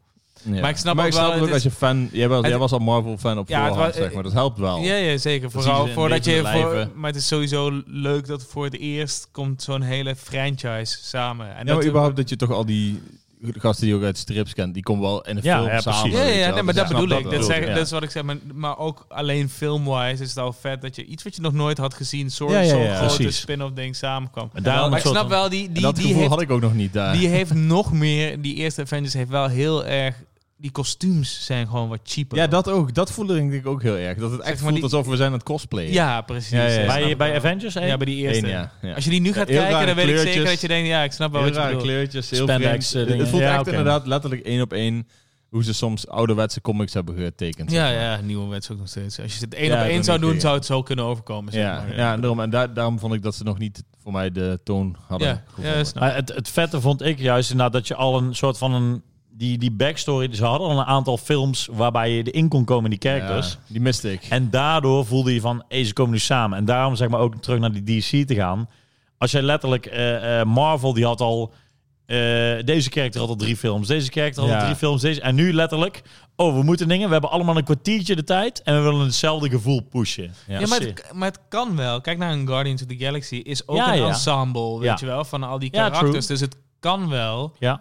[SPEAKER 2] ja.
[SPEAKER 3] maar ik snap ook
[SPEAKER 2] snap
[SPEAKER 3] wel,
[SPEAKER 2] het
[SPEAKER 3] het
[SPEAKER 2] als je fan... Jij was,
[SPEAKER 3] het-
[SPEAKER 2] jij was al Marvel-fan op
[SPEAKER 3] Ja, het
[SPEAKER 2] voorhand,
[SPEAKER 3] was-
[SPEAKER 2] zeg maar. Dat helpt wel.
[SPEAKER 3] Ja, ja zeker.
[SPEAKER 2] zien
[SPEAKER 3] Vooral
[SPEAKER 2] ze een
[SPEAKER 3] voordat
[SPEAKER 2] beetje
[SPEAKER 3] je...
[SPEAKER 2] in
[SPEAKER 3] Voor,
[SPEAKER 2] leven.
[SPEAKER 3] maar het is sowieso leuk dat voor het eerst komt zo'n hele franchise samen. En
[SPEAKER 2] Ja, maar
[SPEAKER 3] dat,
[SPEAKER 2] überhaupt dat je toch al die gasten die je ook uit strips kent, die komen wel in een
[SPEAKER 1] Ja,
[SPEAKER 2] film
[SPEAKER 1] ja,
[SPEAKER 2] samen.
[SPEAKER 1] precies.
[SPEAKER 3] Ja,
[SPEAKER 2] weet
[SPEAKER 3] ja,
[SPEAKER 2] je wel.
[SPEAKER 3] nee, maar
[SPEAKER 2] Dus ik
[SPEAKER 3] dat
[SPEAKER 2] snap
[SPEAKER 3] bedoel ik. Dat,
[SPEAKER 2] wel.
[SPEAKER 3] zeg,
[SPEAKER 2] Ja.
[SPEAKER 3] dat is wat ik zeg. Maar, maar ook alleen film-wise is het al vet dat je iets wat je nog nooit had gezien, zo'n
[SPEAKER 2] Ja, ja,
[SPEAKER 3] zo'n
[SPEAKER 2] ja,
[SPEAKER 3] grote
[SPEAKER 1] precies.
[SPEAKER 3] spin-off ding samenkwam.
[SPEAKER 1] En daarom
[SPEAKER 3] maar
[SPEAKER 1] een
[SPEAKER 3] ik
[SPEAKER 1] soort
[SPEAKER 3] snap
[SPEAKER 1] van-
[SPEAKER 3] wel, die,
[SPEAKER 2] En
[SPEAKER 3] die,
[SPEAKER 2] dat
[SPEAKER 3] die,
[SPEAKER 2] gevoel
[SPEAKER 3] heeft,
[SPEAKER 2] had ik ook nog niet daar.
[SPEAKER 3] die heeft nog meer... Die eerste Avengers heeft wel heel erg... Die kostuums zijn gewoon wat cheaper.
[SPEAKER 2] ja, dat ook. Dat voelde ik denk ik ook heel erg. Dat het echt
[SPEAKER 3] maar
[SPEAKER 2] voelt
[SPEAKER 3] die-
[SPEAKER 2] alsof we zijn aan het cosplayen.
[SPEAKER 3] Ja, precies.
[SPEAKER 2] Ja, ja, ja.
[SPEAKER 3] Dat snap
[SPEAKER 1] Bij,
[SPEAKER 3] ik
[SPEAKER 1] bij
[SPEAKER 3] wel.
[SPEAKER 1] Avengers één?
[SPEAKER 3] Ja, bij die eerste.
[SPEAKER 2] Eén, ja, ja.
[SPEAKER 3] Als je die nu gaat
[SPEAKER 2] heel
[SPEAKER 3] kijken,
[SPEAKER 2] rare
[SPEAKER 3] dan weet ik zeker
[SPEAKER 2] kleurtjes.
[SPEAKER 3] dat je denkt, ja, ik snap wel
[SPEAKER 2] Heel
[SPEAKER 3] wat je
[SPEAKER 2] rare
[SPEAKER 3] bedoelt.
[SPEAKER 2] kleurtjes, heel
[SPEAKER 1] Spandex,
[SPEAKER 2] vreemd.
[SPEAKER 1] eh, dingen.
[SPEAKER 2] Het voelt
[SPEAKER 1] Ja,
[SPEAKER 2] echt
[SPEAKER 1] oké.
[SPEAKER 2] inderdaad letterlijk één op één hoe ze soms ouderwetse comics hebben getekend.
[SPEAKER 3] Ja,
[SPEAKER 2] zeg maar.
[SPEAKER 3] ja, nieuwe wets ook nog steeds. Als je het één
[SPEAKER 2] Ja,
[SPEAKER 3] op
[SPEAKER 2] dat
[SPEAKER 3] één zou
[SPEAKER 2] niet
[SPEAKER 3] doen,
[SPEAKER 2] tegen.
[SPEAKER 3] zou het zo kunnen overkomen. Zeg
[SPEAKER 2] Ja,
[SPEAKER 3] maar.
[SPEAKER 2] ja, en daarom, en daar- daarom vond ik dat ze nog niet voor mij de toon hadden
[SPEAKER 3] ja,
[SPEAKER 2] gevonden.
[SPEAKER 3] ja, snap ik.
[SPEAKER 1] Maar het, het vette vond ik juist inderdaad dat je al een soort van een... Die, die backstory, ze hadden al een aantal films waarbij je erin kon komen, die characters.
[SPEAKER 2] Ja, die miste ik.
[SPEAKER 1] En daardoor voelde je van, hey, ze komen nu samen. En daarom zeg maar ook terug naar die DC te gaan. Als jij letterlijk, eh, eh, Marvel die had al, eh, deze character had al drie films, deze character had al
[SPEAKER 2] Ja.
[SPEAKER 1] drie films, deze. En nu letterlijk, oh, we moeten dingen, we hebben allemaal een kwartiertje de tijd en we willen hetzelfde gevoel pushen.
[SPEAKER 3] Ja, maar, het, maar het kan wel. Kijk naar een Guardians of the Galaxy. Is ook
[SPEAKER 1] Ja,
[SPEAKER 3] een
[SPEAKER 1] ja.
[SPEAKER 3] ensemble, weet
[SPEAKER 1] Ja.
[SPEAKER 3] je wel, van al die
[SPEAKER 1] Ja, true.
[SPEAKER 3] karakters. dus het kan wel,
[SPEAKER 1] Ja.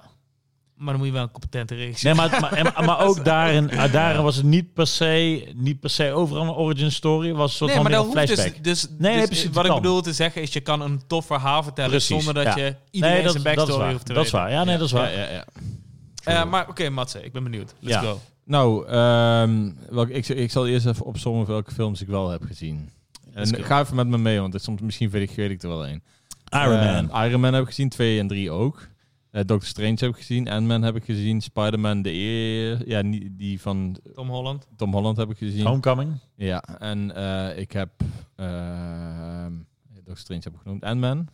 [SPEAKER 3] maar dan moet je wel een competente regisseur.
[SPEAKER 1] Nee, maar, maar, en- maar ook daarin, ah, daarin was het niet per se, niet per se overal een origin story. Het was een soort
[SPEAKER 3] Nee, maar
[SPEAKER 1] van
[SPEAKER 3] dat
[SPEAKER 1] een
[SPEAKER 3] hoeft dus,
[SPEAKER 1] flashback.
[SPEAKER 3] dus, dus
[SPEAKER 1] nee, precies,
[SPEAKER 3] Wat ik
[SPEAKER 1] kan.
[SPEAKER 3] bedoel te zeggen is, je kan een tof verhaal vertellen
[SPEAKER 1] Precies,
[SPEAKER 3] zonder dat
[SPEAKER 1] ja.
[SPEAKER 3] je iedereen
[SPEAKER 1] nee,
[SPEAKER 3] zijn
[SPEAKER 1] dat is
[SPEAKER 3] backstory
[SPEAKER 1] waar.
[SPEAKER 3] hoeft te
[SPEAKER 1] dat is
[SPEAKER 3] weten.
[SPEAKER 1] waar. Ja, nee, dat is
[SPEAKER 2] Ja,
[SPEAKER 1] waar.
[SPEAKER 2] ja, ja.
[SPEAKER 3] Eh, maar oké, Matze, ik ben benieuwd. Let's
[SPEAKER 1] Ja.
[SPEAKER 3] go.
[SPEAKER 2] Nou, ehm, welk, ik, ik zal eerst even opzommen welke films ik wel heb gezien. En
[SPEAKER 3] Let's go.
[SPEAKER 2] ga even met me mee, want het- soms misschien weet ik, weet ik er wel één.
[SPEAKER 1] Iron
[SPEAKER 2] Eh,
[SPEAKER 1] Man.
[SPEAKER 2] Iron Man heb ik gezien, 2 en 3 ook. Eh Doctor Strange heb ik gezien, Ant-Man heb ik gezien, Spider-Man de eer, ja, nie- die van
[SPEAKER 3] Tom Holland.
[SPEAKER 2] Tom Holland heb ik gezien.
[SPEAKER 1] Homecoming.
[SPEAKER 2] Ja, en eh, ik heb ehm, Doctor Strange heb ik genoemd, Ant-Man.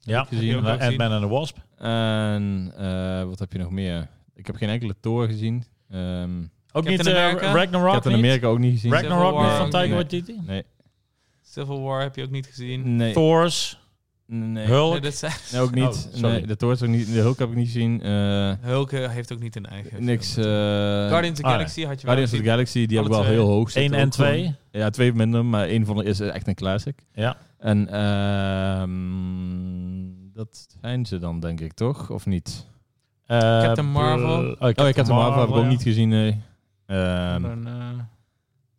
[SPEAKER 1] Ja,
[SPEAKER 2] gezien. Heb je
[SPEAKER 3] ook gezien?
[SPEAKER 1] Ant-Man en de Wasp.
[SPEAKER 2] En eh, wat heb je nog meer? Ik heb geen enkele Thor gezien. Ehm
[SPEAKER 1] Ook
[SPEAKER 3] Captain
[SPEAKER 1] niet eh,
[SPEAKER 3] America?
[SPEAKER 1] Ragnarok
[SPEAKER 2] Captain
[SPEAKER 1] niet?
[SPEAKER 2] Amerika ook niet gezien.
[SPEAKER 1] Ragnarok
[SPEAKER 3] Civil
[SPEAKER 1] niet
[SPEAKER 3] War
[SPEAKER 1] van
[SPEAKER 3] ook
[SPEAKER 1] Taika
[SPEAKER 2] niet.
[SPEAKER 1] Waititi?
[SPEAKER 2] Nee.
[SPEAKER 3] Civil War heb je ook niet gezien.
[SPEAKER 2] Nee.
[SPEAKER 1] Thors,
[SPEAKER 2] Nee.
[SPEAKER 1] Hulk.
[SPEAKER 3] Nee, dat zijn-
[SPEAKER 2] Nee, ook niet.
[SPEAKER 1] Oh, sorry.
[SPEAKER 2] nee, de Thor is ook niet. De Hulk heb ik niet gezien. Eh,
[SPEAKER 3] Hulk eh, heeft ook niet een eigen.
[SPEAKER 2] niks. eh,
[SPEAKER 3] Guardians of the
[SPEAKER 1] Ah, ja.
[SPEAKER 3] Galaxy had je wel.
[SPEAKER 2] Guardians of the
[SPEAKER 3] gezien.
[SPEAKER 2] Galaxy, die heb
[SPEAKER 3] Alle
[SPEAKER 2] ik wel
[SPEAKER 3] twee.
[SPEAKER 2] heel hoog zitten.
[SPEAKER 1] 1 en
[SPEAKER 2] ook gewoon.
[SPEAKER 1] 2.
[SPEAKER 2] Ja, twee minder, maar één van de is echt een classic.
[SPEAKER 1] Ja.
[SPEAKER 2] En ehm, dat zijn ze dan, denk ik, toch? Of niet?
[SPEAKER 1] Eh,
[SPEAKER 3] Captain Marvel.
[SPEAKER 1] eh,
[SPEAKER 2] Oh, ik heb de Marvel heb ik ook
[SPEAKER 1] ja.
[SPEAKER 2] niet gezien, nee. Ehm,
[SPEAKER 3] Dan, eh,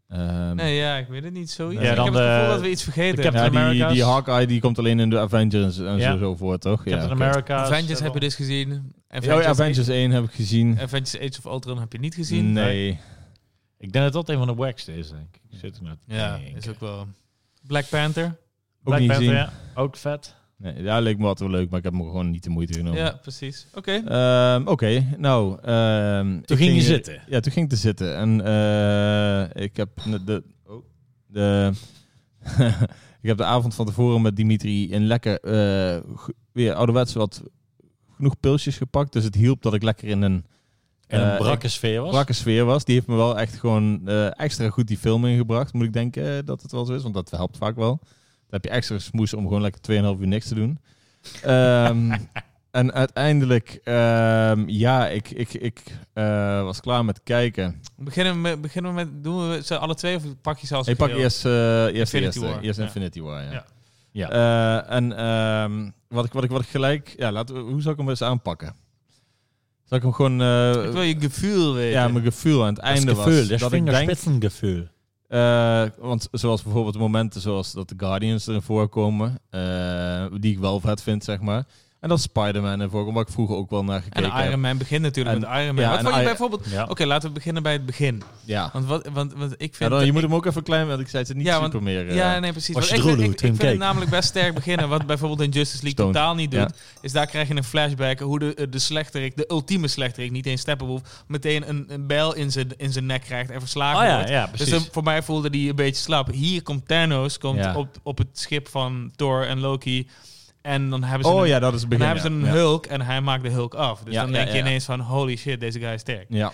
[SPEAKER 2] ehm,
[SPEAKER 3] nee, ja, ik weet het niet. Zoiets.
[SPEAKER 2] Ja, eh,
[SPEAKER 3] ik heb
[SPEAKER 1] dan
[SPEAKER 3] het gevoel
[SPEAKER 1] de-
[SPEAKER 3] dat we iets vergeten
[SPEAKER 1] de Captain
[SPEAKER 3] hebben.
[SPEAKER 2] ja, die,
[SPEAKER 1] America's.
[SPEAKER 2] die Hawkeye die komt alleen in de Avengers en
[SPEAKER 1] Ja.
[SPEAKER 2] zo, zo voort, toch?
[SPEAKER 1] Captain eh,
[SPEAKER 2] oké.
[SPEAKER 1] America.
[SPEAKER 3] Avengers heb je dus gezien.
[SPEAKER 2] Oh Ja,
[SPEAKER 3] Avengers,
[SPEAKER 2] Avengers, 1 heb ik gezien.
[SPEAKER 3] Avengers Age of Ultron heb je niet gezien.
[SPEAKER 2] Nee.
[SPEAKER 1] Ik denk dat dat een van de wackste is, denk ik. Ik Zit er nou te
[SPEAKER 3] Ja,
[SPEAKER 1] denken.
[SPEAKER 3] is ook wel. Black Panther.
[SPEAKER 1] Black
[SPEAKER 2] niet
[SPEAKER 1] Panther,
[SPEAKER 2] gezien.
[SPEAKER 1] ja. Ook vet.
[SPEAKER 2] Nee, ja, leek me altijd wel leuk, maar ik heb me gewoon niet de moeite genomen.
[SPEAKER 3] Ja, precies. Oké.
[SPEAKER 2] Ehm, Oké, nou. ehm, ik
[SPEAKER 1] Toen ging je zitten.
[SPEAKER 2] Ja, toen ging ik te zitten. En eh, ik heb ne- de. oh, de ik heb de avond van tevoren met Dimitri een lekker. eh, go- weer ouderwets wat genoeg pilsjes gepakt. Dus het hielp dat ik lekker in een
[SPEAKER 1] En een
[SPEAKER 2] Eh,
[SPEAKER 1] brakke sfeer was.
[SPEAKER 2] brakke sfeer was. Die heeft me wel echt gewoon eh, extra goed die film ingebracht. Moet ik denken eh, dat het wel zo is, want dat helpt vaak wel. Dan heb je extra smoes om gewoon lekker 2,5 uur niks te doen. Ehm, en uiteindelijk, ehm, ja, ik, ik, ik eh, was klaar met kijken.
[SPEAKER 3] Beginnen we met, beginnen we met doen we ze alle twee of pak je ze als
[SPEAKER 2] ik pak
[SPEAKER 3] geheel?
[SPEAKER 2] eerst, eh eerst, de
[SPEAKER 3] Infinity
[SPEAKER 2] eerste.
[SPEAKER 3] War,
[SPEAKER 2] eerst
[SPEAKER 3] ja.
[SPEAKER 2] Infinity War. Ja.
[SPEAKER 3] Ja.
[SPEAKER 1] Ja.
[SPEAKER 2] Eh, en ehm, wat, ik, wat, ik, wat ik gelijk. Ja, laten we, hoe zou ik hem eens aanpakken? Zal ik hem gewoon. eh,
[SPEAKER 3] Ik wil je gevoel weten.
[SPEAKER 2] ja, mijn gevoel aan het
[SPEAKER 1] Dat is
[SPEAKER 2] einde
[SPEAKER 1] gevoel,
[SPEAKER 2] was.
[SPEAKER 1] dat is
[SPEAKER 2] ik denk,
[SPEAKER 1] vingerspitsengevoel.
[SPEAKER 2] eh, want zoals bijvoorbeeld momenten zoals dat de Guardians erin voorkomen, eh, die ik wel vet vind, zeg maar. En dat Spider-Man in voorkomt, waar ik vroeger ook wel naar
[SPEAKER 3] en
[SPEAKER 2] gekeken heb.
[SPEAKER 3] Iron Man begint natuurlijk
[SPEAKER 2] En-
[SPEAKER 3] met Iron Man.
[SPEAKER 2] ja,
[SPEAKER 3] Wat
[SPEAKER 2] en
[SPEAKER 3] vond je
[SPEAKER 2] Iron-
[SPEAKER 3] bijvoorbeeld...
[SPEAKER 1] Ja.
[SPEAKER 3] Oké, laten we beginnen bij het begin.
[SPEAKER 2] Ja.
[SPEAKER 3] Want, wat, want, want ik
[SPEAKER 2] Ja, dan,
[SPEAKER 3] vind... dat
[SPEAKER 2] je moet
[SPEAKER 3] ik-
[SPEAKER 2] hem ook even klein, want ik zei het er niet
[SPEAKER 3] Ja, want-
[SPEAKER 2] super meer. eh,
[SPEAKER 3] ja, nee,
[SPEAKER 1] Was
[SPEAKER 3] precies. Want
[SPEAKER 1] je
[SPEAKER 3] ik, vind-
[SPEAKER 1] droeloe
[SPEAKER 3] ik, ik
[SPEAKER 1] toen je
[SPEAKER 3] vind het
[SPEAKER 1] keek?
[SPEAKER 3] namelijk best sterk beginnen. Wat bijvoorbeeld in Justice League
[SPEAKER 2] Stoned.
[SPEAKER 3] totaal niet doet,
[SPEAKER 2] Ja.
[SPEAKER 3] is daar krijg je een flashback hoe de, de slechterik, de ultieme slechterik, niet eens Steppenwolf, meteen een, een bijl in zijn, in zijn nek krijgt en verslagen
[SPEAKER 1] Oh ja,
[SPEAKER 3] wordt.
[SPEAKER 1] ja, precies.
[SPEAKER 3] Dus dan- voor mij voelde die een beetje slap. Hier komt Thanos komt
[SPEAKER 2] Ja.
[SPEAKER 3] op, op het schip van Thor en Loki. En dan hebben ze
[SPEAKER 2] oh
[SPEAKER 3] een,
[SPEAKER 2] ja, dat is het
[SPEAKER 3] dan
[SPEAKER 2] begin.
[SPEAKER 3] hebben ze een
[SPEAKER 2] ja. Ja.
[SPEAKER 3] Hulk en hij maakt de Hulk af. Dus
[SPEAKER 2] Ja,
[SPEAKER 3] dan
[SPEAKER 2] ja,
[SPEAKER 3] denk je
[SPEAKER 2] ja.
[SPEAKER 3] ineens van holy shit, deze guy is sterk.
[SPEAKER 2] Ja.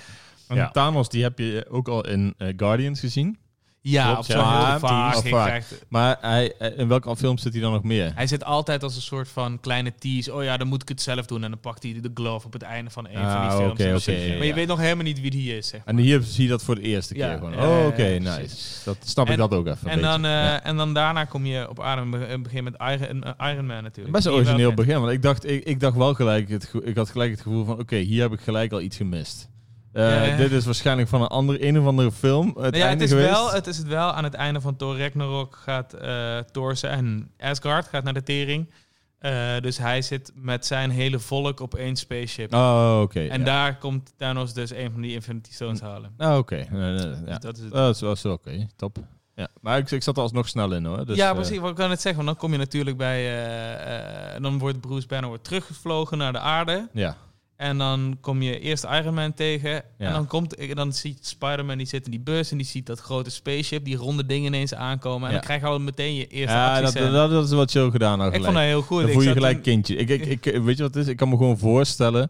[SPEAKER 2] En
[SPEAKER 1] Ja.
[SPEAKER 2] Thanos, die heb je ook al in eh, Guardians gezien.
[SPEAKER 3] Ja,
[SPEAKER 1] Klopt,
[SPEAKER 3] op zo'n
[SPEAKER 2] ja.
[SPEAKER 3] heel
[SPEAKER 2] Maar- Oh,
[SPEAKER 3] vaag.
[SPEAKER 2] Of
[SPEAKER 3] Je
[SPEAKER 2] vaag.
[SPEAKER 3] krijgt-
[SPEAKER 2] Maar hij, eh, in welke film zit hij dan nog meer?
[SPEAKER 3] Hij zit altijd als een soort van kleine tease. Oh ja, dan moet ik het zelf doen. En dan pakt hij de glove op het einde van een van die
[SPEAKER 2] Ah,
[SPEAKER 3] films.
[SPEAKER 2] oké,
[SPEAKER 3] En dan-
[SPEAKER 2] oké,
[SPEAKER 3] maar je
[SPEAKER 2] ja.
[SPEAKER 3] weet nog helemaal niet wie die is, zeg maar.
[SPEAKER 2] En hier zie je dat voor de eerste
[SPEAKER 3] Ja,
[SPEAKER 2] keer gewoon.
[SPEAKER 3] ja,
[SPEAKER 2] oh,
[SPEAKER 3] ja,
[SPEAKER 2] oké,
[SPEAKER 3] ja, precies.
[SPEAKER 2] nice. Dat snap
[SPEAKER 3] En-
[SPEAKER 2] ik dat ook even een
[SPEAKER 3] En dan,
[SPEAKER 2] beetje.
[SPEAKER 3] eh,
[SPEAKER 2] Ja.
[SPEAKER 3] en dan daarna kom je op Iron, een begin met Iron, eh, Iron Man natuurlijk.
[SPEAKER 2] Best een
[SPEAKER 3] Die je wel
[SPEAKER 2] origineel
[SPEAKER 3] kent.
[SPEAKER 2] begin, want ik dacht, ik, ik dacht wel gelijk, het, ge- ik had gelijk het gevoel van, oké, hier heb ik gelijk al iets gemist. Eh,
[SPEAKER 3] Ja, ja.
[SPEAKER 2] Dit is waarschijnlijk van een, ander, een of andere film. Het,
[SPEAKER 3] Nou ja, het,
[SPEAKER 2] einde
[SPEAKER 3] is
[SPEAKER 2] geweest.
[SPEAKER 3] wel, het is het wel. Aan het einde van Thor Ragnarok gaat eh Thor zijn Asgard gaat naar de tering. Eh, dus hij zit met zijn hele volk op één spaceship.
[SPEAKER 2] Oh, oké. ja.
[SPEAKER 3] en daar komt Thanos dus een van die Infinity Stones halen.
[SPEAKER 2] Oh, oké. Nee, nee, nee, ja.
[SPEAKER 3] Dus dat is het.
[SPEAKER 2] Oh, dat is wel zo, oké. Top. Ja. Maar ik, ik zat er alsnog snel in, hoor. Dus,
[SPEAKER 3] ja,
[SPEAKER 2] eh,
[SPEAKER 3] precies. Wat ik kan het zeggen, want dan kom je natuurlijk bij... eh, eh, dan wordt Bruce Banner wordt teruggevlogen naar de aarde.
[SPEAKER 2] eh, ja.
[SPEAKER 3] En dan kom je eerst Iron Man tegen. En dan, komt, eh, dan ziet Spider-Man, die zit in die bus... en die ziet dat grote spaceship, die ronde dingen ineens aankomen. En
[SPEAKER 2] Ja.
[SPEAKER 3] dan krijg je al meteen je eerste
[SPEAKER 2] ja dat,
[SPEAKER 3] actiescène.
[SPEAKER 2] dat, dat is wat chill gedaan. Nou,
[SPEAKER 3] ik
[SPEAKER 2] gelijk.
[SPEAKER 3] vond dat heel goed.
[SPEAKER 2] Dan
[SPEAKER 3] Ik
[SPEAKER 2] voel je
[SPEAKER 3] zat
[SPEAKER 2] gelijk
[SPEAKER 3] in-
[SPEAKER 2] kindje. Ik, ik, ik, weet je wat het is? Ik kan me gewoon voorstellen,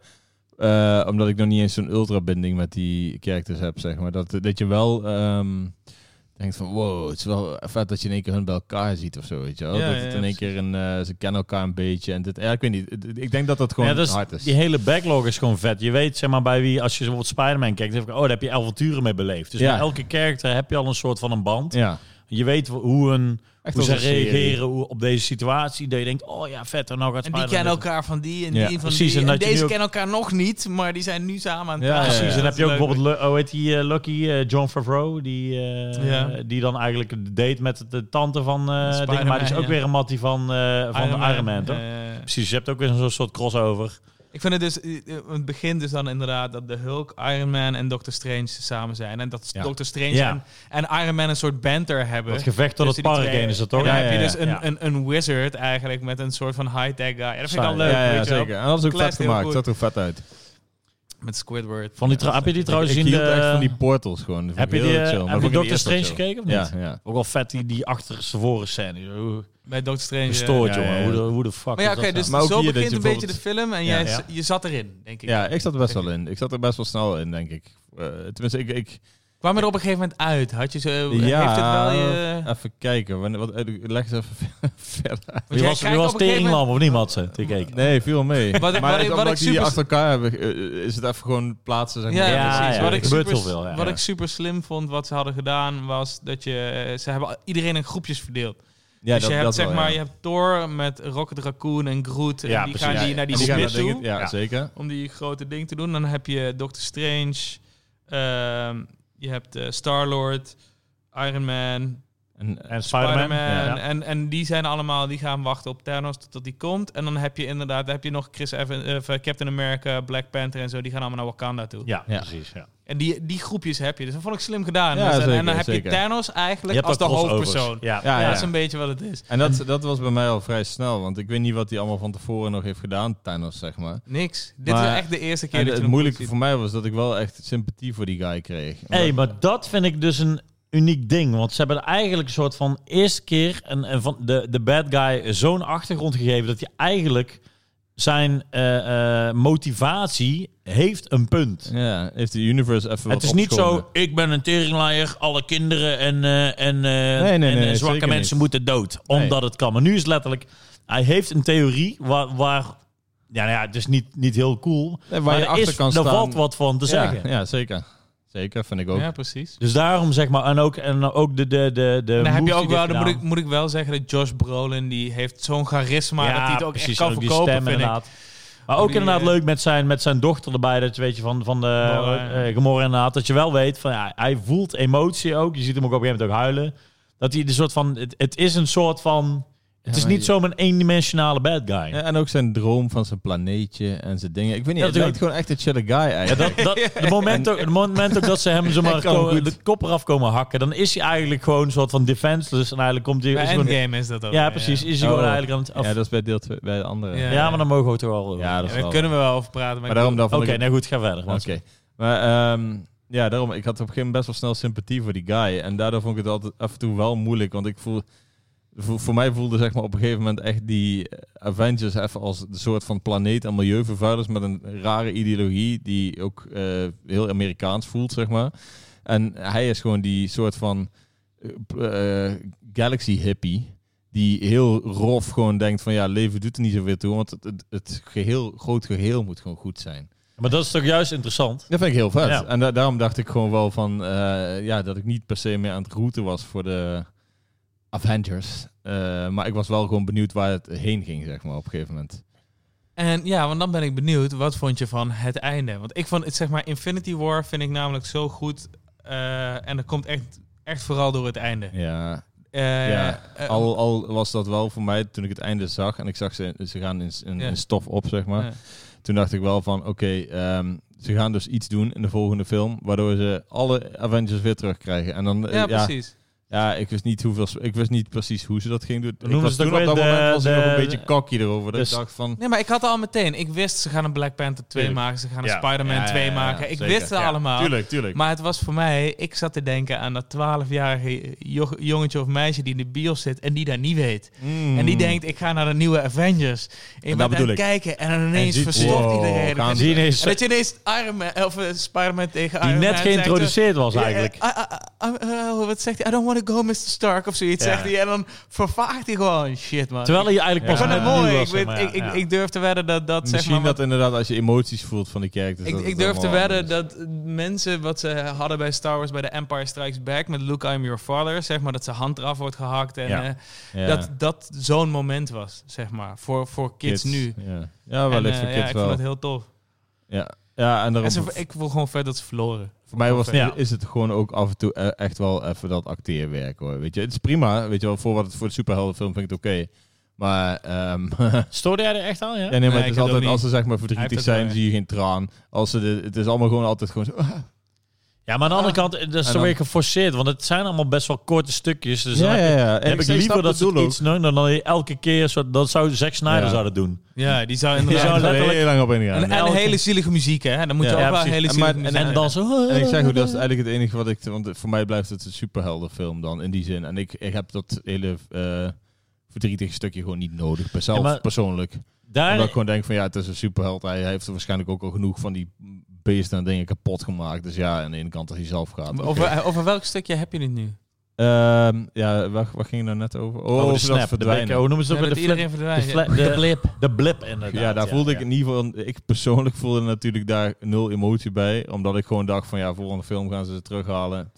[SPEAKER 2] eh, omdat ik nog niet eens zo'n ultra-binding met die characters heb, zeg maar. Dat, dat je wel ehm, denkt van, wow, het is wel vet dat je in één keer hun bij elkaar ziet of zo, weet je wel.
[SPEAKER 3] Ja,
[SPEAKER 2] dat
[SPEAKER 3] ja,
[SPEAKER 2] het
[SPEAKER 3] ja,
[SPEAKER 2] in één keer, een, eh, ze kennen elkaar een beetje en dit. Ja, ik weet niet. Het- Ik denk dat dat gewoon
[SPEAKER 1] Ja, dus
[SPEAKER 2] hard is.
[SPEAKER 1] Die hele backlog is gewoon vet. Je weet zeg maar bij wie, als je bijvoorbeeld Spider-Man kijkt, dan heb ik, oh, daar heb je avonturen mee beleefd. Dus
[SPEAKER 2] Ja.
[SPEAKER 1] bij elke karakter heb je al een soort van een band.
[SPEAKER 2] Ja.
[SPEAKER 1] Je weet hoe, een,
[SPEAKER 2] Echt
[SPEAKER 1] hoe
[SPEAKER 2] als
[SPEAKER 1] ze
[SPEAKER 2] een serie.
[SPEAKER 1] reageren hoe- op deze situatie. Dat je denkt, oh ja, vet. En nou gaat
[SPEAKER 3] En die
[SPEAKER 1] Spider-Man
[SPEAKER 3] kennen
[SPEAKER 1] dit-
[SPEAKER 3] elkaar van die en
[SPEAKER 2] Ja,
[SPEAKER 3] die van
[SPEAKER 1] precies,
[SPEAKER 3] die.
[SPEAKER 1] en
[SPEAKER 3] En,
[SPEAKER 1] dat je
[SPEAKER 3] deze
[SPEAKER 1] nu ook-
[SPEAKER 3] kennen elkaar nog niet, maar die zijn nu samen aan het
[SPEAKER 2] Ja,
[SPEAKER 3] praten.
[SPEAKER 1] Precies,
[SPEAKER 2] ja,
[SPEAKER 1] dan
[SPEAKER 3] Dat
[SPEAKER 1] heb je
[SPEAKER 3] is
[SPEAKER 1] ook
[SPEAKER 3] leuk.
[SPEAKER 1] bijvoorbeeld, Lu- oh, weet die eh, Lucky, eh, John Favreau, die, eh,
[SPEAKER 3] Ja.
[SPEAKER 1] die dan eigenlijk de date met de tante van eh
[SPEAKER 3] Spider-Man,
[SPEAKER 1] dingen, maar die is ook
[SPEAKER 3] ja.
[SPEAKER 1] weer een mattie van, eh, van Iron, Iron Man, toch?
[SPEAKER 3] eh,
[SPEAKER 1] Precies, je hebt ook weer zo'n soort crossover.
[SPEAKER 3] Ik vind het dus, eh, eh, het begint dus dan inderdaad dat de Hulk, Iron Man en Doctor Strange samen zijn. En dat
[SPEAKER 2] Ja.
[SPEAKER 3] Doctor Strange
[SPEAKER 1] Ja.
[SPEAKER 3] en, en Iron Man een soort banter hebben.
[SPEAKER 1] Dat gevecht tot het
[SPEAKER 3] Tussen Dus die
[SPEAKER 1] park
[SPEAKER 3] twee.
[SPEAKER 1] heen is dat toch?
[SPEAKER 3] En dan
[SPEAKER 2] Ja,
[SPEAKER 3] heb je
[SPEAKER 2] ja,
[SPEAKER 3] dus
[SPEAKER 1] ja.
[SPEAKER 3] een,
[SPEAKER 1] Ja.
[SPEAKER 3] Een, een wizard eigenlijk met een soort van high-tech guy. Ja, dat vind ik
[SPEAKER 1] Saai.
[SPEAKER 3] al leuk,
[SPEAKER 2] ja, ja,
[SPEAKER 3] weet je wel.
[SPEAKER 2] zeker. En dat is ook
[SPEAKER 3] Kleist
[SPEAKER 2] vet
[SPEAKER 3] heel
[SPEAKER 2] gemaakt.
[SPEAKER 3] goed.
[SPEAKER 2] Dat zag er vet uit.
[SPEAKER 3] Met Squidward.
[SPEAKER 1] Van die tra- heb je die trouwens
[SPEAKER 2] ik, ik
[SPEAKER 1] in
[SPEAKER 2] hield
[SPEAKER 1] de-
[SPEAKER 2] echt van die portals gewoon. Dat vond
[SPEAKER 1] Heb
[SPEAKER 2] ik
[SPEAKER 1] je die,
[SPEAKER 2] heel
[SPEAKER 1] eh,
[SPEAKER 2] chill. Maar
[SPEAKER 1] heb je
[SPEAKER 2] vond ik in de
[SPEAKER 1] Doctor
[SPEAKER 2] eerste
[SPEAKER 1] Strange
[SPEAKER 2] wel chill.
[SPEAKER 1] gekeken of niet?
[SPEAKER 2] Ja, ja.
[SPEAKER 1] Ook wel vet die, die achterstevoren scène. Hoe
[SPEAKER 3] Bij Doctor Strange. ja.
[SPEAKER 1] gestoord,
[SPEAKER 2] ja, ja,
[SPEAKER 1] jongen.
[SPEAKER 2] ja.
[SPEAKER 1] Hoe de, hoe de fuck
[SPEAKER 3] Maar ja,
[SPEAKER 1] is
[SPEAKER 3] oké,
[SPEAKER 1] dat
[SPEAKER 3] dus
[SPEAKER 1] nou?
[SPEAKER 2] Maar ook
[SPEAKER 3] zo
[SPEAKER 2] hier dat
[SPEAKER 3] begint
[SPEAKER 2] je
[SPEAKER 3] een beetje de
[SPEAKER 2] bijvoorbeeld-
[SPEAKER 3] film en
[SPEAKER 2] Ja.
[SPEAKER 3] jij,
[SPEAKER 1] Ja.
[SPEAKER 3] je zat erin, denk ik.
[SPEAKER 2] Ja, ik zat er best
[SPEAKER 3] Denk
[SPEAKER 2] wel in. Ik zat er best wel snel in, denk ik. Eh, tenminste, ik, ik,
[SPEAKER 3] Kwam er op een gegeven moment uit? Had je zo,
[SPEAKER 2] Ja,
[SPEAKER 3] heeft het wel
[SPEAKER 1] eh,
[SPEAKER 3] je...
[SPEAKER 2] even kijken. Wanneer- Wat, eh, leg eens even verder. uit.
[SPEAKER 1] Wie
[SPEAKER 3] jij
[SPEAKER 1] was, wie
[SPEAKER 3] krijgt
[SPEAKER 1] was
[SPEAKER 3] op een gegeven
[SPEAKER 1] Teringlam of niemand? eh, Ze, te kijken.
[SPEAKER 2] Nee, viel mee.
[SPEAKER 3] Wat- wat- wat
[SPEAKER 2] maar wat,
[SPEAKER 3] ik
[SPEAKER 2] ik die
[SPEAKER 3] super-
[SPEAKER 2] achter elkaar hebben, eh, eh, is het even gewoon plaatsen. Zeg
[SPEAKER 3] Ja,
[SPEAKER 2] maar.
[SPEAKER 1] Ja,
[SPEAKER 3] precies.
[SPEAKER 1] ja,
[SPEAKER 3] wat
[SPEAKER 1] er
[SPEAKER 3] ik
[SPEAKER 1] gebeurt
[SPEAKER 3] super,
[SPEAKER 1] heel veel, ja.
[SPEAKER 3] wat
[SPEAKER 1] Ja.
[SPEAKER 3] ik super slim vond, wat ze hadden gedaan, was dat je... eh, Ze hebben iedereen in groepjes verdeeld.
[SPEAKER 2] Ja,
[SPEAKER 3] dus je hebt, zeg
[SPEAKER 2] wel,
[SPEAKER 3] maar,
[SPEAKER 2] ja.
[SPEAKER 3] je hebt Thor met Rocket Raccoon en Groot.
[SPEAKER 1] Ja,
[SPEAKER 3] en die
[SPEAKER 1] precies.
[SPEAKER 3] gaan
[SPEAKER 1] Ja,
[SPEAKER 3] die
[SPEAKER 1] ja.
[SPEAKER 3] naar die
[SPEAKER 2] En gaan
[SPEAKER 3] smid
[SPEAKER 2] dat ding-
[SPEAKER 3] toe.
[SPEAKER 2] Ja,
[SPEAKER 1] Ja.
[SPEAKER 2] zeker.
[SPEAKER 3] Om die grote ding te doen. Dan heb je Doctor Strange. ehm, je hebt eh, Star-Lord. Iron Man.
[SPEAKER 2] En, eh,
[SPEAKER 1] En Spider-Man.
[SPEAKER 3] Spider-Man. eh,
[SPEAKER 1] Ja.
[SPEAKER 3] En, en die zijn allemaal... Die gaan wachten op Thanos totdat die komt. En dan heb je inderdaad... Dan heb je nog Chris Evans, eh, Captain America, Black Panther en zo. Die gaan allemaal naar Wakanda toe.
[SPEAKER 1] Ja,
[SPEAKER 2] Ja.
[SPEAKER 1] precies. Ja.
[SPEAKER 3] En die, die groepjes heb je. Dus dat vond ik slim gedaan.
[SPEAKER 2] Ja,
[SPEAKER 3] Dus en, en
[SPEAKER 2] zeker,
[SPEAKER 3] dan heb
[SPEAKER 2] zeker.
[SPEAKER 3] je Thanos
[SPEAKER 1] Je
[SPEAKER 3] eigenlijk
[SPEAKER 1] hebt
[SPEAKER 3] als
[SPEAKER 1] ook
[SPEAKER 3] de
[SPEAKER 1] crossovers.
[SPEAKER 3] hoofdpersoon.
[SPEAKER 1] Ja.
[SPEAKER 2] Ja,
[SPEAKER 3] Dat
[SPEAKER 2] ja.
[SPEAKER 3] is een beetje wat het is.
[SPEAKER 2] en dat, dat was bij mij al vrij snel, want ik weet niet wat hij allemaal van tevoren nog heeft gedaan, Thanos, zeg maar.
[SPEAKER 3] Niks. Dit
[SPEAKER 2] Maar-
[SPEAKER 3] is echt de eerste keer
[SPEAKER 2] En
[SPEAKER 3] dat je
[SPEAKER 2] het
[SPEAKER 3] hem
[SPEAKER 2] moeilijke
[SPEAKER 3] ziet.
[SPEAKER 2] voor mij was dat ik wel echt sympathie voor die guy kreeg. Omdat-
[SPEAKER 1] hey, maar dat vind ik dus een uniek ding. Want ze hebben er eigenlijk een soort van eerste keer een, een van de, de bad guy zo'n achtergrond gegeven dat je eigenlijk zijn eh, eh, motivatie heeft een punt.
[SPEAKER 2] Ja, heeft de universe even
[SPEAKER 1] Het
[SPEAKER 2] wat
[SPEAKER 1] is niet
[SPEAKER 2] opgeschoven.
[SPEAKER 1] zo, ik ben een teringlaaier, alle kinderen en, eh, en, eh,
[SPEAKER 2] nee,
[SPEAKER 1] en, eh,
[SPEAKER 2] nee,
[SPEAKER 1] zwakke
[SPEAKER 2] zeker
[SPEAKER 1] mensen
[SPEAKER 2] niet.
[SPEAKER 1] moeten dood. Omdat het kan. Maar nu is het letterlijk, hij heeft een theorie waar, waar ja, nou ja, het is niet, niet heel cool.
[SPEAKER 2] Nee,
[SPEAKER 1] maar
[SPEAKER 2] waar je
[SPEAKER 1] er
[SPEAKER 2] achter
[SPEAKER 1] is,
[SPEAKER 2] kan
[SPEAKER 1] er
[SPEAKER 2] staan.
[SPEAKER 1] valt wat van te
[SPEAKER 2] ja,
[SPEAKER 1] zeggen.
[SPEAKER 2] ja, zeker. Zeker, vind ik ook.
[SPEAKER 3] Ja, precies.
[SPEAKER 1] Dus daarom zeg maar, en ook, en ook de, de, de, de
[SPEAKER 3] En dan heb je
[SPEAKER 1] moves
[SPEAKER 3] ook
[SPEAKER 1] die
[SPEAKER 3] wel,
[SPEAKER 1] dit
[SPEAKER 3] dan moet ik,
[SPEAKER 1] gedaan.
[SPEAKER 3] moet ik wel zeggen dat Josh Brolin, die heeft zo'n charisma dat hij het ook
[SPEAKER 1] precies,
[SPEAKER 3] echt kan
[SPEAKER 1] ook die
[SPEAKER 3] verkopen,
[SPEAKER 1] stem
[SPEAKER 3] vind ik.
[SPEAKER 1] inderdaad. Maar ook
[SPEAKER 3] Die,
[SPEAKER 1] inderdaad
[SPEAKER 3] eh,
[SPEAKER 1] leuk met zijn, met zijn dochter erbij. Dat je weet je van, van de
[SPEAKER 3] Gamora, ja.
[SPEAKER 1] eh, Gamora inderdaad. Dat je wel weet van ja, hij voelt emotie ook. Je ziet hem ook op een gegeven moment ook huilen. Dat hij de soort van. Het, het is een soort van. Het is
[SPEAKER 2] maar je-
[SPEAKER 1] niet zomaar een eendimensionale bad guy.
[SPEAKER 2] Ja, en ook zijn droom van zijn planeetje en zijn dingen. Ik weet niet,
[SPEAKER 1] Ja,
[SPEAKER 2] het
[SPEAKER 1] tuurlijk.
[SPEAKER 2] lijkt gewoon echt een chille guy
[SPEAKER 1] Ja,
[SPEAKER 2] eigenlijk.
[SPEAKER 1] dat, dat, de, moment ook, de moment ook dat ze hem zomaar
[SPEAKER 2] Hij kan
[SPEAKER 1] ko-
[SPEAKER 2] goed.
[SPEAKER 1] de kop eraf komen hakken, dan is hij eigenlijk gewoon een soort van defenseless. En eigenlijk komt hij.
[SPEAKER 3] Bij
[SPEAKER 1] is gewoon-
[SPEAKER 3] Endgame is dat ook.
[SPEAKER 1] ja, precies. Is hij
[SPEAKER 2] Oh.
[SPEAKER 1] gewoon eigenlijk aan het. af-
[SPEAKER 2] Ja,
[SPEAKER 1] ja,
[SPEAKER 2] dat is bij deel 2, bij de andere.
[SPEAKER 3] Ja.
[SPEAKER 1] maar dan mogen we het toch wel.
[SPEAKER 2] Ja, dat is
[SPEAKER 3] Ja,
[SPEAKER 2] wel
[SPEAKER 3] daar kunnen we wel over praten. Maar,
[SPEAKER 2] Maar daarom dan
[SPEAKER 1] Oké,
[SPEAKER 2] vond ik het-
[SPEAKER 1] nou goed, ga verder. Mats.
[SPEAKER 2] Oké. Maar ehm, ja, daarom, ik had op een gegeven moment best wel snel sympathie voor die guy. En daardoor vond ik het altijd af en toe wel moeilijk. Want ik voel, voor, voor mij voelde zeg maar op een gegeven moment echt die eh, Avengers even als de soort van planeet en milieuvervuilers met een rare ideologie die ook eh, heel Amerikaans voelt, zeg maar. En hij is gewoon die soort van eh, p- eh, galaxy hippie. Die heel rof gewoon denkt van ja, leven doet er niet zoveel toe. Want het, het, het geheel, groot geheel moet gewoon goed zijn.
[SPEAKER 1] Maar dat is toch juist interessant?
[SPEAKER 2] Dat vind ik heel vet.
[SPEAKER 1] Ja.
[SPEAKER 2] En da- daarom dacht ik gewoon wel van, eh, ja, dat ik niet per se meer aan het routen was voor de Avengers. Eh, maar ik was wel gewoon benieuwd waar het heen ging, zeg maar, op een gegeven moment.
[SPEAKER 3] En ja, want dan ben ik benieuwd, wat vond je van het einde? Want ik vond, het, zeg maar, Infinity War vind ik namelijk zo goed. eh, en dat komt echt, echt vooral door het einde.
[SPEAKER 2] Ja,
[SPEAKER 3] Eh,
[SPEAKER 2] Ja,
[SPEAKER 3] eh,
[SPEAKER 2] al, al was dat wel voor mij toen ik het einde zag en ik zag ze, ze gaan in, in,
[SPEAKER 3] Ja.
[SPEAKER 2] in stof op, zeg maar.
[SPEAKER 3] Ja.
[SPEAKER 2] Toen dacht ik wel van, oké, ehm, ze gaan dus iets doen in de volgende film, waardoor ze alle Avengers weer terugkrijgen. En dan, eh,
[SPEAKER 3] ja,
[SPEAKER 2] ja,
[SPEAKER 3] precies.
[SPEAKER 2] Ja, ik wist niet hoeveel, ik wist niet precies hoe ze dat ging doen. Ik
[SPEAKER 1] noemen
[SPEAKER 2] was
[SPEAKER 1] ze het
[SPEAKER 2] toen op
[SPEAKER 1] ook
[SPEAKER 2] dat
[SPEAKER 1] weer de-
[SPEAKER 2] moment was ik nog
[SPEAKER 1] de-
[SPEAKER 2] een beetje kakkie erover. Dat
[SPEAKER 1] Dus-
[SPEAKER 2] ik dacht van,
[SPEAKER 3] Nee, maar ik had al meteen. Ik wist, ze gaan een Black Panther 2
[SPEAKER 2] Tuurlijk.
[SPEAKER 3] maken. Ze gaan een
[SPEAKER 1] Ja.
[SPEAKER 3] Spider-Man
[SPEAKER 2] Ja, ja,
[SPEAKER 3] 2
[SPEAKER 2] ja,
[SPEAKER 3] maken.
[SPEAKER 2] ja,
[SPEAKER 3] ik
[SPEAKER 2] zeker.
[SPEAKER 3] wist ze
[SPEAKER 2] Ja,
[SPEAKER 3] allemaal.
[SPEAKER 2] tuurlijk, tuurlijk.
[SPEAKER 3] Maar het was voor mij, ik zat te denken aan dat 12-jarige jo- jongetje of meisje die in de bios zit en die dat niet weet.
[SPEAKER 2] Mm.
[SPEAKER 3] En die denkt, ik ga naar de nieuwe Avengers. En je
[SPEAKER 2] dat
[SPEAKER 3] bent aan
[SPEAKER 2] bedoel
[SPEAKER 3] het
[SPEAKER 2] ik.
[SPEAKER 3] kijken en dan ineens
[SPEAKER 1] ziet-
[SPEAKER 3] verstopt
[SPEAKER 2] Wow,
[SPEAKER 3] iedereen.
[SPEAKER 2] gaan
[SPEAKER 3] En
[SPEAKER 1] Die, ineens-
[SPEAKER 3] en dat je ineens Iron Man, of eh, Spider-Man tegen
[SPEAKER 1] die
[SPEAKER 3] Iron Man
[SPEAKER 1] net
[SPEAKER 3] zegt, eh,
[SPEAKER 1] geïntroduceerd was
[SPEAKER 3] ja,
[SPEAKER 1] eigenlijk.
[SPEAKER 3] eh, I- I- I- eh, wat zegt hij? I don't want to go, Mr. Stark, of zoiets
[SPEAKER 1] Ja.
[SPEAKER 3] zegt hij. En dan vervaagt hij gewoon, shit man.
[SPEAKER 1] Terwijl hij eigenlijk
[SPEAKER 2] Ja.
[SPEAKER 1] pas
[SPEAKER 3] ik vond
[SPEAKER 1] net
[SPEAKER 3] het
[SPEAKER 1] nieuw
[SPEAKER 3] mooi.
[SPEAKER 1] was,
[SPEAKER 3] Ik,
[SPEAKER 1] zeg
[SPEAKER 3] weet,
[SPEAKER 1] maar,
[SPEAKER 3] ik,
[SPEAKER 1] ja.
[SPEAKER 3] ik, ik durf te wedden dat dat
[SPEAKER 2] Misschien
[SPEAKER 3] zeg maar...
[SPEAKER 2] dat inderdaad als je emoties voelt van die characters.
[SPEAKER 3] Ik,
[SPEAKER 2] dat
[SPEAKER 3] ik
[SPEAKER 2] het
[SPEAKER 3] durf
[SPEAKER 2] allemaal
[SPEAKER 3] te wedden
[SPEAKER 2] anders is.
[SPEAKER 3] dat mensen wat ze hadden bij Star Wars bij de Empire Strikes Back met Luke, I'm your father, zeg maar dat zijn hand eraf wordt gehakt en
[SPEAKER 1] Ja.
[SPEAKER 3] eh,
[SPEAKER 2] Ja.
[SPEAKER 3] dat dat zo'n moment was, zeg maar, voor, voor kids, nu.
[SPEAKER 2] Ja, ja
[SPEAKER 3] En,
[SPEAKER 2] wellicht
[SPEAKER 3] eh,
[SPEAKER 2] voor
[SPEAKER 3] ja,
[SPEAKER 2] kids
[SPEAKER 3] ik vond
[SPEAKER 2] wel.
[SPEAKER 3] het heel tof.
[SPEAKER 2] Ja. ja, en daarom...
[SPEAKER 3] En ze, ik voel gewoon vet dat ze verloren.
[SPEAKER 2] voor mij was,
[SPEAKER 1] Ja.
[SPEAKER 2] is het gewoon ook af en toe eh, echt wel even dat acteerwerk hoor. Weet je, het is prima. Weet je wel, voor, wat het, voor de superheldenfilm vind ik het oké. Maar ehm,
[SPEAKER 1] Stoorde jij er echt aan, ja?
[SPEAKER 2] Ja, nee, maar
[SPEAKER 3] Nee,
[SPEAKER 2] het
[SPEAKER 3] ik
[SPEAKER 2] is
[SPEAKER 3] heb
[SPEAKER 2] altijd,
[SPEAKER 3] ook
[SPEAKER 2] als
[SPEAKER 3] niet.
[SPEAKER 2] ze zeg maar
[SPEAKER 3] Hij
[SPEAKER 2] verdrietig
[SPEAKER 3] heeft
[SPEAKER 2] zijn,
[SPEAKER 3] het, eh,
[SPEAKER 2] zie je geen traan. Als ze de, het is allemaal gewoon altijd gewoon zo. ah.
[SPEAKER 1] Ja, maar aan de andere kant, eh, dat is
[SPEAKER 2] En
[SPEAKER 1] toch weer
[SPEAKER 2] dan-
[SPEAKER 1] geforceerd. Want het zijn allemaal best wel korte stukjes. Dus dan heb je-
[SPEAKER 2] ja.
[SPEAKER 1] heb ik liever dat ze het iets doen dan dat je elke keer... Zo, dat zou Zack Snyder
[SPEAKER 2] Ja.
[SPEAKER 1] zou dat doen.
[SPEAKER 3] Ja, die zou
[SPEAKER 1] inderdaad-
[SPEAKER 2] Ja,
[SPEAKER 1] zou
[SPEAKER 2] daar ben je
[SPEAKER 1] letterlijk-
[SPEAKER 2] heel lang op ingegaan.
[SPEAKER 3] En,
[SPEAKER 2] En,
[SPEAKER 3] en
[SPEAKER 1] elke-
[SPEAKER 3] hele zielige muziek, hè? Dan moet je
[SPEAKER 2] Ja,
[SPEAKER 3] ook
[SPEAKER 1] ja,
[SPEAKER 3] wel
[SPEAKER 1] precies.
[SPEAKER 3] hele
[SPEAKER 2] En
[SPEAKER 3] zielige
[SPEAKER 2] maar-
[SPEAKER 3] muziek
[SPEAKER 2] en-
[SPEAKER 1] En dan zo...
[SPEAKER 2] ik zeg ook, dat is eigenlijk het enige wat ik... Want voor mij blijft het een superheldenfilm dan, in die zin. En ik, ik heb dat hele eh verdrietige stukje gewoon niet nodig, per- zelf,
[SPEAKER 1] Ja, maar-
[SPEAKER 2] persoonlijk. Omdat
[SPEAKER 1] Daar,
[SPEAKER 2] ik gewoon denk van, ja, het is een superheld. Hij, hij heeft er waarschijnlijk ook al genoeg van die beesten en dingen kapot gemaakt. Dus ja, aan de ene kant dat hij zelf gaat.
[SPEAKER 3] Over, over welk stukje heb je het nu?
[SPEAKER 2] Ehm, ja, waar, waar ging het nou net over? Oh,
[SPEAKER 1] oh,
[SPEAKER 2] over
[SPEAKER 1] de
[SPEAKER 2] dat
[SPEAKER 1] snap. De
[SPEAKER 2] verdwijnen.
[SPEAKER 1] bek, hoe noemen ze
[SPEAKER 3] Ja,
[SPEAKER 1] dat?
[SPEAKER 3] dat
[SPEAKER 1] weer? de,
[SPEAKER 3] iedereen verdwijnt.
[SPEAKER 1] de fla-
[SPEAKER 3] ja.
[SPEAKER 1] de-
[SPEAKER 3] blip.
[SPEAKER 1] de blip, inderdaad.
[SPEAKER 2] Ja, daar voelde ik
[SPEAKER 1] ja.
[SPEAKER 2] in ieder geval, ik persoonlijk voelde natuurlijk daar nul emotie bij. Omdat ik gewoon dacht van ja, volgende film gaan ze ze terughalen.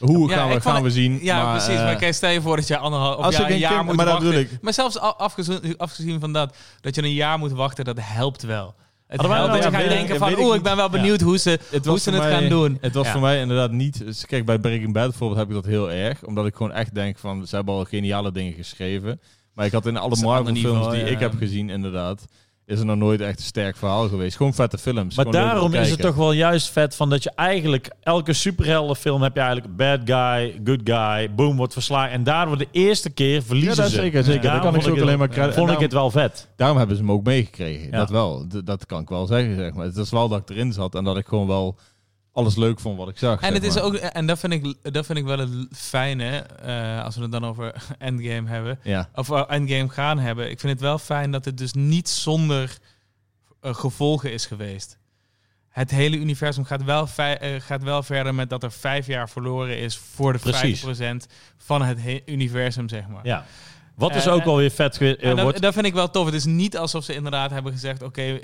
[SPEAKER 2] Hoe
[SPEAKER 3] Ja,
[SPEAKER 2] gaan, we,
[SPEAKER 3] ik vond-
[SPEAKER 2] gaan we zien?
[SPEAKER 3] Ja,
[SPEAKER 2] maar,
[SPEAKER 3] precies.
[SPEAKER 2] eh,
[SPEAKER 3] Maar kijk, stel je voor dat je anderhalf of
[SPEAKER 2] als
[SPEAKER 3] ja,
[SPEAKER 2] ik
[SPEAKER 3] een
[SPEAKER 2] een
[SPEAKER 3] jaar
[SPEAKER 2] kind-
[SPEAKER 3] moet
[SPEAKER 2] maar dat
[SPEAKER 3] wachten.
[SPEAKER 2] bedoel ik.
[SPEAKER 3] Maar zelfs a- afgezien, afgezien van dat, dat je een jaar moet wachten, dat helpt wel. Het
[SPEAKER 1] Hadden wij nou
[SPEAKER 3] helpt dat
[SPEAKER 1] een
[SPEAKER 3] je gaat
[SPEAKER 1] beetje-
[SPEAKER 3] denken
[SPEAKER 2] ja,
[SPEAKER 3] van,
[SPEAKER 2] weet ik
[SPEAKER 3] oeh, ik
[SPEAKER 2] niet.
[SPEAKER 3] ben wel benieuwd hoe ze
[SPEAKER 2] het
[SPEAKER 3] hoe
[SPEAKER 2] was
[SPEAKER 3] ze
[SPEAKER 2] voor
[SPEAKER 3] het
[SPEAKER 2] mij-
[SPEAKER 3] gaan doen.
[SPEAKER 2] Het was
[SPEAKER 1] Ja.
[SPEAKER 2] voor mij inderdaad niet... dus Kijk, bij Breaking Bad bijvoorbeeld heb ik dat heel erg. Omdat ik gewoon echt denk van, ze hebben al geniale dingen geschreven. Maar ik had in alle
[SPEAKER 3] is een ander
[SPEAKER 2] Marvel films
[SPEAKER 3] niveau,
[SPEAKER 2] die
[SPEAKER 3] ja.
[SPEAKER 2] ik heb gezien inderdaad... Is er nog nooit echt een sterk verhaal geweest. Gewoon vette films.
[SPEAKER 1] Maar
[SPEAKER 2] gewoon leuk om te
[SPEAKER 1] daarom is het
[SPEAKER 2] kijken.
[SPEAKER 1] toch wel juist vet van dat je eigenlijk elke superheldenfilm heb je eigenlijk bad guy, good guy, boom wordt verslagen en daardoor de eerste keer
[SPEAKER 2] Ja,
[SPEAKER 1] verliezen
[SPEAKER 2] dat
[SPEAKER 1] ze.
[SPEAKER 2] zeker, zeker.
[SPEAKER 1] Ja,
[SPEAKER 2] Daar kan ik
[SPEAKER 1] vond
[SPEAKER 2] ze ook
[SPEAKER 1] ik
[SPEAKER 2] alleen
[SPEAKER 1] het-
[SPEAKER 2] maar... Nou- credit-
[SPEAKER 1] Vond ik
[SPEAKER 2] daarom-
[SPEAKER 1] het wel vet.
[SPEAKER 2] daarom hebben ze hem ook meegekregen.
[SPEAKER 1] Ja.
[SPEAKER 2] Dat wel. D- dat kan ik wel zeggen, zeg maar. Het is wel dat ik erin zat en dat ik gewoon wel alles leuk vond wat ik zag.
[SPEAKER 3] En,
[SPEAKER 2] zeg
[SPEAKER 3] het is
[SPEAKER 2] maar.
[SPEAKER 3] ook, en dat, vind ik, dat vind ik wel het fijne, eh, als we het dan over Endgame hebben.
[SPEAKER 2] Ja.
[SPEAKER 3] Of eh, Endgame gaan hebben. Ik vind het wel fijn dat het dus niet zonder eh, gevolgen is geweest. Het hele universum gaat wel, vij- eh, gaat wel verder met dat er vijf jaar verloren is voor de
[SPEAKER 1] Precies.
[SPEAKER 3] 50% van het he- universum, zeg maar.
[SPEAKER 1] Ja. Wat dus
[SPEAKER 3] Eh,
[SPEAKER 1] ook
[SPEAKER 3] en-
[SPEAKER 1] wel weer vet ge- eh,
[SPEAKER 3] En dat,
[SPEAKER 1] wordt.
[SPEAKER 3] dat vind ik wel tof. Het is niet alsof ze inderdaad hebben gezegd: oké, eh,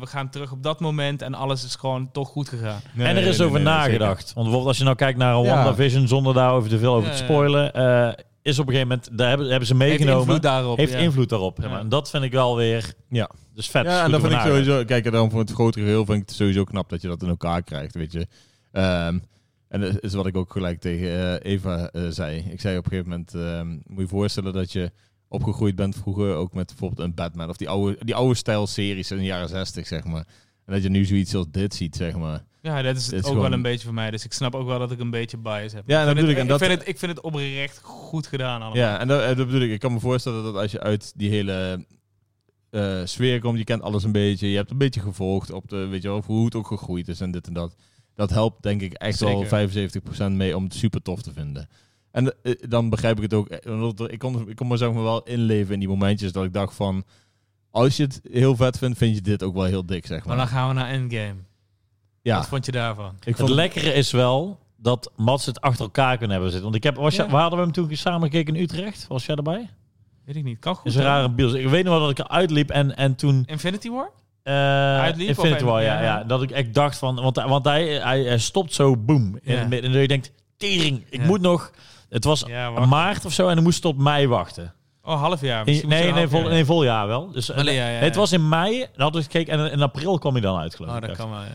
[SPEAKER 3] we gaan terug op dat moment en alles is gewoon toch goed gegaan.
[SPEAKER 1] en er is over nagedacht. Want bijvoorbeeld als je nou kijkt naar een
[SPEAKER 2] Ja.
[SPEAKER 1] WandaVision, zonder daar over te veel over te
[SPEAKER 3] Ja, ja.
[SPEAKER 1] spoilen, eh, is op een gegeven moment, daar hebben, hebben ze
[SPEAKER 3] Heeft
[SPEAKER 1] meegenomen.
[SPEAKER 3] invloed daarop.
[SPEAKER 1] heeft
[SPEAKER 3] ja.
[SPEAKER 1] invloed daarop. zeg maar.
[SPEAKER 3] Ja.
[SPEAKER 1] En dat vind ik wel weer.
[SPEAKER 2] Ja.
[SPEAKER 1] Dus vet.
[SPEAKER 2] Ja, en dat
[SPEAKER 1] Goed
[SPEAKER 2] vind ik
[SPEAKER 1] over nagedacht.
[SPEAKER 2] sowieso. Kijk, en dan voor het grotere geheel vind ik het sowieso knap dat je dat in elkaar krijgt, weet je. Ehm, en dat is wat ik ook gelijk tegen eh, Eva eh, zei. Ik zei op een gegeven moment, ehm, moet je je voorstellen dat je opgegroeid bent vroeger ook met bijvoorbeeld een Batman of die oude, die oude stijl series in de jaren 60, zeg maar. En dat je nu zoiets als dit ziet, zeg maar.
[SPEAKER 3] Ja, dat is
[SPEAKER 2] Dit is
[SPEAKER 3] ook
[SPEAKER 2] gewoon-
[SPEAKER 3] wel een beetje voor mij. Dus ik snap ook wel dat ik een beetje bias heb.
[SPEAKER 2] Ja, dat
[SPEAKER 3] ik vind
[SPEAKER 2] bedoel ik.
[SPEAKER 3] het,
[SPEAKER 2] En dat-
[SPEAKER 3] ik, vind het, ik vind het oprecht goed gedaan allemaal.
[SPEAKER 2] Ja, en dat, eh, dat bedoel ik. Ik kan me voorstellen dat als je uit die hele eh, sfeer komt, je kent alles een beetje, je hebt een beetje gevolgd op de, weet je wel, hoe het ook gegroeid is en dit en dat. Dat helpt denk ik echt wel 75% mee om het super tof te vinden. En eh, dan begrijp ik het ook. eh, omdat Ik kon, ik kon me zeg maar wel inleven in die momentjes dat ik dacht van, als je het heel vet vindt, vind je dit ook wel heel dik, zeg maar.
[SPEAKER 3] Maar dan gaan we naar Endgame.
[SPEAKER 2] ja,
[SPEAKER 3] Wat vond je daarvan?
[SPEAKER 2] ik
[SPEAKER 1] Het lekkere is wel dat Mats het achter elkaar kunnen hebben zitten. Want ik heb, was jij-
[SPEAKER 3] Ja.
[SPEAKER 1] waar hadden we hem toen samen gekeken in Utrecht? Was jij erbij?
[SPEAKER 3] Weet ik niet. Kan goed.
[SPEAKER 1] Is een
[SPEAKER 3] hè?
[SPEAKER 1] rare bios. Ik weet nog wel dat ik eruit liep en, en toen
[SPEAKER 3] Infinity War?
[SPEAKER 1] eh
[SPEAKER 3] Uitliep of
[SPEAKER 1] Infinity War,
[SPEAKER 3] een-
[SPEAKER 1] ja,
[SPEAKER 3] ja.
[SPEAKER 1] ja. Dat ik echt dacht van... Want, want hij, hij, hij stopt zo, boom. In
[SPEAKER 3] Ja.
[SPEAKER 1] het midden. En je denkt, tering, ik
[SPEAKER 3] Ja.
[SPEAKER 1] moet nog... Het was
[SPEAKER 3] Ja, wacht.
[SPEAKER 1] maart of zo en dan moest het op mei wachten.
[SPEAKER 3] Oh, half jaar.
[SPEAKER 1] Nee,
[SPEAKER 3] Misschien
[SPEAKER 1] nee,
[SPEAKER 3] moet je
[SPEAKER 1] nee,
[SPEAKER 3] een
[SPEAKER 1] vol,
[SPEAKER 3] half jaar.
[SPEAKER 1] nee, vol jaar wel. Dus, eh,
[SPEAKER 3] Allee, ja, ja,
[SPEAKER 1] nee, het
[SPEAKER 3] ja.
[SPEAKER 1] was in mei, dan had ik gekeken en in april kwam hij dan uit, geloof
[SPEAKER 3] Oh,
[SPEAKER 1] ik.
[SPEAKER 3] dat
[SPEAKER 1] echt.
[SPEAKER 3] kan wel, ja.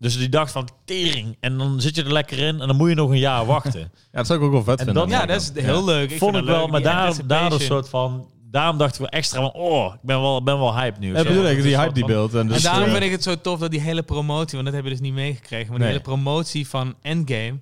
[SPEAKER 1] Dus die dacht van, tering. En dan zit je er lekker in en dan moet je nog een jaar wachten.
[SPEAKER 2] ja, dat zou ik ook wel vet
[SPEAKER 1] En
[SPEAKER 2] vinden.
[SPEAKER 1] dat-
[SPEAKER 2] aan de
[SPEAKER 3] Ja,
[SPEAKER 2] andere
[SPEAKER 3] dat
[SPEAKER 2] kant.
[SPEAKER 3] is heel leuk. Ik
[SPEAKER 1] Vond ik
[SPEAKER 3] vind dat
[SPEAKER 1] wel,
[SPEAKER 3] leuk,
[SPEAKER 1] maar
[SPEAKER 3] die
[SPEAKER 1] daar, daar een
[SPEAKER 3] anticipation.
[SPEAKER 1] soort van... Daarom dachten we extra van, oh, ik ben wel, ben wel hype nu. of
[SPEAKER 2] Ja,
[SPEAKER 1] zo.
[SPEAKER 2] bedoel ik,
[SPEAKER 1] Een
[SPEAKER 2] die
[SPEAKER 1] soort
[SPEAKER 2] hype die
[SPEAKER 1] van-
[SPEAKER 2] beeld. En, dus,
[SPEAKER 3] en daarom
[SPEAKER 2] eh,
[SPEAKER 3] vind ik het zo tof dat die hele promotie, want dat heb je dus niet meegekregen, maar
[SPEAKER 2] Nee.
[SPEAKER 3] die hele promotie van Endgame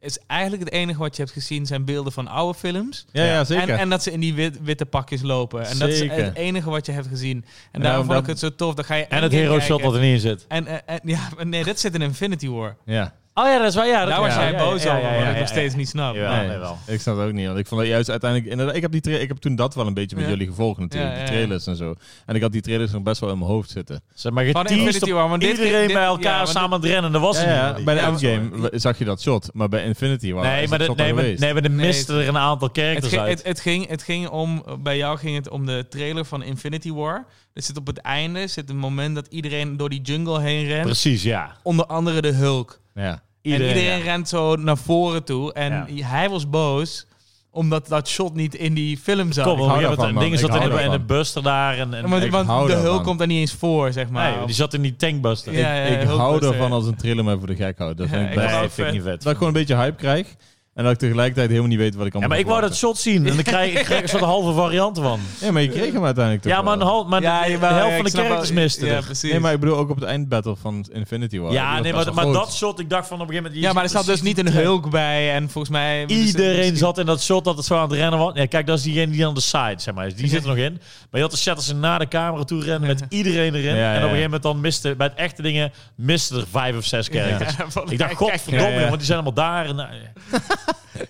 [SPEAKER 3] is eigenlijk het enige wat je hebt gezien zijn beelden van oude films.
[SPEAKER 2] ja, ja, zeker.
[SPEAKER 3] En, en dat ze in die wit- witte pakjes lopen. En dat is
[SPEAKER 2] Zeker.
[SPEAKER 3] het enige wat je hebt gezien. En,
[SPEAKER 2] En daarom-
[SPEAKER 3] daarom vond ik het zo tof. Dan ga je
[SPEAKER 1] En het
[SPEAKER 3] Endgame
[SPEAKER 1] hero shot
[SPEAKER 3] kijken.
[SPEAKER 1] dat er niet in zit.
[SPEAKER 3] En, eh, en- ja, maar nee, dat zit in Infinity War.
[SPEAKER 2] ja.
[SPEAKER 1] Oh ja, dat is waar. Ja, dat
[SPEAKER 3] Daar was
[SPEAKER 1] ja,
[SPEAKER 3] jij
[SPEAKER 1] ja,
[SPEAKER 3] boos
[SPEAKER 1] ja, ja,
[SPEAKER 3] over,
[SPEAKER 1] ja,
[SPEAKER 3] wat
[SPEAKER 1] ja,
[SPEAKER 3] ik nog
[SPEAKER 1] ja.
[SPEAKER 3] steeds niet snap.
[SPEAKER 1] Jawel.
[SPEAKER 2] Nee,
[SPEAKER 1] nee, wel.
[SPEAKER 2] Ik snap het ook niet. Want ik vond dat juist uiteindelijk. Inderdaad, ik heb, die tra- ik heb toen dat wel een beetje met
[SPEAKER 3] Ja.
[SPEAKER 2] jullie gevolgd, natuurlijk.
[SPEAKER 3] Ja,
[SPEAKER 2] die
[SPEAKER 3] ja, ja.
[SPEAKER 2] trailers en zo. En ik had die trailers nog best wel in mijn hoofd zitten.
[SPEAKER 1] Zeg maar
[SPEAKER 3] Van
[SPEAKER 1] geteased
[SPEAKER 3] Infinity
[SPEAKER 1] op
[SPEAKER 3] War, want dit-
[SPEAKER 1] iedereen
[SPEAKER 3] dit-
[SPEAKER 1] bij
[SPEAKER 3] ja,
[SPEAKER 1] elkaar
[SPEAKER 3] want
[SPEAKER 1] samen aan het rennen. Dat was
[SPEAKER 2] Ja,
[SPEAKER 1] er
[SPEAKER 2] ja,
[SPEAKER 1] niet. Oh,
[SPEAKER 2] bij de
[SPEAKER 3] Ja,
[SPEAKER 2] Endgame w- zag je dat shot. Maar bij Infinity War.
[SPEAKER 1] Nee,
[SPEAKER 2] is
[SPEAKER 1] maar
[SPEAKER 2] dat
[SPEAKER 1] de,
[SPEAKER 2] shot
[SPEAKER 1] nee,
[SPEAKER 2] al
[SPEAKER 1] maar,
[SPEAKER 2] geweest.
[SPEAKER 1] nee, maar er
[SPEAKER 3] Nee,
[SPEAKER 1] misten er een aantal
[SPEAKER 3] Het,
[SPEAKER 1] characters
[SPEAKER 3] ging-
[SPEAKER 1] uit.
[SPEAKER 3] het, het ging, het ging om, bij jou ging het om de trailer van Infinity War. Er zit op het einde, zit een moment dat iedereen door die jungle heen rent.
[SPEAKER 1] Precies, ja.
[SPEAKER 3] Onder andere de Hulk.
[SPEAKER 2] Ja.
[SPEAKER 1] Iedereen,
[SPEAKER 3] en iedereen rent zo naar voren toe. En
[SPEAKER 1] Ja.
[SPEAKER 3] hij was boos, omdat dat shot niet in die film zat.
[SPEAKER 1] Kom,
[SPEAKER 2] hou
[SPEAKER 1] op, je hebt
[SPEAKER 2] daarvan,
[SPEAKER 1] het
[SPEAKER 2] man.
[SPEAKER 1] ding
[SPEAKER 2] Ik
[SPEAKER 1] zat
[SPEAKER 2] hou
[SPEAKER 1] in de, in de
[SPEAKER 2] daarvan.
[SPEAKER 1] buster daar. En, en,
[SPEAKER 3] want
[SPEAKER 2] Ik
[SPEAKER 3] want
[SPEAKER 2] hou
[SPEAKER 3] de Hulk
[SPEAKER 2] daarvan.
[SPEAKER 3] komt daar niet eens voor, zeg maar.
[SPEAKER 1] nee, die zat in die tankbuster.
[SPEAKER 3] Ja, ja,
[SPEAKER 2] ik
[SPEAKER 3] Hulk
[SPEAKER 2] hou
[SPEAKER 3] was,
[SPEAKER 2] ervan
[SPEAKER 3] eh,
[SPEAKER 2] als een trailer mij voor de gek houdt. Dat vind
[SPEAKER 3] Ja,
[SPEAKER 2] ik
[SPEAKER 3] ik
[SPEAKER 2] best.
[SPEAKER 3] wou-
[SPEAKER 1] nee, vind ik niet vet.
[SPEAKER 2] Dat ik gewoon een beetje hype krijg. En dat ik tegelijkertijd helemaal niet weet wat ik
[SPEAKER 1] Ja,
[SPEAKER 2] allemaal
[SPEAKER 1] maar ik wou dat
[SPEAKER 2] verwachten.
[SPEAKER 1] shot zien. En dan krijg ik- ik krijg een soort halve variant van.
[SPEAKER 2] Ja, maar je kreeg hem uiteindelijk toch
[SPEAKER 1] Ja, maar,
[SPEAKER 2] wel.
[SPEAKER 1] een hal, maar de, de
[SPEAKER 3] jawel,
[SPEAKER 1] helft
[SPEAKER 3] ja,
[SPEAKER 1] van de
[SPEAKER 3] ik snap wel-
[SPEAKER 1] characters miste
[SPEAKER 3] Ja,
[SPEAKER 1] er.
[SPEAKER 3] precies.
[SPEAKER 2] Nee, maar ik bedoel ook op het eindbattle van Infinity War.
[SPEAKER 1] Ja,
[SPEAKER 2] Die was
[SPEAKER 1] nee, maar,
[SPEAKER 2] best wel
[SPEAKER 1] maar dat
[SPEAKER 2] groot.
[SPEAKER 1] shot, ik dacht van op een gegeven moment...
[SPEAKER 3] Ja,
[SPEAKER 1] je
[SPEAKER 3] maar er
[SPEAKER 1] ziet
[SPEAKER 3] zat dus
[SPEAKER 1] precies
[SPEAKER 3] niet een
[SPEAKER 1] die trek.
[SPEAKER 3] Hulk bij. En volgens mij...
[SPEAKER 1] Iedereen zat in dat shot dat het zo aan het rennen was. Ja, kijk, dat is diegene die aan de side, zeg maar. is. Die zit er nog in. Maar je had de shatters naar de camera toe rennen met iedereen erin.
[SPEAKER 2] Ja, ja,
[SPEAKER 1] En op een
[SPEAKER 2] ja.
[SPEAKER 1] gegeven moment dan miste, bij het echte dingen, miste er vijf of zes characters. Ik dacht, godverdomme,
[SPEAKER 2] Ja, ja.
[SPEAKER 1] want die zijn allemaal daar. En, eh,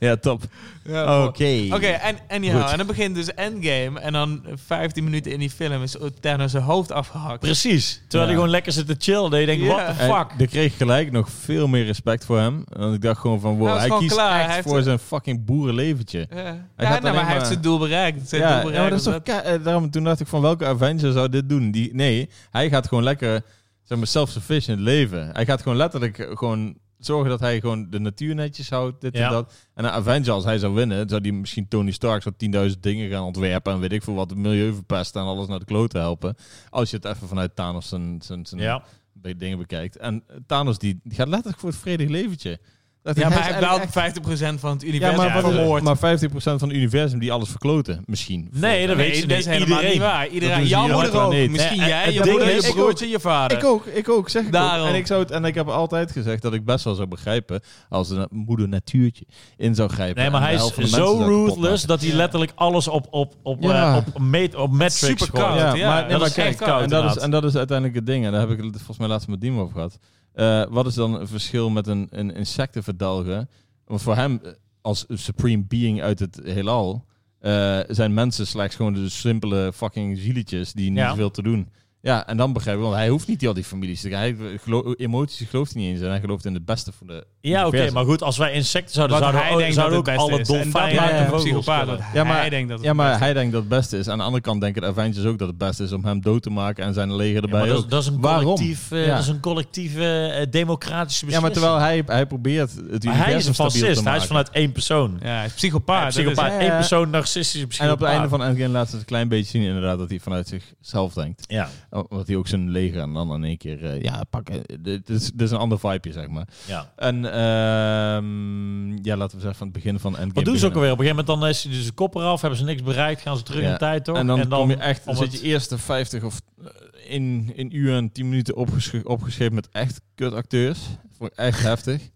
[SPEAKER 2] Ja, top.
[SPEAKER 1] Oh,
[SPEAKER 2] Oké.
[SPEAKER 3] Oh. Oké, en anyhow, en dan begint dus Endgame. En dan 15 minuten in die film is Thanos zijn hoofd afgehakt.
[SPEAKER 1] precies. Terwijl
[SPEAKER 2] Ja.
[SPEAKER 1] die gewoon lekker zit te chillen. Dat je denkt,
[SPEAKER 3] Ja.
[SPEAKER 1] what the fuck?
[SPEAKER 2] En ik kreeg gelijk nog veel meer respect voor hem. Want ik dacht gewoon van, wow,
[SPEAKER 3] Hij was
[SPEAKER 2] hij
[SPEAKER 3] Nou, gewoon
[SPEAKER 2] kiest
[SPEAKER 3] klaar.
[SPEAKER 2] echt
[SPEAKER 3] Hij heeft-
[SPEAKER 2] voor zijn fucking boerenleventje.
[SPEAKER 3] Ja, ja
[SPEAKER 2] gaat
[SPEAKER 3] nou,
[SPEAKER 2] alleen
[SPEAKER 3] maar hij
[SPEAKER 2] maar-
[SPEAKER 3] heeft zijn doel bereikt. Zijn
[SPEAKER 2] Ja,
[SPEAKER 3] doel
[SPEAKER 2] ja, maar dat
[SPEAKER 3] bereikt
[SPEAKER 2] is toch... ka-
[SPEAKER 3] omdat-
[SPEAKER 2] eh, daarom, toen dacht ik van, welke Avenger zou dit doen? Die, nee, hij gaat gewoon lekker, zeg maar, self-sufficient leven. Hij gaat gewoon letterlijk eh, gewoon zorgen dat hij gewoon de natuur netjes houdt, dit
[SPEAKER 1] Ja.
[SPEAKER 2] en dat. En een Avenger, als hij zou winnen, zou die misschien Tony Stark zo'n 10.000 dingen gaan ontwerpen en weet ik veel wat, het milieu verpesten en alles naar de klote helpen. Als je het even vanuit Thanos zijn, zijn, zijn
[SPEAKER 1] Ja.
[SPEAKER 2] be- dingen bekijkt. En eh, Thanos die, die gaat letterlijk voor het vredig leventje. Dat
[SPEAKER 3] Ja,
[SPEAKER 2] is
[SPEAKER 3] maar hij heeft wel
[SPEAKER 2] eigenlijk echt-
[SPEAKER 3] 50% van het
[SPEAKER 2] ja,
[SPEAKER 3] universum
[SPEAKER 2] maar,
[SPEAKER 1] wat-
[SPEAKER 3] vermoord.
[SPEAKER 2] maar, maar 50% van het universum die alles verkloten, misschien.
[SPEAKER 1] Nee, dat weet
[SPEAKER 3] Nee,
[SPEAKER 1] je
[SPEAKER 3] dat
[SPEAKER 1] niet.
[SPEAKER 3] is helemaal
[SPEAKER 1] Iedereen.
[SPEAKER 3] niet waar. Iedereen,
[SPEAKER 2] doen ze
[SPEAKER 3] jouw
[SPEAKER 2] hier
[SPEAKER 3] moeder
[SPEAKER 2] uiteraard
[SPEAKER 3] ook.
[SPEAKER 2] niet.
[SPEAKER 3] Misschien
[SPEAKER 1] Nee,
[SPEAKER 3] jij,
[SPEAKER 1] het
[SPEAKER 3] je
[SPEAKER 1] ding
[SPEAKER 3] moeder,
[SPEAKER 1] is-
[SPEAKER 3] je
[SPEAKER 1] ik
[SPEAKER 3] broertje, je vader.
[SPEAKER 2] Ik ook, ik ook, zeg ik
[SPEAKER 3] Daarom.
[SPEAKER 2] ook. En ik, zou het, en ik heb altijd gezegd dat ik best wel zou begrijpen als een moeder natuurtje in zou grijpen.
[SPEAKER 1] Nee, maar
[SPEAKER 2] en de
[SPEAKER 1] hij
[SPEAKER 2] helft van
[SPEAKER 1] is
[SPEAKER 2] de mensen
[SPEAKER 1] zo
[SPEAKER 2] zou kapot
[SPEAKER 1] ruthless
[SPEAKER 2] maken.
[SPEAKER 1] dat hij letterlijk alles op, op, op,
[SPEAKER 2] Ja.
[SPEAKER 1] eh, op, meet, op metrics
[SPEAKER 3] Super
[SPEAKER 1] gooit.
[SPEAKER 3] koud.
[SPEAKER 2] Ja,
[SPEAKER 3] Ja,
[SPEAKER 2] maar,
[SPEAKER 3] dat
[SPEAKER 2] nee, maar
[SPEAKER 3] is
[SPEAKER 2] kijk,
[SPEAKER 3] echt koud,
[SPEAKER 2] en, dat is,
[SPEAKER 1] inderdaad.
[SPEAKER 2] en dat is uiteindelijk het ding. En daar heb ik het volgens mij laatst met Dimo over gehad. Eh, wat is dan het verschil met een, een insectenverdelger? Want voor hem, eh, als supreme being uit het heelal, eh, zijn mensen slechts gewoon de simpele fucking zielietjes die niet
[SPEAKER 1] Ja.
[SPEAKER 2] veel te doen. Ja, en dan begrijp ik, want hij hoeft niet die, al die families te krijgen. Hij gelo- emoties gelooft hij niet eens. En hij gelooft in het beste van de
[SPEAKER 1] Ja, oké,
[SPEAKER 2] universum.
[SPEAKER 1] maar goed, als wij insecten zouden,
[SPEAKER 3] Wat
[SPEAKER 1] zouden
[SPEAKER 3] hij
[SPEAKER 1] we-
[SPEAKER 3] denkt dat
[SPEAKER 1] zouden
[SPEAKER 3] het
[SPEAKER 1] ook
[SPEAKER 3] beste
[SPEAKER 1] alle
[SPEAKER 3] is. En dat
[SPEAKER 1] dolfijnen
[SPEAKER 3] maakt
[SPEAKER 1] en
[SPEAKER 3] hem een
[SPEAKER 1] vogels
[SPEAKER 3] psychopaat.
[SPEAKER 1] killen.
[SPEAKER 3] want
[SPEAKER 2] Ja, maar-
[SPEAKER 3] hij denkt dat het
[SPEAKER 2] Ja,
[SPEAKER 3] het
[SPEAKER 2] maar
[SPEAKER 3] beste
[SPEAKER 2] hij denkt dat het beste is. Aan de andere kant denken de Avengers ook dat het beste is om hem dood te maken en zijn leger
[SPEAKER 1] Ja, maar
[SPEAKER 2] erbij.
[SPEAKER 1] dat,
[SPEAKER 2] ook.
[SPEAKER 1] is, dat is een
[SPEAKER 2] Waarom?
[SPEAKER 1] collectief, eh,
[SPEAKER 2] Ja.
[SPEAKER 1] dat is een collectieve eh, democratische
[SPEAKER 2] ja,
[SPEAKER 1] beslissing.
[SPEAKER 2] maar terwijl hij, hij probeert het
[SPEAKER 1] Maar hij is
[SPEAKER 2] universum
[SPEAKER 1] een
[SPEAKER 2] stabiel te
[SPEAKER 1] fascist, hij is
[SPEAKER 2] maken.
[SPEAKER 1] vanuit één persoon.
[SPEAKER 3] is. Ja, hij is
[SPEAKER 1] Ja,
[SPEAKER 3] psychopaat. dat is
[SPEAKER 1] psychopaat,
[SPEAKER 2] hij.
[SPEAKER 1] één persoon, narcistische
[SPEAKER 2] En
[SPEAKER 1] psychopaat.
[SPEAKER 2] op het einde van Endgame laat ze het een klein beetje zien inderdaad dat hij vanuit zichzelf denkt.
[SPEAKER 1] Ja,
[SPEAKER 2] Omdat hij ook zijn leger en dan in één keer, eh, ja, pakken. Dit is, dit is een ander vibeje, zeg maar.
[SPEAKER 1] ja.
[SPEAKER 2] En ehm, ja, laten we zeggen van het begin van Endgame.
[SPEAKER 1] Wat doen ze ook
[SPEAKER 2] beginnen.
[SPEAKER 1] alweer? Op een gegeven moment dan is hij dus de kop eraf, hebben ze niks bereikt, gaan ze terug in
[SPEAKER 2] Ja.
[SPEAKER 1] de tijd door.
[SPEAKER 2] En dan, kom je echt,
[SPEAKER 1] om
[SPEAKER 2] zit
[SPEAKER 1] het-
[SPEAKER 2] je eerste 50 of eh, in, in uur en 10 minuten opgesch- opgeschreven met echt kutacteurs. Vond ik echt heftig.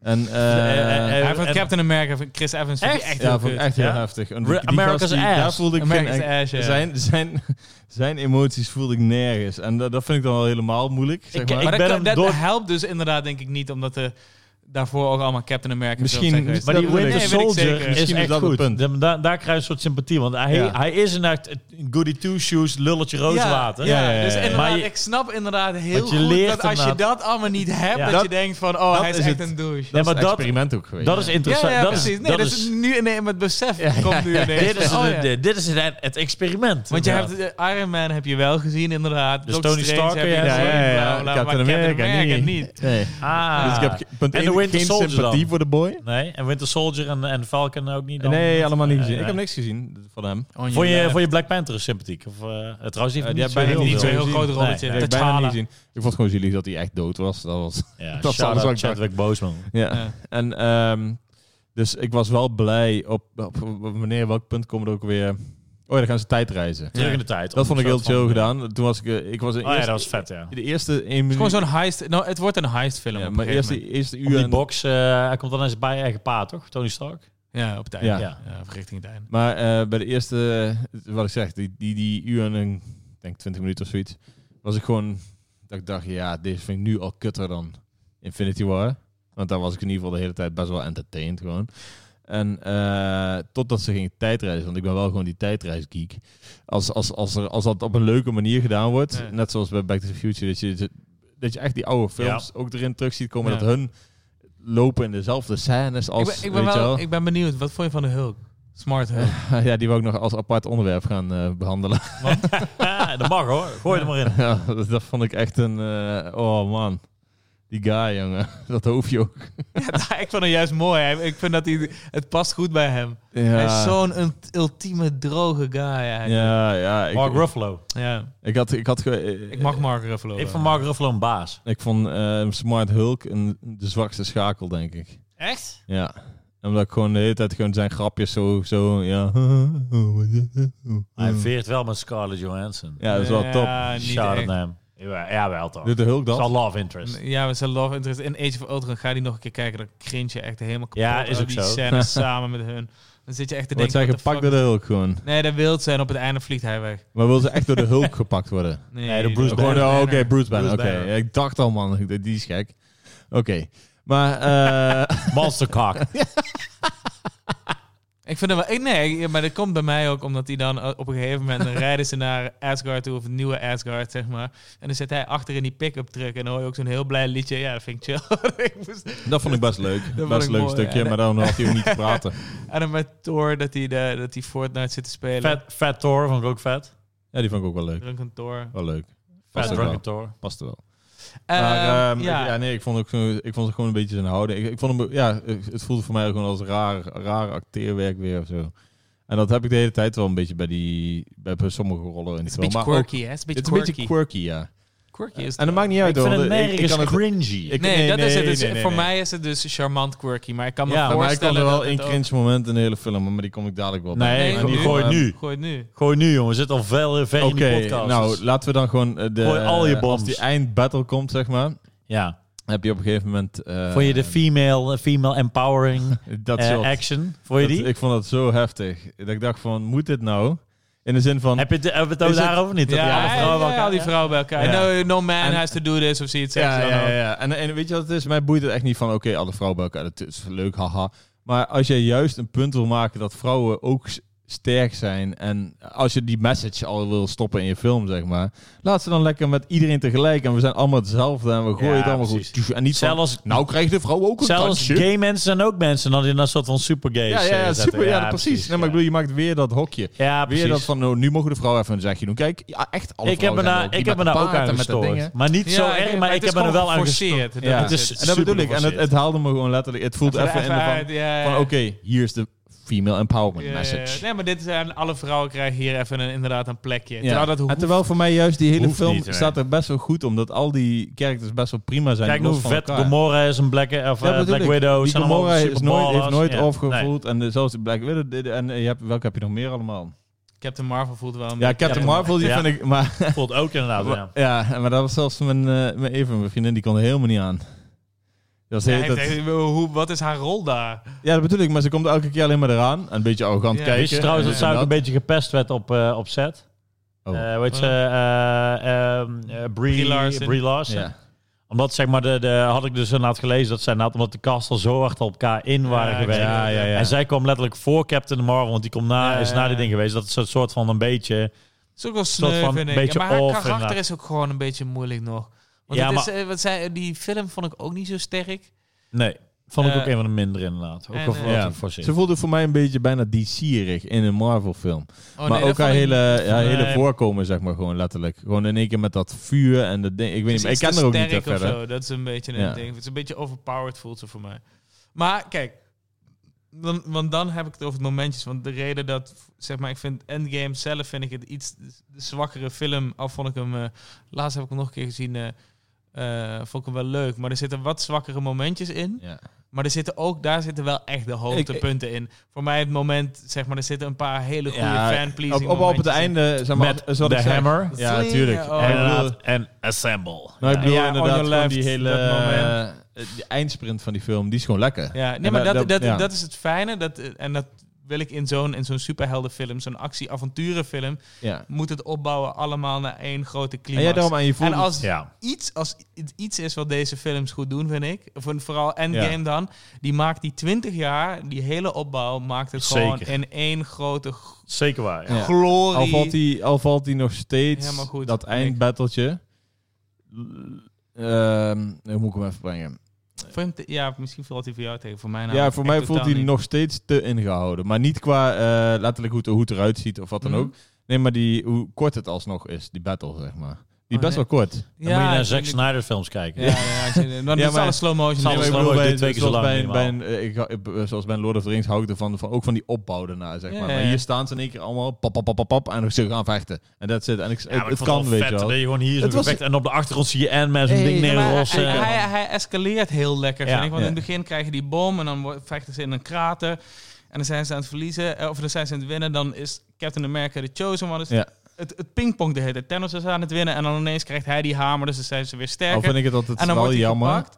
[SPEAKER 2] En, eh,
[SPEAKER 1] eh,
[SPEAKER 3] Hij heeft
[SPEAKER 1] en-
[SPEAKER 3] Captain America van Chris Evans. vond ik
[SPEAKER 1] Echt?
[SPEAKER 3] Echt
[SPEAKER 2] ja,
[SPEAKER 3] heel
[SPEAKER 2] vond ik
[SPEAKER 3] kut.
[SPEAKER 2] echt heel
[SPEAKER 1] Ja.
[SPEAKER 2] heftig. En
[SPEAKER 1] Re-
[SPEAKER 2] die- die
[SPEAKER 1] America's
[SPEAKER 2] gast die- Daar
[SPEAKER 1] ass.
[SPEAKER 2] voelde ik geen
[SPEAKER 3] America's
[SPEAKER 2] enk-
[SPEAKER 3] ass, ja.
[SPEAKER 2] zijn, zijn, zijn emoties voelde ik nergens. En dat, dat vind ik dan wel helemaal moeilijk. Zeg
[SPEAKER 1] Ik-
[SPEAKER 2] maar.
[SPEAKER 1] ik-
[SPEAKER 3] Maar dat,
[SPEAKER 1] ben
[SPEAKER 3] kan-
[SPEAKER 1] hem
[SPEAKER 3] dat
[SPEAKER 1] door-
[SPEAKER 3] helpt dus inderdaad denk ik niet, omdat de, daarvoor ook allemaal Captain America films
[SPEAKER 2] Misschien-
[SPEAKER 3] zijn geweest.
[SPEAKER 1] Maar die
[SPEAKER 2] Dat bedoel
[SPEAKER 1] Winter
[SPEAKER 2] ik.
[SPEAKER 3] Nee, weet ik
[SPEAKER 1] Soldier
[SPEAKER 3] zeker.
[SPEAKER 1] is
[SPEAKER 2] Misschien is
[SPEAKER 1] echt
[SPEAKER 2] dat het
[SPEAKER 1] goed.
[SPEAKER 2] punt.
[SPEAKER 1] Da- daar krijg je een soort sympathie. Want hij,
[SPEAKER 2] Ja.
[SPEAKER 1] hij is inderdaad een goody two-shoes, lulletje rooswater.
[SPEAKER 3] Ja,
[SPEAKER 2] Ja, ja, ja,
[SPEAKER 3] dus
[SPEAKER 2] ja.
[SPEAKER 3] inderdaad,
[SPEAKER 1] Maar je-
[SPEAKER 3] ik snap inderdaad heel
[SPEAKER 1] Want je
[SPEAKER 3] goed
[SPEAKER 1] leert
[SPEAKER 3] dat als je
[SPEAKER 1] inderdaad-
[SPEAKER 3] dat allemaal niet hebt,
[SPEAKER 1] Ja.
[SPEAKER 3] dat,
[SPEAKER 2] Dat-
[SPEAKER 3] je denkt van, oh,
[SPEAKER 2] dat
[SPEAKER 3] hij is,
[SPEAKER 2] is
[SPEAKER 3] echt
[SPEAKER 2] het.
[SPEAKER 3] een douche.
[SPEAKER 1] Nee,
[SPEAKER 2] dat is
[SPEAKER 1] maar
[SPEAKER 2] een
[SPEAKER 1] dat-
[SPEAKER 2] experiment ook geweest.
[SPEAKER 1] Dat is
[SPEAKER 3] ja,
[SPEAKER 1] interessant.
[SPEAKER 3] ja,
[SPEAKER 1] dat
[SPEAKER 3] precies.
[SPEAKER 1] Is,
[SPEAKER 3] nee,
[SPEAKER 1] dat
[SPEAKER 3] dat is, nu nee, met besef komt nu ineens.
[SPEAKER 1] dit is,
[SPEAKER 3] van, oh
[SPEAKER 1] het,
[SPEAKER 3] ja.
[SPEAKER 1] dit- dit is het, het experiment.
[SPEAKER 3] Want je
[SPEAKER 1] Ja.
[SPEAKER 3] hebt eh, Iron Man heb je wel gezien inderdaad.
[SPEAKER 1] Dus
[SPEAKER 3] Doctor
[SPEAKER 1] Tony
[SPEAKER 3] Strange
[SPEAKER 1] Stark,
[SPEAKER 3] heb je
[SPEAKER 1] ja,
[SPEAKER 3] gezien,
[SPEAKER 1] ja,
[SPEAKER 3] bla, bla, maar
[SPEAKER 2] Captain America, niet. Nee.
[SPEAKER 1] Ah.
[SPEAKER 2] Dus ik heb ge- punt
[SPEAKER 1] En
[SPEAKER 2] één,
[SPEAKER 1] de Winter
[SPEAKER 2] geen
[SPEAKER 1] Soldier
[SPEAKER 2] sympathie
[SPEAKER 1] dan?
[SPEAKER 2] voor de boy.
[SPEAKER 1] Nee, en Winter Soldier en, en Falcon ook niet? dan?
[SPEAKER 2] nee, allemaal niet
[SPEAKER 1] Eh,
[SPEAKER 2] gezien.
[SPEAKER 1] nee.
[SPEAKER 2] Ik heb niks gezien van hem.
[SPEAKER 1] Vond je, vond je Black Panther sympathiek? Of, eh, eh, trouwens, die
[SPEAKER 2] Eh,
[SPEAKER 1] heeft
[SPEAKER 2] die
[SPEAKER 1] niet zo
[SPEAKER 2] heb
[SPEAKER 1] heel
[SPEAKER 2] bijna
[SPEAKER 3] niet
[SPEAKER 2] niet
[SPEAKER 1] veel.
[SPEAKER 3] zo'n heel
[SPEAKER 2] gezien.
[SPEAKER 3] groot rolletje.
[SPEAKER 1] Nee,
[SPEAKER 2] Ja, ik heb
[SPEAKER 3] T'Challa.
[SPEAKER 2] bijna niet gezien. Ik vond het gewoon zielig dat hij echt dood was. Dat was
[SPEAKER 1] Ja,
[SPEAKER 2] Dat dus is alles wat
[SPEAKER 1] shout-out
[SPEAKER 2] ik dacht.
[SPEAKER 1] Chadwick Boseman.
[SPEAKER 2] Ja.
[SPEAKER 3] Ja.
[SPEAKER 2] En ehm, dus ik was wel blij op, op, op wanneer welk punt komen we er ook weer. Oh, ja, dan gaan ze tijdreizen.
[SPEAKER 1] Terug
[SPEAKER 3] Ja.
[SPEAKER 1] in de tijd.
[SPEAKER 2] Dat vond ik heel
[SPEAKER 1] Een soort
[SPEAKER 2] chill
[SPEAKER 1] van-
[SPEAKER 2] gedaan. Toen was ik, eh, ik was in
[SPEAKER 1] Oh ja,
[SPEAKER 2] eerste-
[SPEAKER 1] dat was vet, ja.
[SPEAKER 2] de eerste één
[SPEAKER 3] Het is
[SPEAKER 2] minuut.
[SPEAKER 3] gewoon zo'n heist. Nou, het wordt een heist film.
[SPEAKER 2] ja,
[SPEAKER 3] op
[SPEAKER 2] maar
[SPEAKER 3] een
[SPEAKER 2] eerst
[SPEAKER 3] gegeven
[SPEAKER 2] die eerste
[SPEAKER 1] Op
[SPEAKER 2] uur.
[SPEAKER 1] die
[SPEAKER 2] en-
[SPEAKER 1] box, eh, hij komt dan eens bij je eigen paard, toch? Tony Stark?
[SPEAKER 3] moment. Ja, op het einde.
[SPEAKER 2] Ja.
[SPEAKER 3] Ja. of richting het einde.
[SPEAKER 2] Maar eh, bij de eerste, eh, wat ik zeg, die, die, die uur en een, ik denk 20 minuten of zoiets, was ik gewoon dat ik dacht, ja, deze vind ik nu al kutter dan Infinity War. Want daar was ik in ieder geval de hele tijd best wel entertained gewoon. En eh, totdat ze gingen tijdreizen, want ik ben wel gewoon die tijdreisgeek. Als, als, als, er, als dat op een leuke manier gedaan wordt,
[SPEAKER 3] Ja.
[SPEAKER 2] net zoals bij Back to the Future, dat je, dat je echt die oude films ook erin terug ziet komen,
[SPEAKER 3] Ja.
[SPEAKER 2] dat hun lopen in dezelfde scènes als,
[SPEAKER 3] ik, ben, ik, ben
[SPEAKER 2] weet je wel.
[SPEAKER 3] wel, ik ben benieuwd, wat vond je van de Hulk? Smart Hulk.
[SPEAKER 2] Ja, die wou ik nog als apart onderwerp gaan eh, behandelen.
[SPEAKER 1] Ah, dat mag hoor, gooi er maar in.
[SPEAKER 2] Ja, dat, dat vond ik echt een... eh, oh man, die guy, jongen. Dat hoef je ook.
[SPEAKER 3] Ja, Nou, ik vond hem juist mooi. Hij- Ik vind dat hij, het past goed bij hem.
[SPEAKER 2] Ja,
[SPEAKER 3] Hij is zo'n ult- ultieme droge guy eigenlijk.
[SPEAKER 2] Ja, ja.
[SPEAKER 1] Mark
[SPEAKER 2] Ik,
[SPEAKER 1] Ruffalo.
[SPEAKER 3] Ja.
[SPEAKER 2] ik had... Ik, had ge- eh,
[SPEAKER 3] Ik mag Mark Ruffalo.
[SPEAKER 1] Ik
[SPEAKER 3] wel.
[SPEAKER 1] vond Mark Ruffalo een baas.
[SPEAKER 2] Ik vond eh, Smart Hulk een, de zwakste schakel, denk ik.
[SPEAKER 3] Echt?
[SPEAKER 2] Ja. Omdat ik gewoon de hele tijd gewoon zijn grapjes zo... zo ja.
[SPEAKER 1] Hij veert wel met Scarlett Johansson.
[SPEAKER 2] Hmm. ja, dat is wel top.
[SPEAKER 3] Hmm. Ja, niet
[SPEAKER 1] Shout out
[SPEAKER 3] echt.
[SPEAKER 1] naar hem. Ja, ja, wel toch.
[SPEAKER 2] Doet de Hulk
[SPEAKER 1] Dat is al
[SPEAKER 2] dat?
[SPEAKER 1] love interest.
[SPEAKER 3] Ja, maar zijn love interest in Age of Ultron. Ga die nog een keer kijken. Dan cringe je echt helemaal kapot.
[SPEAKER 1] Ja, is
[SPEAKER 3] Al
[SPEAKER 1] ook
[SPEAKER 3] die
[SPEAKER 1] zo.
[SPEAKER 3] scènes samen met hun. Dan zit je echt te
[SPEAKER 2] Wordt
[SPEAKER 3] denken...
[SPEAKER 2] zij
[SPEAKER 3] what the
[SPEAKER 2] gepakt
[SPEAKER 3] fuck
[SPEAKER 2] door de Hulk gewoon?
[SPEAKER 3] is- Nee, dat wild zijn. Op het einde vliegt hij weg.
[SPEAKER 2] Maar wil ze echt door de Hulk gepakt worden?
[SPEAKER 3] Nee,
[SPEAKER 1] Nee, de Bruce
[SPEAKER 3] dat-
[SPEAKER 2] Gewoon,
[SPEAKER 1] Banner.
[SPEAKER 2] oh, oké, Bruce Banner. Oké,
[SPEAKER 3] Bruce Banner.
[SPEAKER 2] Ja, ik dacht al, man, ik- die is gek. Oké, maar eh,
[SPEAKER 1] Monstercock.
[SPEAKER 3] Ik vind dat wel... ik- nee, maar dat komt bij mij ook omdat hij dan eh, op een gegeven moment... Dan rijden ze naar Asgard toe, of het nieuwe Asgard, zeg maar. En dan zit hij achter in die pick-up truck. En dan hoor je ook zo'n heel blij liedje. Ja, dat vind ik chill. Ik moest-
[SPEAKER 2] dat vond ik best leuk.
[SPEAKER 3] vond
[SPEAKER 2] best
[SPEAKER 3] ik
[SPEAKER 2] een leuk
[SPEAKER 3] mooi,
[SPEAKER 2] stukje,
[SPEAKER 3] ja.
[SPEAKER 2] maar dan had hij ook niet te praten.
[SPEAKER 3] en dan met Thor dat hij, de, dat hij Fortnite zit te spelen.
[SPEAKER 1] Fat, fat Thor vond ik ook vet.
[SPEAKER 2] Ja, die vond ik ook wel leuk.
[SPEAKER 3] Drunken Thor.
[SPEAKER 2] Wel leuk.
[SPEAKER 1] Fat
[SPEAKER 2] Past er
[SPEAKER 1] Drunken
[SPEAKER 2] wel.
[SPEAKER 1] Thor.
[SPEAKER 2] Past er wel.
[SPEAKER 3] Ehm,
[SPEAKER 2] maar ehm, ik- ja.
[SPEAKER 3] ja.
[SPEAKER 2] nee, ik vond, ook, zo- ik vond het gewoon een beetje zijn houden. Ik, ik vond hem, ja, eh, het voelde voor mij gewoon als raar, raar acteerwerk weer of zo. En dat heb ik de hele tijd wel een beetje bij, die, bij, bij sommige rollen in die
[SPEAKER 3] Het is
[SPEAKER 2] film.
[SPEAKER 3] een beetje
[SPEAKER 2] maar ook-
[SPEAKER 3] quirky, hè? Het is een beetje
[SPEAKER 2] het is
[SPEAKER 3] quirky.
[SPEAKER 2] een beetje quirky, ja.
[SPEAKER 3] Quirky is
[SPEAKER 2] En dat maakt niet uit,
[SPEAKER 1] ik vind
[SPEAKER 2] hoor,
[SPEAKER 1] het
[SPEAKER 2] want ik- ik
[SPEAKER 1] nergens
[SPEAKER 2] kan het-
[SPEAKER 1] cringy.
[SPEAKER 2] ik-
[SPEAKER 3] nee, dat is het. Dus
[SPEAKER 2] nee, nee,
[SPEAKER 3] voor
[SPEAKER 2] nee.
[SPEAKER 3] mij is het dus charmant quirky. Maar ik kan me
[SPEAKER 1] Ja,
[SPEAKER 2] Ja, maar ik
[SPEAKER 3] voorstellen
[SPEAKER 2] kan er wel
[SPEAKER 3] dat
[SPEAKER 2] één
[SPEAKER 3] het ook-
[SPEAKER 2] cringe moment in de hele film, maar die kom ik dadelijk wel bij.
[SPEAKER 1] nee,
[SPEAKER 3] Nee,
[SPEAKER 1] die
[SPEAKER 3] nu.
[SPEAKER 1] gooi
[SPEAKER 2] Ehm,
[SPEAKER 1] nu.
[SPEAKER 3] Gooi het nu.
[SPEAKER 1] Gooi nu, jongen. We zitten al ver, ver
[SPEAKER 2] Oké,
[SPEAKER 1] in die podcast. Dus-
[SPEAKER 2] nou laten we dan gewoon eh, de,
[SPEAKER 1] Gooi al je bombs.
[SPEAKER 2] als die eindbattle komt, zeg maar,
[SPEAKER 1] ja.
[SPEAKER 2] heb je op een gegeven moment... eh,
[SPEAKER 1] Vond je de female, eh, female empowering
[SPEAKER 2] dat
[SPEAKER 1] eh,
[SPEAKER 2] soort-
[SPEAKER 1] action? Vond je
[SPEAKER 2] dat-
[SPEAKER 1] die?
[SPEAKER 2] Ik vond dat zo heftig. Dat ik dacht van, moet dit nou? In de zin van...
[SPEAKER 1] heb je het, eh, hebben we het ook
[SPEAKER 2] Is het-
[SPEAKER 1] daarover niet? Dat
[SPEAKER 3] Ja,
[SPEAKER 1] die alle vrouwen bij elkaar-
[SPEAKER 3] al die vrouwen bij elkaar.
[SPEAKER 1] Ja.
[SPEAKER 3] No, no man
[SPEAKER 2] En-
[SPEAKER 3] has to do this of zoiets.
[SPEAKER 2] ja,
[SPEAKER 3] zeggen
[SPEAKER 2] ja,
[SPEAKER 3] ze dan
[SPEAKER 2] ja,
[SPEAKER 3] ook.
[SPEAKER 2] ja. En, en weet je wat het is? Mij boeit het echt niet van, oké, alle vrouwen bij elkaar, dat is leuk, haha. Maar als jij juist een punt wil maken dat vrouwen ook s- sterk zijn. En als je die message al wil stoppen in je film, zeg maar. Laat ze dan lekker met iedereen tegelijk. En we zijn allemaal hetzelfde. En we gooien
[SPEAKER 1] Ja,
[SPEAKER 2] het allemaal
[SPEAKER 1] precies.
[SPEAKER 2] goed. En niet van,
[SPEAKER 1] Zelfs,
[SPEAKER 2] nou krijgt de vrouw ook een
[SPEAKER 1] zelfs
[SPEAKER 2] kansje.
[SPEAKER 1] gay mensen zijn ook mensen. Dan in een soort van supergays.
[SPEAKER 2] Ja, ja,
[SPEAKER 1] eh,
[SPEAKER 2] ja,
[SPEAKER 1] zetten.
[SPEAKER 2] super, ja, precies.
[SPEAKER 1] ja.
[SPEAKER 2] nee, maar ik bedoel, je maakt weer dat hokje.
[SPEAKER 1] Ja,
[SPEAKER 2] Weer
[SPEAKER 1] precies.
[SPEAKER 2] dat van, nou, nu mogen de vrouwen even een zegje doen. Kijk, ja, echt alle
[SPEAKER 1] ik heb me
[SPEAKER 2] vrouwen zijn
[SPEAKER 1] daar
[SPEAKER 2] er ook. Die
[SPEAKER 1] ik heb me
[SPEAKER 2] met
[SPEAKER 1] daar ook
[SPEAKER 2] paard en
[SPEAKER 1] aan
[SPEAKER 2] met dat ding, hè.
[SPEAKER 1] gestoord. Maar niet zo
[SPEAKER 3] Ja,
[SPEAKER 1] erg,
[SPEAKER 3] ik-
[SPEAKER 1] maar
[SPEAKER 3] het
[SPEAKER 1] ik
[SPEAKER 3] is
[SPEAKER 1] heb me er
[SPEAKER 3] gewoon
[SPEAKER 1] wel aan
[SPEAKER 3] geforceerd.
[SPEAKER 1] gestoord.
[SPEAKER 3] Dat
[SPEAKER 1] Ja.
[SPEAKER 2] is
[SPEAKER 1] Het
[SPEAKER 3] het.
[SPEAKER 1] is
[SPEAKER 2] En dat bedoel ik. En het,
[SPEAKER 1] supergeforceerd.
[SPEAKER 2] het haalde me gewoon letterlijk. Het voelt even, in de van,
[SPEAKER 3] uit, ja,
[SPEAKER 2] van
[SPEAKER 3] ja.
[SPEAKER 2] oké, hier is de female empowerment
[SPEAKER 3] eh, Ja,
[SPEAKER 2] message.
[SPEAKER 3] ja. Nee, maar dit zijn alle vrouwen krijgen hier even een, inderdaad een plekje.
[SPEAKER 2] Ja.
[SPEAKER 3] Terwijl dat
[SPEAKER 2] en
[SPEAKER 3] hoeft.
[SPEAKER 2] terwijl voor mij juist die hele
[SPEAKER 1] Hoeft
[SPEAKER 2] film
[SPEAKER 1] niet, hè.
[SPEAKER 2] staat er best wel goed, omdat al die characters best wel prima zijn.
[SPEAKER 1] Kijk
[SPEAKER 2] los
[SPEAKER 1] nou
[SPEAKER 2] van
[SPEAKER 1] hoe vet
[SPEAKER 2] elkaar.
[SPEAKER 1] Gomorra is en Black, of, eh,
[SPEAKER 2] Ja, bedoel
[SPEAKER 1] Black
[SPEAKER 2] ik.
[SPEAKER 1] Widow.
[SPEAKER 2] Die
[SPEAKER 1] zijn
[SPEAKER 2] Gomorra
[SPEAKER 1] allemaal
[SPEAKER 2] is nooit, heeft
[SPEAKER 1] superballers.
[SPEAKER 2] nooit
[SPEAKER 1] Ja.
[SPEAKER 2] overgevoeld. En eh, zelfs de Black Widow. dit- En eh, je hebt, welke heb je nog meer allemaal?
[SPEAKER 3] Captain Marvel voelt wel een
[SPEAKER 2] Ja, Captain
[SPEAKER 1] Ja.
[SPEAKER 2] Marvel, die
[SPEAKER 1] Ja.
[SPEAKER 2] vind ik... Maar
[SPEAKER 1] Nee, voelt ook inderdaad, ja.
[SPEAKER 2] Ja, maar dat was zelfs mijn, eh mijn Eva, mijn vriendin, die kon er helemaal niet aan. Dat was
[SPEAKER 3] Ja,
[SPEAKER 2] heel-
[SPEAKER 3] hij
[SPEAKER 2] dat-
[SPEAKER 3] heeft- hoe, wat is haar rol daar?
[SPEAKER 2] ja, dat bedoel ik, maar ze komt elke keer alleen maar eraan. En een beetje arrogant
[SPEAKER 3] Ja.
[SPEAKER 2] kijken.
[SPEAKER 1] Wist je trouwens
[SPEAKER 2] en
[SPEAKER 1] dat zij ook
[SPEAKER 2] dit
[SPEAKER 1] een
[SPEAKER 2] en
[SPEAKER 1] beetje gepest werd op, eh, op set?
[SPEAKER 2] Oh.
[SPEAKER 1] Eh, weet je, eh, ehm, eh, Brie,
[SPEAKER 3] Brie
[SPEAKER 1] Brie
[SPEAKER 3] Larson.
[SPEAKER 1] Larson.
[SPEAKER 2] Ja.
[SPEAKER 1] Omdat, zeg maar, de, de, had ik dus inderdaad gelezen dat zij inderdaad, omdat de cast al zo hard op elkaar in waren
[SPEAKER 3] Ja,
[SPEAKER 1] gewerkt.
[SPEAKER 2] ja, ja, ja.
[SPEAKER 1] En zij kwam letterlijk voor Captain Marvel, want die komt na,
[SPEAKER 3] Ja,
[SPEAKER 1] is na
[SPEAKER 3] ja,
[SPEAKER 1] dit
[SPEAKER 3] ja.
[SPEAKER 1] ding geweest. Dat is een soort van een beetje...
[SPEAKER 3] Het is ook wel
[SPEAKER 1] soort
[SPEAKER 3] sneu,
[SPEAKER 1] van
[SPEAKER 3] vind ik.
[SPEAKER 1] beetje
[SPEAKER 3] Ja, maar haar
[SPEAKER 1] off,
[SPEAKER 3] karakter
[SPEAKER 1] inderdaad.
[SPEAKER 3] is ook gewoon een beetje moeilijk nog. Want
[SPEAKER 1] Ja,
[SPEAKER 3] het is, eh, wat zij, die film vond ik ook niet zo sterk.
[SPEAKER 1] Nee, vond ik
[SPEAKER 3] Eh,
[SPEAKER 1] ook een van de minder inderdaad. Ook
[SPEAKER 3] en,
[SPEAKER 1] al
[SPEAKER 3] eh,
[SPEAKER 1] voor
[SPEAKER 2] Ja. Ze voelde voor mij een beetje bijna DC-erig in een Marvel-film.
[SPEAKER 3] Oh,
[SPEAKER 2] maar
[SPEAKER 3] nee, dat
[SPEAKER 2] ook haar
[SPEAKER 3] vond ik-
[SPEAKER 2] hele, ja,
[SPEAKER 1] Nee.
[SPEAKER 2] hele voorkomen, zeg maar, gewoon letterlijk. Gewoon in één keer met dat vuur en dat ding. Ik weet niet,
[SPEAKER 3] Ze
[SPEAKER 2] maar ik
[SPEAKER 3] is
[SPEAKER 2] ken
[SPEAKER 3] te
[SPEAKER 2] er ook niet
[SPEAKER 3] sterk
[SPEAKER 2] echt
[SPEAKER 3] of
[SPEAKER 2] verder.
[SPEAKER 3] zo. Dat is een beetje een
[SPEAKER 2] Ja.
[SPEAKER 3] ding. Het is een beetje overpowered voelt ze voor mij. Maar kijk, dan, want dan heb ik het over het momentjes. Want de reden dat, zeg maar, ik vind Endgame zelf vind ik het iets de zwakkere film. Al vond ik hem, eh, laatst heb ik hem nog een keer gezien. eh, eh, vond ik hem wel leuk. Maar er zitten wat zwakkere momentjes in.
[SPEAKER 2] Ja.
[SPEAKER 3] Maar er zitten ook, daar zitten wel echt de hoogtepunten in. Voor mij het moment, zeg maar, er zitten een paar hele goede
[SPEAKER 2] Ja, Op,
[SPEAKER 3] fanpleasing
[SPEAKER 2] op, op het
[SPEAKER 3] momentjes in.
[SPEAKER 2] einde, zeg maar,
[SPEAKER 1] Met
[SPEAKER 2] als- zoals
[SPEAKER 1] de
[SPEAKER 2] ik zei-
[SPEAKER 1] hammer.
[SPEAKER 2] Ja,
[SPEAKER 3] Sling,
[SPEAKER 2] tuurlijk.
[SPEAKER 3] oh.
[SPEAKER 2] Ik
[SPEAKER 1] En,
[SPEAKER 2] bedoel-
[SPEAKER 1] inderdaad, en Assemble.
[SPEAKER 2] Maar ik
[SPEAKER 1] Ja.
[SPEAKER 2] bedoel
[SPEAKER 3] Ja, on
[SPEAKER 2] inderdaad
[SPEAKER 3] your
[SPEAKER 2] gewoon
[SPEAKER 3] left,
[SPEAKER 2] die hele
[SPEAKER 3] dat moment.
[SPEAKER 2] eh, die eindsprint van die film, die is gewoon lekker.
[SPEAKER 3] Ja, nee,
[SPEAKER 2] En
[SPEAKER 3] maar
[SPEAKER 2] dat- dat-
[SPEAKER 3] dat, dat, dat,
[SPEAKER 2] ja.
[SPEAKER 3] is het fijne. Dat, eh, en dat wil ik in zo'n in zo'n superheldenfilm, zo'n actie-avonturenfilm,
[SPEAKER 2] Ja.
[SPEAKER 3] moet het opbouwen allemaal naar één grote
[SPEAKER 2] En jij
[SPEAKER 3] climax.
[SPEAKER 2] daarom aan je voelt...
[SPEAKER 3] en als
[SPEAKER 1] Ja.
[SPEAKER 3] iets, als het iets is wat deze films goed doen, vind ik, of een- vooral Endgame dan, die maakt die 20 jaar, die hele opbouw, maakt het gewoon
[SPEAKER 1] Zeker.
[SPEAKER 3] in één grote g-
[SPEAKER 1] Zeker waar, ja.
[SPEAKER 2] Ja.
[SPEAKER 3] glorie.
[SPEAKER 2] Al valt hij, al valt hij nog
[SPEAKER 3] Helemaal
[SPEAKER 2] steeds
[SPEAKER 3] goed.
[SPEAKER 2] dat
[SPEAKER 3] Ik-
[SPEAKER 2] eindbattletje. Ehm, hoe moet ik hem even brengen?
[SPEAKER 3] Vind- ja, misschien valt hij voor jou tegen. Voor mij
[SPEAKER 2] ja,
[SPEAKER 3] namelijk
[SPEAKER 2] voor
[SPEAKER 3] echt
[SPEAKER 2] mij voelt
[SPEAKER 3] totaal
[SPEAKER 2] hij
[SPEAKER 3] niet.
[SPEAKER 2] nog steeds te ingehouden. Maar niet qua eh, letterlijk hoe het, hoe het eruit ziet of wat dan
[SPEAKER 3] Mhm.
[SPEAKER 2] ook. Nee, maar die, hoe kort het alsnog is, die battle, zeg maar. Die is
[SPEAKER 3] Oh,
[SPEAKER 2] best
[SPEAKER 3] nee.
[SPEAKER 2] wel kort.
[SPEAKER 1] Dan moet je naar
[SPEAKER 3] ik-
[SPEAKER 1] Zack Snyder films kijken.
[SPEAKER 3] Ja, ja, als je- dan
[SPEAKER 2] Ja,
[SPEAKER 3] is
[SPEAKER 2] maar-
[SPEAKER 3] alles slow motion. dus
[SPEAKER 1] Zal-
[SPEAKER 3] Nee,
[SPEAKER 1] is
[SPEAKER 2] ik
[SPEAKER 1] wel
[SPEAKER 2] bedoel,
[SPEAKER 1] leuk,
[SPEAKER 2] bij,
[SPEAKER 1] dit twee keer zo
[SPEAKER 2] zoals, bij,
[SPEAKER 1] lang
[SPEAKER 2] bij een, eh, ik, hou- ik- eh, zoals bij een Lord of the Rings hou ik ervan van, ook van die opbouw daarna, zeg
[SPEAKER 3] Ja,
[SPEAKER 2] maar.
[SPEAKER 3] ja,
[SPEAKER 2] Maar
[SPEAKER 3] ja.
[SPEAKER 2] hier staan ze in één keer allemaal pap, pap, pap, pap, pap en ze gaan vechten. En dat zit. En ik,
[SPEAKER 1] Ja, maar
[SPEAKER 2] het,
[SPEAKER 1] ik
[SPEAKER 2] het
[SPEAKER 1] vond het
[SPEAKER 2] kan,
[SPEAKER 1] wel
[SPEAKER 2] weet je
[SPEAKER 1] vet,
[SPEAKER 2] wel.
[SPEAKER 1] Dat je gewoon hier zo
[SPEAKER 2] Het was-
[SPEAKER 1] gevecht en op de achtergrond zie je Ant-Man zo'n
[SPEAKER 2] Hey,
[SPEAKER 1] ding
[SPEAKER 2] ja, maar
[SPEAKER 1] neerrossen.
[SPEAKER 3] hij,
[SPEAKER 1] en dan-
[SPEAKER 3] hij, hij escaleert heel lekker,
[SPEAKER 1] Ja.
[SPEAKER 3] vind ik. Want
[SPEAKER 2] Ja.
[SPEAKER 3] in het begin krijgen die bom en dan wo- vechten ze in een krater. En dan zijn ze aan het verliezen, eh, of dan zijn ze aan het winnen. Dan is Captain America de chosen one. Dus
[SPEAKER 2] Ja.
[SPEAKER 3] het, het pingpong de hele tijd. Thanos is aan het winnen en dan ineens krijgt hij die hamer. Dus dan zijn ze weer
[SPEAKER 1] Oh,
[SPEAKER 2] Al
[SPEAKER 3] sterker.
[SPEAKER 2] vind ik het altijd
[SPEAKER 3] en dan
[SPEAKER 2] wel
[SPEAKER 3] wordt hij
[SPEAKER 2] jammer.
[SPEAKER 3] gepakt.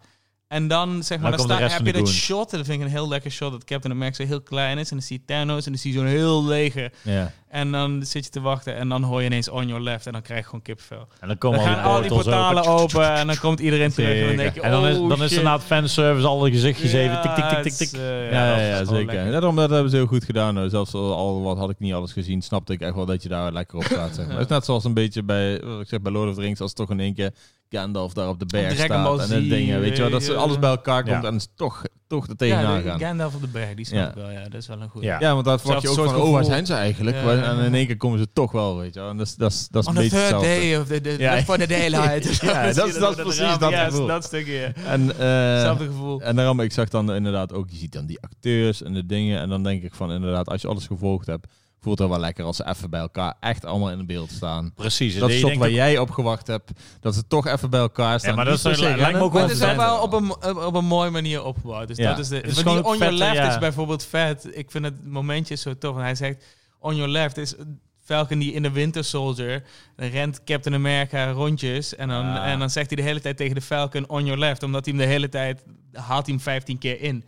[SPEAKER 3] En dan, zeg maar,
[SPEAKER 1] Dan
[SPEAKER 3] dan
[SPEAKER 1] komt de
[SPEAKER 3] sta-
[SPEAKER 1] rest
[SPEAKER 3] heb
[SPEAKER 1] van
[SPEAKER 3] je
[SPEAKER 1] de
[SPEAKER 3] dat
[SPEAKER 1] goon.
[SPEAKER 3] shot. En dat vind ik een heel lekker shot. Dat Captain America zo heel klein is. En dan zie je Thanos en dan zie je zo'n heel lege.
[SPEAKER 2] Ja.
[SPEAKER 3] En dan zit je te wachten en dan hoor je ineens on your left. En dan krijg je gewoon kipvel.
[SPEAKER 1] En dan
[SPEAKER 3] Dan
[SPEAKER 1] komen
[SPEAKER 3] gaan al die portalen
[SPEAKER 1] open.
[SPEAKER 3] open en dan komt iedereen terug. En dan denk je,
[SPEAKER 1] En dan is,
[SPEAKER 3] oh,
[SPEAKER 1] dan is
[SPEAKER 3] shit.
[SPEAKER 1] er na het fanservice alle gezichtjes even tik, tik, tik, tik,
[SPEAKER 3] het is,
[SPEAKER 1] tik.
[SPEAKER 3] eh,
[SPEAKER 2] Ja, ja,
[SPEAKER 3] dat is
[SPEAKER 2] ja,
[SPEAKER 3] gewoon
[SPEAKER 2] zeker.
[SPEAKER 3] lekker.
[SPEAKER 2] Daarom dat hebben ze heel goed gedaan. hoor. Zelfs al- al wat had ik niet alles gezien, snapte ik echt wel dat je daar lekker op staat. Zeg maar. Het is net zoals een beetje bij, wat ik zeg, bij Lord of the Rings, als toch in één keer Gandalf daar op de berg
[SPEAKER 3] Dragon
[SPEAKER 2] staat.
[SPEAKER 3] Ball
[SPEAKER 2] en
[SPEAKER 3] Z,
[SPEAKER 2] dat dingen, weet je wel. Dat ze
[SPEAKER 3] eh,
[SPEAKER 2] alles bij elkaar
[SPEAKER 1] ja.
[SPEAKER 2] komt en is toch, toch er
[SPEAKER 3] Ja,
[SPEAKER 2] tegenaan
[SPEAKER 3] de-
[SPEAKER 2] gaan.
[SPEAKER 3] Gandalf op de berg, die snap
[SPEAKER 2] Ja.
[SPEAKER 3] ik wel. Ja, dat is wel een goed.
[SPEAKER 1] Ja.
[SPEAKER 2] Ja, want daar verwacht je ook
[SPEAKER 3] Hetzelfde
[SPEAKER 2] van,
[SPEAKER 3] soort
[SPEAKER 2] oh, waar zijn
[SPEAKER 3] gevoel.
[SPEAKER 2] ze eigenlijk?
[SPEAKER 3] Ja,
[SPEAKER 2] Waar-
[SPEAKER 3] ja, ja.
[SPEAKER 2] En in één keer komen ze toch wel, weet je wel. En dat is, dat is, dat is
[SPEAKER 3] On
[SPEAKER 2] een
[SPEAKER 3] the
[SPEAKER 2] beetje
[SPEAKER 3] third
[SPEAKER 2] hetzelfde.
[SPEAKER 3] day of the, the,
[SPEAKER 2] Ja.
[SPEAKER 3] the- for the daylight.
[SPEAKER 2] Ja,
[SPEAKER 3] Zo
[SPEAKER 2] dat is-
[SPEAKER 3] zie je
[SPEAKER 2] dat is
[SPEAKER 3] op de
[SPEAKER 2] precies
[SPEAKER 3] raam.
[SPEAKER 2] dat
[SPEAKER 3] Ja,
[SPEAKER 2] gevoel.
[SPEAKER 3] dat stukje. ja.
[SPEAKER 2] En, eh,
[SPEAKER 3] Hetzelfde gevoel.
[SPEAKER 2] en daarom, ik zag dan inderdaad ook, je ziet dan die acteurs en de dingen. En dan denk ik van, inderdaad, als je alles gevolgd hebt, voelt het wel lekker als ze even bij elkaar echt allemaal in beeld staan.
[SPEAKER 1] Precies.
[SPEAKER 2] dat
[SPEAKER 1] je
[SPEAKER 2] shot
[SPEAKER 1] denkt
[SPEAKER 2] waar
[SPEAKER 1] ook-
[SPEAKER 2] jij op gewacht hebt, dat ze toch even bij elkaar staan.
[SPEAKER 1] maar
[SPEAKER 2] Niet
[SPEAKER 1] dat is-
[SPEAKER 2] per se
[SPEAKER 1] lijkt me
[SPEAKER 2] rennen.
[SPEAKER 1] ook
[SPEAKER 3] Maar
[SPEAKER 1] wel
[SPEAKER 3] het is wel,
[SPEAKER 1] vet,
[SPEAKER 3] wel
[SPEAKER 1] hè?
[SPEAKER 3] op een, eh, op, op een mooie manier opgebouwd. Dus
[SPEAKER 2] Ja.
[SPEAKER 3] dat is de.
[SPEAKER 1] Het is
[SPEAKER 3] want
[SPEAKER 1] gewoon
[SPEAKER 3] die on
[SPEAKER 1] ook
[SPEAKER 3] your
[SPEAKER 1] vetter,
[SPEAKER 3] left
[SPEAKER 1] ja.
[SPEAKER 3] is bijvoorbeeld vet. Ik vind het momentje zo tof. En hij zegt: On your left is eh, Falcon die in de Winter Soldier. Dan rent Captain America rondjes. En dan,
[SPEAKER 2] Ah.
[SPEAKER 3] en dan zegt hij de hele tijd tegen de Falcon: On your left. Omdat hij hem de hele tijd haalt hij hem 15 keer in.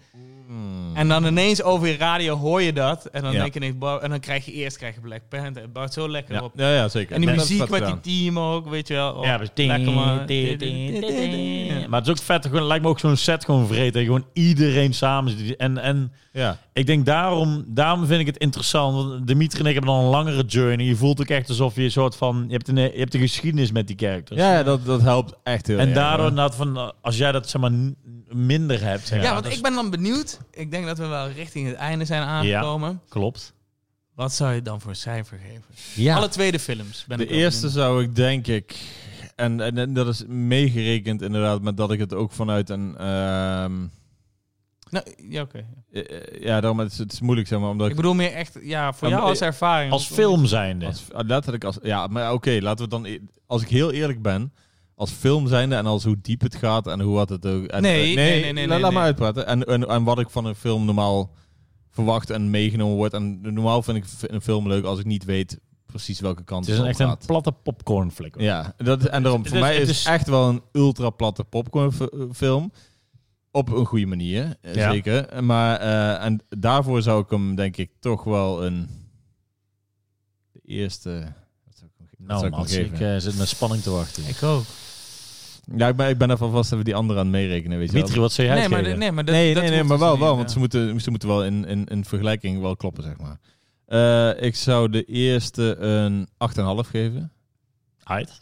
[SPEAKER 2] Hmm.
[SPEAKER 3] En dan ineens over je radio hoor je dat. En dan
[SPEAKER 2] Ja.
[SPEAKER 3] denk je ineens, "Wow," en dan krijg je eerst krijg je Black Panther. Het bouwt zo lekker
[SPEAKER 2] ja.
[SPEAKER 3] op.
[SPEAKER 2] Ja, ja, zeker.
[SPEAKER 3] En die
[SPEAKER 2] Dat is
[SPEAKER 3] muziek
[SPEAKER 2] vet
[SPEAKER 3] met die
[SPEAKER 2] gedaan.
[SPEAKER 3] team ook, weet je wel. Oh,
[SPEAKER 1] Ja, dus ding,
[SPEAKER 3] lekker man.
[SPEAKER 1] ding, ding, ding, ding. Maar het is ook vet, gewoon, lijkt me ook zo'n set gewoon vreten. Gewoon iedereen samen. zit. En, en
[SPEAKER 2] Ja.
[SPEAKER 1] ik denk daarom, daarom vind ik het interessant. Want Dimitri en ik hebben dan een langere journey. Je voelt ook echt alsof je een soort van, je hebt een, je hebt een geschiedenis met die characters.
[SPEAKER 2] Ja, ja, dat, dat helpt echt heel
[SPEAKER 1] En
[SPEAKER 2] erg,
[SPEAKER 1] daardoor
[SPEAKER 2] hoor.
[SPEAKER 1] inderdaad van, eh, als jij dat zeg maar n- minder hebt. zeg
[SPEAKER 3] Ja,
[SPEAKER 1] maar,
[SPEAKER 3] want
[SPEAKER 1] dat
[SPEAKER 3] ik ben dan benieuwd. Ik denk dat we wel richting het einde zijn aangekomen.
[SPEAKER 1] Klopt.
[SPEAKER 3] Wat zou je dan voor een cijfer geven?
[SPEAKER 2] Ja.
[SPEAKER 3] Alle tweede films. Ben
[SPEAKER 2] De
[SPEAKER 3] ik ook
[SPEAKER 2] eerste
[SPEAKER 3] benieuwd.
[SPEAKER 2] zou ik denk ik. En, en, en dat is meegerekend inderdaad, maar dat ik het ook vanuit een. ehm,
[SPEAKER 3] Nou, ja, oké.
[SPEAKER 2] eh, eh, ja, daarom het is het is moeilijk zeg maar, omdat
[SPEAKER 3] Ik bedoel meer echt, ja, voor
[SPEAKER 2] Ja,
[SPEAKER 3] jou
[SPEAKER 2] maar-
[SPEAKER 3] als ervaring.
[SPEAKER 1] Als
[SPEAKER 3] Om-
[SPEAKER 1] film zijnde.
[SPEAKER 2] Als, ah, letterlijk als, ja, maar oké, laten we dan. e- Als ik heel eerlijk ben, als film zijnde en als hoe diep het gaat en hoe wat het ook. En,
[SPEAKER 3] Nee,
[SPEAKER 2] eh,
[SPEAKER 3] nee, nee, nee, nee,
[SPEAKER 2] laat, laat
[SPEAKER 3] nee.
[SPEAKER 2] maar uitpraten. En, en, en wat ik van een film normaal verwacht en meegenomen wordt. En normaal vind ik v- een film leuk als ik niet weet precies welke kant
[SPEAKER 1] het is een,
[SPEAKER 2] op
[SPEAKER 1] echt een
[SPEAKER 2] gaat.
[SPEAKER 1] platte popcornflik.
[SPEAKER 2] Ja, dat, en daarom voor
[SPEAKER 1] Dus
[SPEAKER 2] mij
[SPEAKER 1] het
[SPEAKER 2] is
[SPEAKER 1] is-
[SPEAKER 2] echt wel een ultra platte popcornfilm. Op een goede manier, eh,
[SPEAKER 1] Ja.
[SPEAKER 2] zeker. Maar eh, en daarvoor zou ik hem denk ik toch wel een... De eerste... Wat zou ik hem, ge- wat
[SPEAKER 1] Nou
[SPEAKER 2] zou ik hem
[SPEAKER 1] Mats, ik
[SPEAKER 2] geven?
[SPEAKER 1] eh, zit met spanning te wachten.
[SPEAKER 3] Ik ook.
[SPEAKER 2] Ja, ik ben, ik ben ervan vast dat we die andere aan het meerekenen, weet je wel.
[SPEAKER 1] Dimitri, wat zou jij
[SPEAKER 3] Nee, maar,
[SPEAKER 1] geven?
[SPEAKER 3] nee, maar dat,
[SPEAKER 2] Nee,
[SPEAKER 3] dat
[SPEAKER 2] nee, nee
[SPEAKER 3] hoeft
[SPEAKER 2] maar
[SPEAKER 3] dus
[SPEAKER 2] wel,
[SPEAKER 3] niet,
[SPEAKER 2] wel
[SPEAKER 3] ja.
[SPEAKER 2] want ze moeten, ze moeten wel in, in, in vergelijking wel kloppen, zeg maar. Eh, ik zou de eerste een 8,5 geven.
[SPEAKER 1] Uit.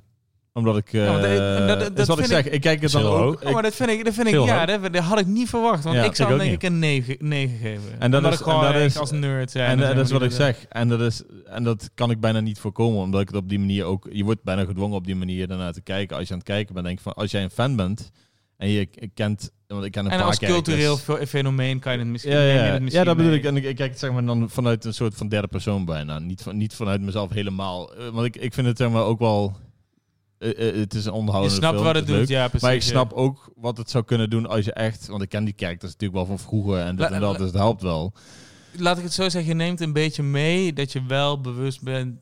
[SPEAKER 2] Omdat ik... eh
[SPEAKER 3] Ja, want, eh, en dat-
[SPEAKER 2] dat,
[SPEAKER 3] dat
[SPEAKER 2] is wat ik
[SPEAKER 3] vind
[SPEAKER 2] zeg. Ik, kijk het dan
[SPEAKER 1] Heel
[SPEAKER 2] ook...
[SPEAKER 1] hoog.
[SPEAKER 3] Oh, maar dat vind ik, dat vind ik
[SPEAKER 1] Veel
[SPEAKER 3] ja,
[SPEAKER 1] hoor.
[SPEAKER 3] dat, dat had ik niet verwacht. Want
[SPEAKER 2] Ja,
[SPEAKER 3] ik zou
[SPEAKER 1] ik
[SPEAKER 3] hem
[SPEAKER 1] ook
[SPEAKER 3] denk
[SPEAKER 1] niet.
[SPEAKER 3] ik een 9, 9 geven.
[SPEAKER 2] En dat
[SPEAKER 3] Omdat
[SPEAKER 2] is-
[SPEAKER 3] ik gewoon
[SPEAKER 2] en dat
[SPEAKER 3] eigenlijk
[SPEAKER 2] is-
[SPEAKER 3] als nerd zijn.
[SPEAKER 2] en eh, dat is wat ik zeg. En dat, is, en dat kan ik bijna niet voorkomen, omdat ik het op die manier ook... Je wordt bijna gedwongen op die manier daarnaar te kijken. Als je aan het kijken bent, denk ik van... Als jij een fan bent en je k- kent... Want ik ken een
[SPEAKER 3] En
[SPEAKER 2] paar
[SPEAKER 3] als cultureel
[SPEAKER 2] characters.
[SPEAKER 3] fe- fenomeen kan je het misschien...
[SPEAKER 2] Ja,
[SPEAKER 3] neem je
[SPEAKER 2] ja,
[SPEAKER 3] het
[SPEAKER 2] ja.
[SPEAKER 3] misschien
[SPEAKER 2] ja, dat bedoel
[SPEAKER 3] mee.
[SPEAKER 2] ik. En ik, ik kijk het zeg maar dan vanuit een soort van derde persoon bijna. Niet, van, niet vanuit mezelf helemaal. Eh, Want ik, ik vind het zeg maar ook wel... eh, eh, het is een
[SPEAKER 3] Je
[SPEAKER 2] onderhoudende
[SPEAKER 3] snapt
[SPEAKER 2] film,
[SPEAKER 3] wat
[SPEAKER 2] is
[SPEAKER 3] het doet,
[SPEAKER 2] leuk.
[SPEAKER 3] ja, precies.
[SPEAKER 2] Maar ik
[SPEAKER 3] ja.
[SPEAKER 2] snap ook wat het zou kunnen doen als je echt... Want ik ken die characters natuurlijk wel van vroeger en dit
[SPEAKER 3] La-
[SPEAKER 2] en dat,
[SPEAKER 3] la-
[SPEAKER 2] dus het helpt wel.
[SPEAKER 3] Laat ik het zo zeggen, je neemt een beetje mee dat je wel bewust bent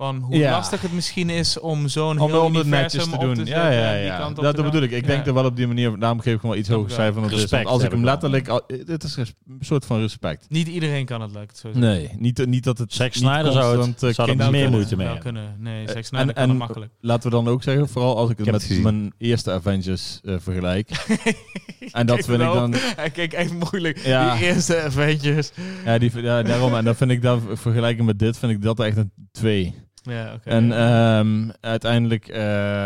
[SPEAKER 3] van hoe
[SPEAKER 2] Ja.
[SPEAKER 3] lastig het misschien is om zo'n
[SPEAKER 2] om,
[SPEAKER 3] heel
[SPEAKER 2] om het
[SPEAKER 3] universum
[SPEAKER 2] netjes te
[SPEAKER 3] op
[SPEAKER 2] doen.
[SPEAKER 3] zetten
[SPEAKER 2] ja, ja,
[SPEAKER 3] en die
[SPEAKER 2] ja. dat
[SPEAKER 3] kant op te
[SPEAKER 2] dat
[SPEAKER 3] gaan.
[SPEAKER 2] bedoel ik. Ik
[SPEAKER 3] Ja.
[SPEAKER 2] denk er wel op die manier, daarom geef ik hem wel iets
[SPEAKER 3] Snap
[SPEAKER 2] hoger
[SPEAKER 3] ik
[SPEAKER 2] cijfer dan het is.
[SPEAKER 1] Respect
[SPEAKER 2] Want als ik
[SPEAKER 1] heb
[SPEAKER 2] hem
[SPEAKER 1] ik wel.
[SPEAKER 2] letterlijk... al- Het is res- een soort van respect.
[SPEAKER 3] Niet iedereen kan het, laat ik het zo zeggen.
[SPEAKER 2] Nee, niet, niet dat het...
[SPEAKER 1] Zack
[SPEAKER 2] niet
[SPEAKER 1] Snyder zou het-
[SPEAKER 2] constant, eh,
[SPEAKER 1] zou dat
[SPEAKER 2] kinderen-
[SPEAKER 1] meer
[SPEAKER 3] kunnen,
[SPEAKER 1] moeite mee
[SPEAKER 3] wel
[SPEAKER 1] hebben.
[SPEAKER 3] kunnen. Nee,
[SPEAKER 2] Eh,
[SPEAKER 3] Zack Snyder
[SPEAKER 2] en-
[SPEAKER 3] kan het
[SPEAKER 2] en-
[SPEAKER 3] makkelijk.
[SPEAKER 2] Laten we dan ook zeggen, vooral als ik het
[SPEAKER 1] heb
[SPEAKER 2] met
[SPEAKER 1] het gezien.
[SPEAKER 2] mijn eerste Avengers eh, vergelijk. en dat vind
[SPEAKER 3] Kijk
[SPEAKER 2] ik
[SPEAKER 3] wel.
[SPEAKER 2] dan...
[SPEAKER 3] Hij keek echt moeilijk.
[SPEAKER 2] Ja.
[SPEAKER 3] Die eerste Avengers.
[SPEAKER 2] Ja, die, ja, daarom. En dan vind ik dat, vergelijken met dit, vind ik dat echt een twee.
[SPEAKER 3] Ja, oké.
[SPEAKER 2] En ehm, uiteindelijk...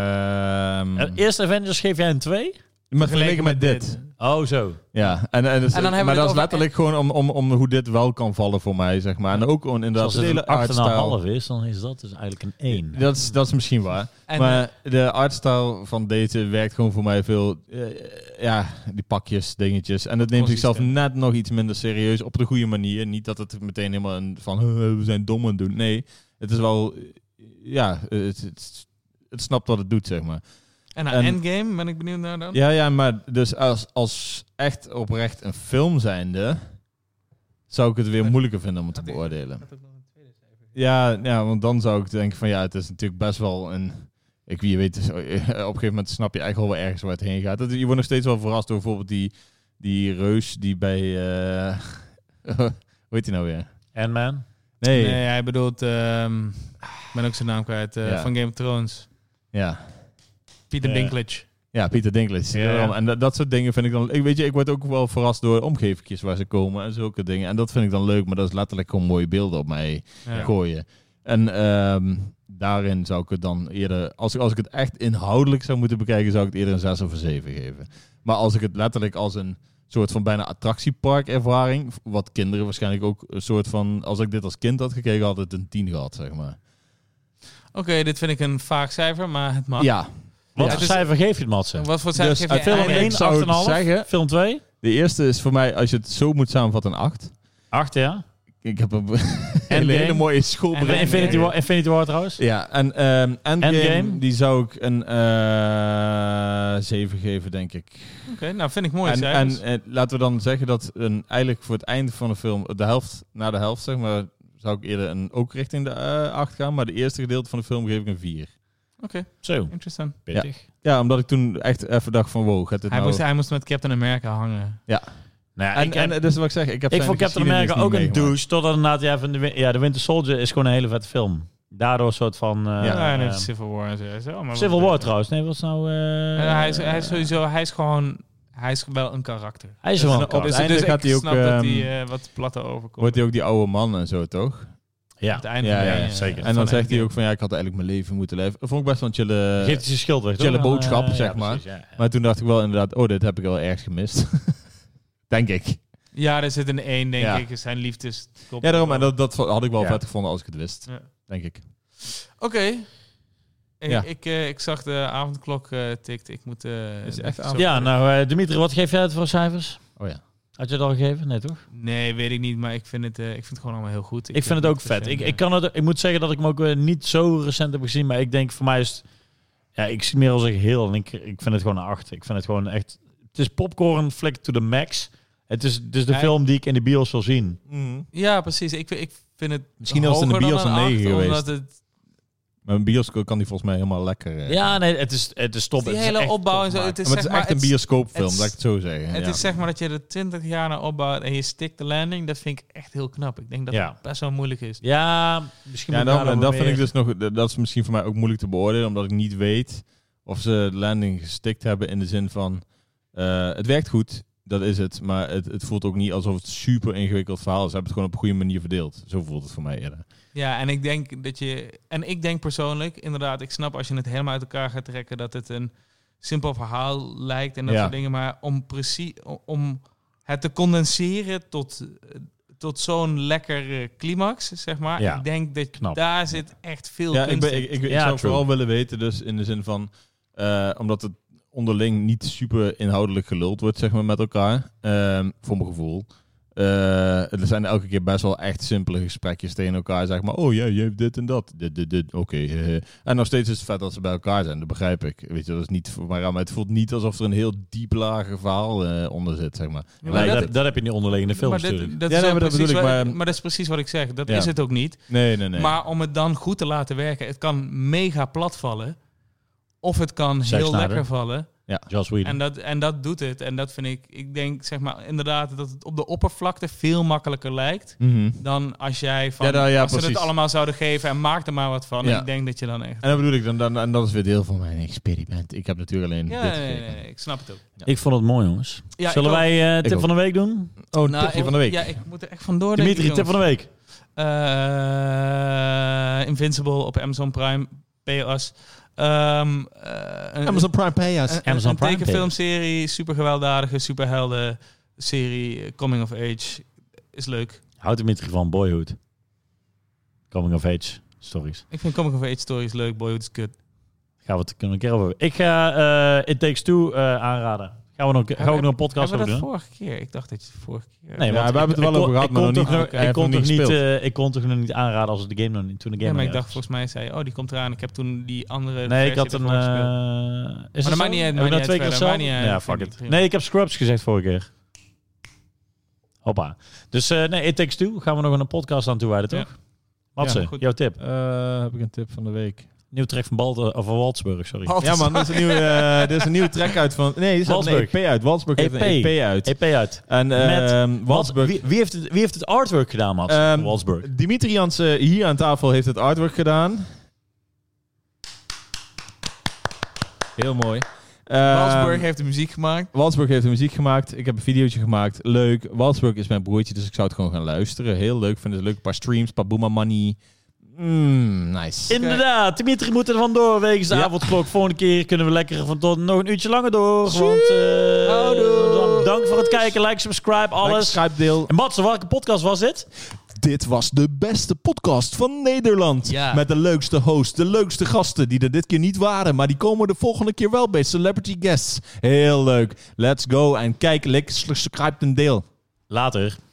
[SPEAKER 2] ehm,
[SPEAKER 1] Eh, Eerste Avengers geef jij een 2?
[SPEAKER 2] met vergelijken met dit.
[SPEAKER 1] Oh, zo.
[SPEAKER 2] Ja, en, en, dus-
[SPEAKER 3] En dan hebben we
[SPEAKER 2] maar
[SPEAKER 3] het
[SPEAKER 2] dat is
[SPEAKER 3] over-
[SPEAKER 2] letterlijk gewoon om, om, om hoe dit wel kan vallen voor mij, zeg maar. En ook gewoon inderdaad
[SPEAKER 1] Dus Als
[SPEAKER 2] de
[SPEAKER 1] het
[SPEAKER 2] hele
[SPEAKER 1] een
[SPEAKER 2] artstyle.
[SPEAKER 1] 8,5 is, dan is dat dus eigenlijk een 1.
[SPEAKER 2] Dat is, dat is misschien waar.
[SPEAKER 3] En,
[SPEAKER 2] maar de artstyle van deze werkt gewoon voor mij veel. eh, ja, die pakjes, dingetjes. En dat neemt zichzelf net nog iets minder serieus op de goede manier. Niet dat het meteen helemaal een van "Eh, we zijn dom aan het doen. Nee, het is wel. eh, Ja, het, het, het snapt wat het doet, zeg maar.
[SPEAKER 3] En,
[SPEAKER 2] en-
[SPEAKER 3] aan Endgame ben ik benieuwd naar dan.
[SPEAKER 2] Ja, ja, maar dus als, als echt oprecht een film zijnde, zou ik het weer moeilijker vinden om het te beoordelen. Ja, ja, want dan zou ik denken van ja, het is natuurlijk best wel een... Ik, je weet, dus, eh, op een gegeven moment snap je eigenlijk wel ergens waar het heen gaat. Dat- Je wordt nog steeds wel verrast door bijvoorbeeld die, die reus die bij... eh, hoe heet die nou weer?
[SPEAKER 1] Ant-Man?
[SPEAKER 2] Nee.
[SPEAKER 3] Nee, hij bedoelt... ehm, ik ben ook zijn naam kwijt. eh,
[SPEAKER 2] Ja.
[SPEAKER 3] Van Game of Thrones.
[SPEAKER 2] Ja.
[SPEAKER 3] Peter
[SPEAKER 1] Ja.
[SPEAKER 3] Dinklage.
[SPEAKER 2] Ja, Pieter Dinklage.
[SPEAKER 1] Ja, ja.
[SPEAKER 2] En dat, dat soort dingen vind ik dan... Ik weet je, ik word ook wel verrast door omgevingjes waar ze komen en zulke dingen. En dat vind ik dan leuk, maar dat is letterlijk gewoon mooie beelden op mij
[SPEAKER 3] Ja.
[SPEAKER 2] gooien. En ehm, daarin zou ik het dan eerder... Als ik, als ik het echt inhoudelijk zou moeten bekijken, zou ik het eerder een 6 of een 7 geven. Maar als ik het letterlijk als een soort van bijna attractiepark ervaring... Wat kinderen waarschijnlijk ook een soort van... Als ik dit als kind had gekeken, had het een 10 gehad, zeg maar.
[SPEAKER 3] Oké, dit vind ik een vaag cijfer, maar het mag.
[SPEAKER 1] Ah.
[SPEAKER 2] Ja.
[SPEAKER 1] Wat
[SPEAKER 2] Ja.
[SPEAKER 1] voor
[SPEAKER 3] Dus-
[SPEAKER 1] cijfer geef je het, Matze?
[SPEAKER 3] Wat voor cijfer
[SPEAKER 2] Dus
[SPEAKER 3] geef
[SPEAKER 2] uit
[SPEAKER 3] jij
[SPEAKER 1] Film
[SPEAKER 2] eigenlijk
[SPEAKER 1] 1,
[SPEAKER 2] zou ik
[SPEAKER 1] 8,5.
[SPEAKER 2] zeggen-
[SPEAKER 1] Film 2?
[SPEAKER 2] De eerste is voor mij, als je het zo moet samenvatten, een 8.
[SPEAKER 1] 8, ja.
[SPEAKER 2] Ik heb een hele,
[SPEAKER 1] Endgame.
[SPEAKER 2] hele mooie
[SPEAKER 1] En bij
[SPEAKER 2] schoolbrein.
[SPEAKER 1] Infinity War, Infinity War trouwens?
[SPEAKER 2] Ja, en ehm Endgame,
[SPEAKER 1] Endgame?
[SPEAKER 2] die zou ik een eh 7 geven, denk ik.
[SPEAKER 3] Oké, nou vind ik mooi
[SPEAKER 2] en en
[SPEAKER 3] cijfers.
[SPEAKER 2] eh, laten we dan zeggen dat een, eigenlijk voor het einde van de film, de helft, na de helft zeg maar, zou ik eerder een, ook richting de eh 8 gaan. Maar de eerste gedeelte van de film geef ik een 4.
[SPEAKER 1] Zo, Nou
[SPEAKER 3] Interessant.
[SPEAKER 1] pittig.
[SPEAKER 2] Ja, omdat ik toen echt even dacht van wow, gaat dit
[SPEAKER 3] Hij
[SPEAKER 2] nou...
[SPEAKER 3] moest, hij moest met Captain America hangen.
[SPEAKER 2] Ja.
[SPEAKER 1] Nou ja,
[SPEAKER 2] en,
[SPEAKER 1] ik, heb-
[SPEAKER 2] en, eh, dus wat ik zeg, ik heb zijn
[SPEAKER 1] ik vond Captain
[SPEAKER 2] geschiedenis
[SPEAKER 1] America
[SPEAKER 2] niet
[SPEAKER 1] ook een
[SPEAKER 2] meegemaakt.
[SPEAKER 1] douche. Totdat inderdaad, ja, van de, win- ja, de Winter Soldier is gewoon een hele vette film. Daardoor een soort van... eh,
[SPEAKER 3] Ja, en
[SPEAKER 1] eh,
[SPEAKER 3] het is Civil War en zo. en zo, maar
[SPEAKER 1] Civil
[SPEAKER 3] wat-
[SPEAKER 1] War trouwens. Nee, wat is nou... eh,
[SPEAKER 3] Eh, hij, is, hij is sowieso, hij is gewoon, hij is wel een karakter.
[SPEAKER 1] Hij is wel een
[SPEAKER 2] Dus-
[SPEAKER 1] kant.
[SPEAKER 3] Dus,
[SPEAKER 2] einde
[SPEAKER 3] dus
[SPEAKER 2] gaat
[SPEAKER 3] ik
[SPEAKER 2] hij ook,
[SPEAKER 3] snap dat
[SPEAKER 2] ehm,
[SPEAKER 3] hij eh, wat platte overkomt.
[SPEAKER 2] Wordt hij ook die oude man en zo, toch?
[SPEAKER 1] Ja,
[SPEAKER 3] Op het einde
[SPEAKER 2] Ja,
[SPEAKER 3] van
[SPEAKER 2] ja,
[SPEAKER 3] de-
[SPEAKER 2] ja,
[SPEAKER 1] zeker.
[SPEAKER 3] van
[SPEAKER 2] En dan
[SPEAKER 3] de-
[SPEAKER 2] zegt hij ook van, ja, ik had eigenlijk mijn leven moeten leven. Vond ik best wel een chille...
[SPEAKER 1] geeft hij zijn schild weg. toch?
[SPEAKER 2] chille
[SPEAKER 1] Dan, eh,
[SPEAKER 2] boodschap, zeg maar.
[SPEAKER 1] precies, ja, ja.
[SPEAKER 2] Maar toen dacht ik wel inderdaad, oh, dit heb ik wel ergens gemist. Denk ik.
[SPEAKER 3] Ja, er zit een één, denk
[SPEAKER 2] Ja.
[SPEAKER 3] ik. Zijn liefdes.
[SPEAKER 2] Ja, daarom. En dat, dat had ik wel
[SPEAKER 1] Ja.
[SPEAKER 2] vet gevonden als ik het wist.
[SPEAKER 3] Ja.
[SPEAKER 2] Denk ik.
[SPEAKER 3] Oké. Ik,
[SPEAKER 2] Ja.
[SPEAKER 3] ik, eh, ik zag de avondklok eh tikt. Ik moet... eh,
[SPEAKER 2] Is het echt
[SPEAKER 3] zo-
[SPEAKER 2] avond?
[SPEAKER 1] Ja, nou, eh, Dimitri, wat geef jij het voor cijfers?
[SPEAKER 2] Oh ja.
[SPEAKER 1] Had je het al gegeven? Nee, toch?
[SPEAKER 3] Nee, weet ik niet. Maar ik vind het, eh, ik vind het gewoon allemaal heel goed.
[SPEAKER 1] Ik, vind het ook vet. Ik, ik, kan het, ik moet zeggen dat ik hem ook eh, niet zo recent heb gezien. Maar ik denk voor mij is het... Ja, ik zie meer als een geheel. En ik, ik vind het gewoon een acht. Ik vind het gewoon echt... Het is popcorn flick to the max. Het is, het is de
[SPEAKER 3] Hij-
[SPEAKER 1] film die ik in de bios zal zien.
[SPEAKER 2] Mhm.
[SPEAKER 3] Ja, precies. Ik, ik vind het
[SPEAKER 2] Misschien was het in de
[SPEAKER 3] hoger
[SPEAKER 2] bios
[SPEAKER 3] dan
[SPEAKER 2] een negen
[SPEAKER 3] acht,
[SPEAKER 2] geweest.
[SPEAKER 3] Omdat het,
[SPEAKER 2] Maar een bioscoop kan die volgens mij helemaal lekker... eh.
[SPEAKER 1] Ja, nee, het is, het is top.
[SPEAKER 3] die
[SPEAKER 1] Het is
[SPEAKER 3] hele
[SPEAKER 1] echt top
[SPEAKER 3] opbouw en zo. Het
[SPEAKER 1] gemaakt.
[SPEAKER 3] is,
[SPEAKER 2] maar het
[SPEAKER 3] zeg
[SPEAKER 2] is
[SPEAKER 3] maar,
[SPEAKER 2] echt een bioscoopfilm,
[SPEAKER 3] het is-
[SPEAKER 2] laat ik het zo zeggen.
[SPEAKER 3] Het
[SPEAKER 2] ja.
[SPEAKER 3] is zeg maar dat je er 20 jaar naar opbouwt en je stikt de landing. Dat vind ik echt heel knap. Ik denk dat
[SPEAKER 1] Ja.
[SPEAKER 3] het best wel moeilijk is.
[SPEAKER 1] Ja, misschien
[SPEAKER 2] Ja,
[SPEAKER 1] moet
[SPEAKER 2] en
[SPEAKER 1] ik daar
[SPEAKER 2] dan, en
[SPEAKER 1] nog
[SPEAKER 2] dat
[SPEAKER 1] wat
[SPEAKER 2] vind ik
[SPEAKER 1] meer-
[SPEAKER 2] dus nog... Dat is misschien voor mij ook moeilijk te beoordelen, omdat ik niet weet of ze de landing gestikt hebben in de zin van... eh, het werkt goed, dat is het. Maar het, het voelt ook niet alsof het super ingewikkeld verhaal is. Ze hebben het gewoon op een goede manier verdeeld. Zo voelt het voor mij eerder.
[SPEAKER 3] Ja, en ik denk dat je. En ik denk persoonlijk, inderdaad, ik snap als je het helemaal uit elkaar gaat trekken, dat het een simpel verhaal lijkt en dat
[SPEAKER 2] Ja.
[SPEAKER 3] soort dingen. Maar om precies om het te condenseren tot, eh, tot zo'n lekker eh, climax, zeg maar.
[SPEAKER 1] Ja.
[SPEAKER 3] Ik denk dat
[SPEAKER 1] Knap.
[SPEAKER 3] daar zit echt veel
[SPEAKER 2] Ja, ik,
[SPEAKER 3] kunst
[SPEAKER 2] ben,
[SPEAKER 3] in.
[SPEAKER 2] ik, ik, ik
[SPEAKER 1] Ja,
[SPEAKER 2] zou
[SPEAKER 1] true.
[SPEAKER 2] vooral willen weten, dus in de zin van, eh, omdat het onderling niet super inhoudelijk geluld wordt, zeg maar, met elkaar, ehm, voor mijn gevoel. Eh, er zijn elke keer best wel echt simpele gesprekjes tegen elkaar, zeg maar, oh ja, je hebt dit en dat, dit, dit, dit, oké. eh, eh. En nog steeds is het vet dat ze bij elkaar zijn, dat begrijp ik. Weet je, dat is niet voor mij raar, maar het voelt niet alsof er een heel diep lager verhaal eh, onder zit, zeg maar.
[SPEAKER 3] Ja, maar
[SPEAKER 1] Nee,
[SPEAKER 3] dat-
[SPEAKER 1] dat, dat heb je in die onderliggende films
[SPEAKER 3] maar dit-
[SPEAKER 1] natuurlijk.
[SPEAKER 3] dat
[SPEAKER 2] Ja,
[SPEAKER 3] is
[SPEAKER 2] nee,
[SPEAKER 3] ook
[SPEAKER 2] maar dat
[SPEAKER 3] precies
[SPEAKER 2] bedoel ik,
[SPEAKER 3] wat-
[SPEAKER 2] maar-
[SPEAKER 3] maar dat is precies wat ik zeg. Dat
[SPEAKER 2] Ja.
[SPEAKER 3] is het ook niet.
[SPEAKER 2] Nee, nee, nee.
[SPEAKER 3] Maar om het dan goed te laten werken, het kan mega plat vallen. Of het kan
[SPEAKER 1] Zack
[SPEAKER 3] heel
[SPEAKER 1] Snyder.
[SPEAKER 3] lekker vallen.
[SPEAKER 1] Joss Whedon.
[SPEAKER 3] En dat, en dat doet het. En dat vind ik, ik denk zeg maar inderdaad dat het op de oppervlakte veel makkelijker lijkt.
[SPEAKER 2] Mhm.
[SPEAKER 3] Dan als jij van,
[SPEAKER 2] Ja, nou ja,
[SPEAKER 3] als ze het
[SPEAKER 2] precies.
[SPEAKER 3] allemaal zouden geven en maak er maar wat van.
[SPEAKER 2] Ja.
[SPEAKER 3] Ik denk dat je dan echt...
[SPEAKER 2] En dat bedoel ik, dan, dan, en dat is weer deel van mijn experiment. Ik heb natuurlijk alleen
[SPEAKER 3] Ja,
[SPEAKER 2] dit
[SPEAKER 3] nee, nee,
[SPEAKER 2] gekeken.
[SPEAKER 3] nee, ik snap het ook.
[SPEAKER 1] Ik vond het mooi, jongens.
[SPEAKER 3] Ja,
[SPEAKER 1] Zullen
[SPEAKER 3] ik ook.
[SPEAKER 1] wij eh,
[SPEAKER 2] Ik
[SPEAKER 1] tip
[SPEAKER 2] ook.
[SPEAKER 1] van de week doen?
[SPEAKER 2] Oh,
[SPEAKER 3] Nou,
[SPEAKER 2] tipje
[SPEAKER 3] ik-
[SPEAKER 2] van de week.
[SPEAKER 3] Ja, ik moet er echt vandoor denken,
[SPEAKER 1] Dimitri, tip van de week.
[SPEAKER 3] jongens. Eh, Invincible op Amazon Prime. POS. Ehm eh, een-
[SPEAKER 2] Amazon Prime Pay us.
[SPEAKER 3] Een,
[SPEAKER 1] Amazon
[SPEAKER 3] een
[SPEAKER 1] Prime
[SPEAKER 3] tekenfilmserie, super gewelddadige, superhelden serie, eh, coming of age, is leuk.
[SPEAKER 1] Houdt Dimitri van Boyhood. Coming of Age stories.
[SPEAKER 3] Ik vind coming of age stories leuk, Boyhood is kut.
[SPEAKER 1] Gaan we het kunnen we een keer over hebben. Ik ga eh It Takes Two eh, aanraden. Gaan we nog, gaan we ook nog een podcast
[SPEAKER 3] Eh, Hebben
[SPEAKER 1] over
[SPEAKER 3] we dat
[SPEAKER 1] doen?
[SPEAKER 3] vorige keer? Ik dacht dat je het vorige keer...
[SPEAKER 1] Nee,
[SPEAKER 2] Ja,
[SPEAKER 1] want
[SPEAKER 2] we hebben het er wel
[SPEAKER 1] ik
[SPEAKER 2] over
[SPEAKER 1] kon-
[SPEAKER 2] gehad,
[SPEAKER 1] ik
[SPEAKER 2] maar
[SPEAKER 1] kon
[SPEAKER 2] nog
[SPEAKER 1] toch
[SPEAKER 2] niet-
[SPEAKER 1] nog-
[SPEAKER 2] oké, hij
[SPEAKER 1] Ik kon
[SPEAKER 2] heeft nog
[SPEAKER 1] toch
[SPEAKER 2] niet
[SPEAKER 1] niet,
[SPEAKER 2] gespeeld.
[SPEAKER 1] eh, ik kon toch nog niet aanraden als de game nog niet, toen de game
[SPEAKER 3] Ja,
[SPEAKER 1] nog
[SPEAKER 3] maar ik
[SPEAKER 1] niet
[SPEAKER 3] dacht
[SPEAKER 1] uit was.
[SPEAKER 3] volgens mij, zei je, oh die komt eraan, ik heb toen die andere
[SPEAKER 1] Nee, ik
[SPEAKER 3] versie
[SPEAKER 1] had een...
[SPEAKER 3] ervoor gespeeld.
[SPEAKER 1] eh, is
[SPEAKER 3] dat
[SPEAKER 1] zo?
[SPEAKER 3] maakt niet
[SPEAKER 1] Heb ik
[SPEAKER 3] uit, maakt
[SPEAKER 1] nou
[SPEAKER 3] niet
[SPEAKER 1] twee keer
[SPEAKER 3] uit verder, maakt
[SPEAKER 1] hetzelfde?
[SPEAKER 3] niet uit.
[SPEAKER 1] Ja,
[SPEAKER 3] Ik
[SPEAKER 1] fuck
[SPEAKER 3] vind
[SPEAKER 1] it.
[SPEAKER 3] het prima.
[SPEAKER 1] Nee, ik heb Scrubs gezegd vorige keer. Hoppa. Dus eh, nee, It Takes Two gaan we nog een podcast aan toewijden,
[SPEAKER 3] Ja.
[SPEAKER 1] toch? Matze,
[SPEAKER 3] Ja, goed.
[SPEAKER 1] jouw tip.
[SPEAKER 2] Eh, heb ik een tip van de week?
[SPEAKER 1] Nieuw trek van, Balter, of van Waldsburg, sorry.
[SPEAKER 2] Ja man, dit is, een nieuwe, eh, dit is een nieuwe track uit van... Nee, dit is een
[SPEAKER 1] Walsburg.
[SPEAKER 2] EP uit. Walsburg E heeft
[SPEAKER 1] EP.
[SPEAKER 2] een EP uit.
[SPEAKER 1] EP E uit.
[SPEAKER 2] En eh
[SPEAKER 1] Wals-
[SPEAKER 2] Walsburg...
[SPEAKER 1] Wie, wie, heeft het, wie heeft het artwork gedaan, Mats?
[SPEAKER 2] Ehm,
[SPEAKER 1] Walsburg.
[SPEAKER 2] Dimitri Jansen hier aan tafel heeft het artwork gedaan. Heel mooi.
[SPEAKER 1] eh,
[SPEAKER 2] Ehm,
[SPEAKER 3] Walsburg heeft de muziek gemaakt.
[SPEAKER 2] Walsburg heeft de muziek gemaakt. Ik heb een videootje gemaakt. Leuk. Walsburg is mijn broertje, dus ik zou het gewoon gaan luisteren. Heel leuk. Vind het leuk. Een paar streams, een paar Boema Money. Mm, nice.
[SPEAKER 1] Inderdaad, Dimitri moet er vandoor wegens de
[SPEAKER 2] Ja.
[SPEAKER 1] avondklok. Volgende keer kunnen we lekker van tot nog een uurtje langer door. Want, eh,
[SPEAKER 2] Houdoe.
[SPEAKER 1] dank voor het kijken, like, subscribe,
[SPEAKER 2] Lekker
[SPEAKER 1] alles.
[SPEAKER 2] schrijfdeel.
[SPEAKER 1] En Mats, welke podcast was dit?
[SPEAKER 2] Dit was de beste podcast van Nederland.
[SPEAKER 3] Ja.
[SPEAKER 2] Met de leukste host, de leukste gasten die er dit keer niet waren, maar die komen de volgende keer wel bij Celebrity Guests. Heel leuk. Let's go en kijk, like, subscribe en deel.
[SPEAKER 1] Later.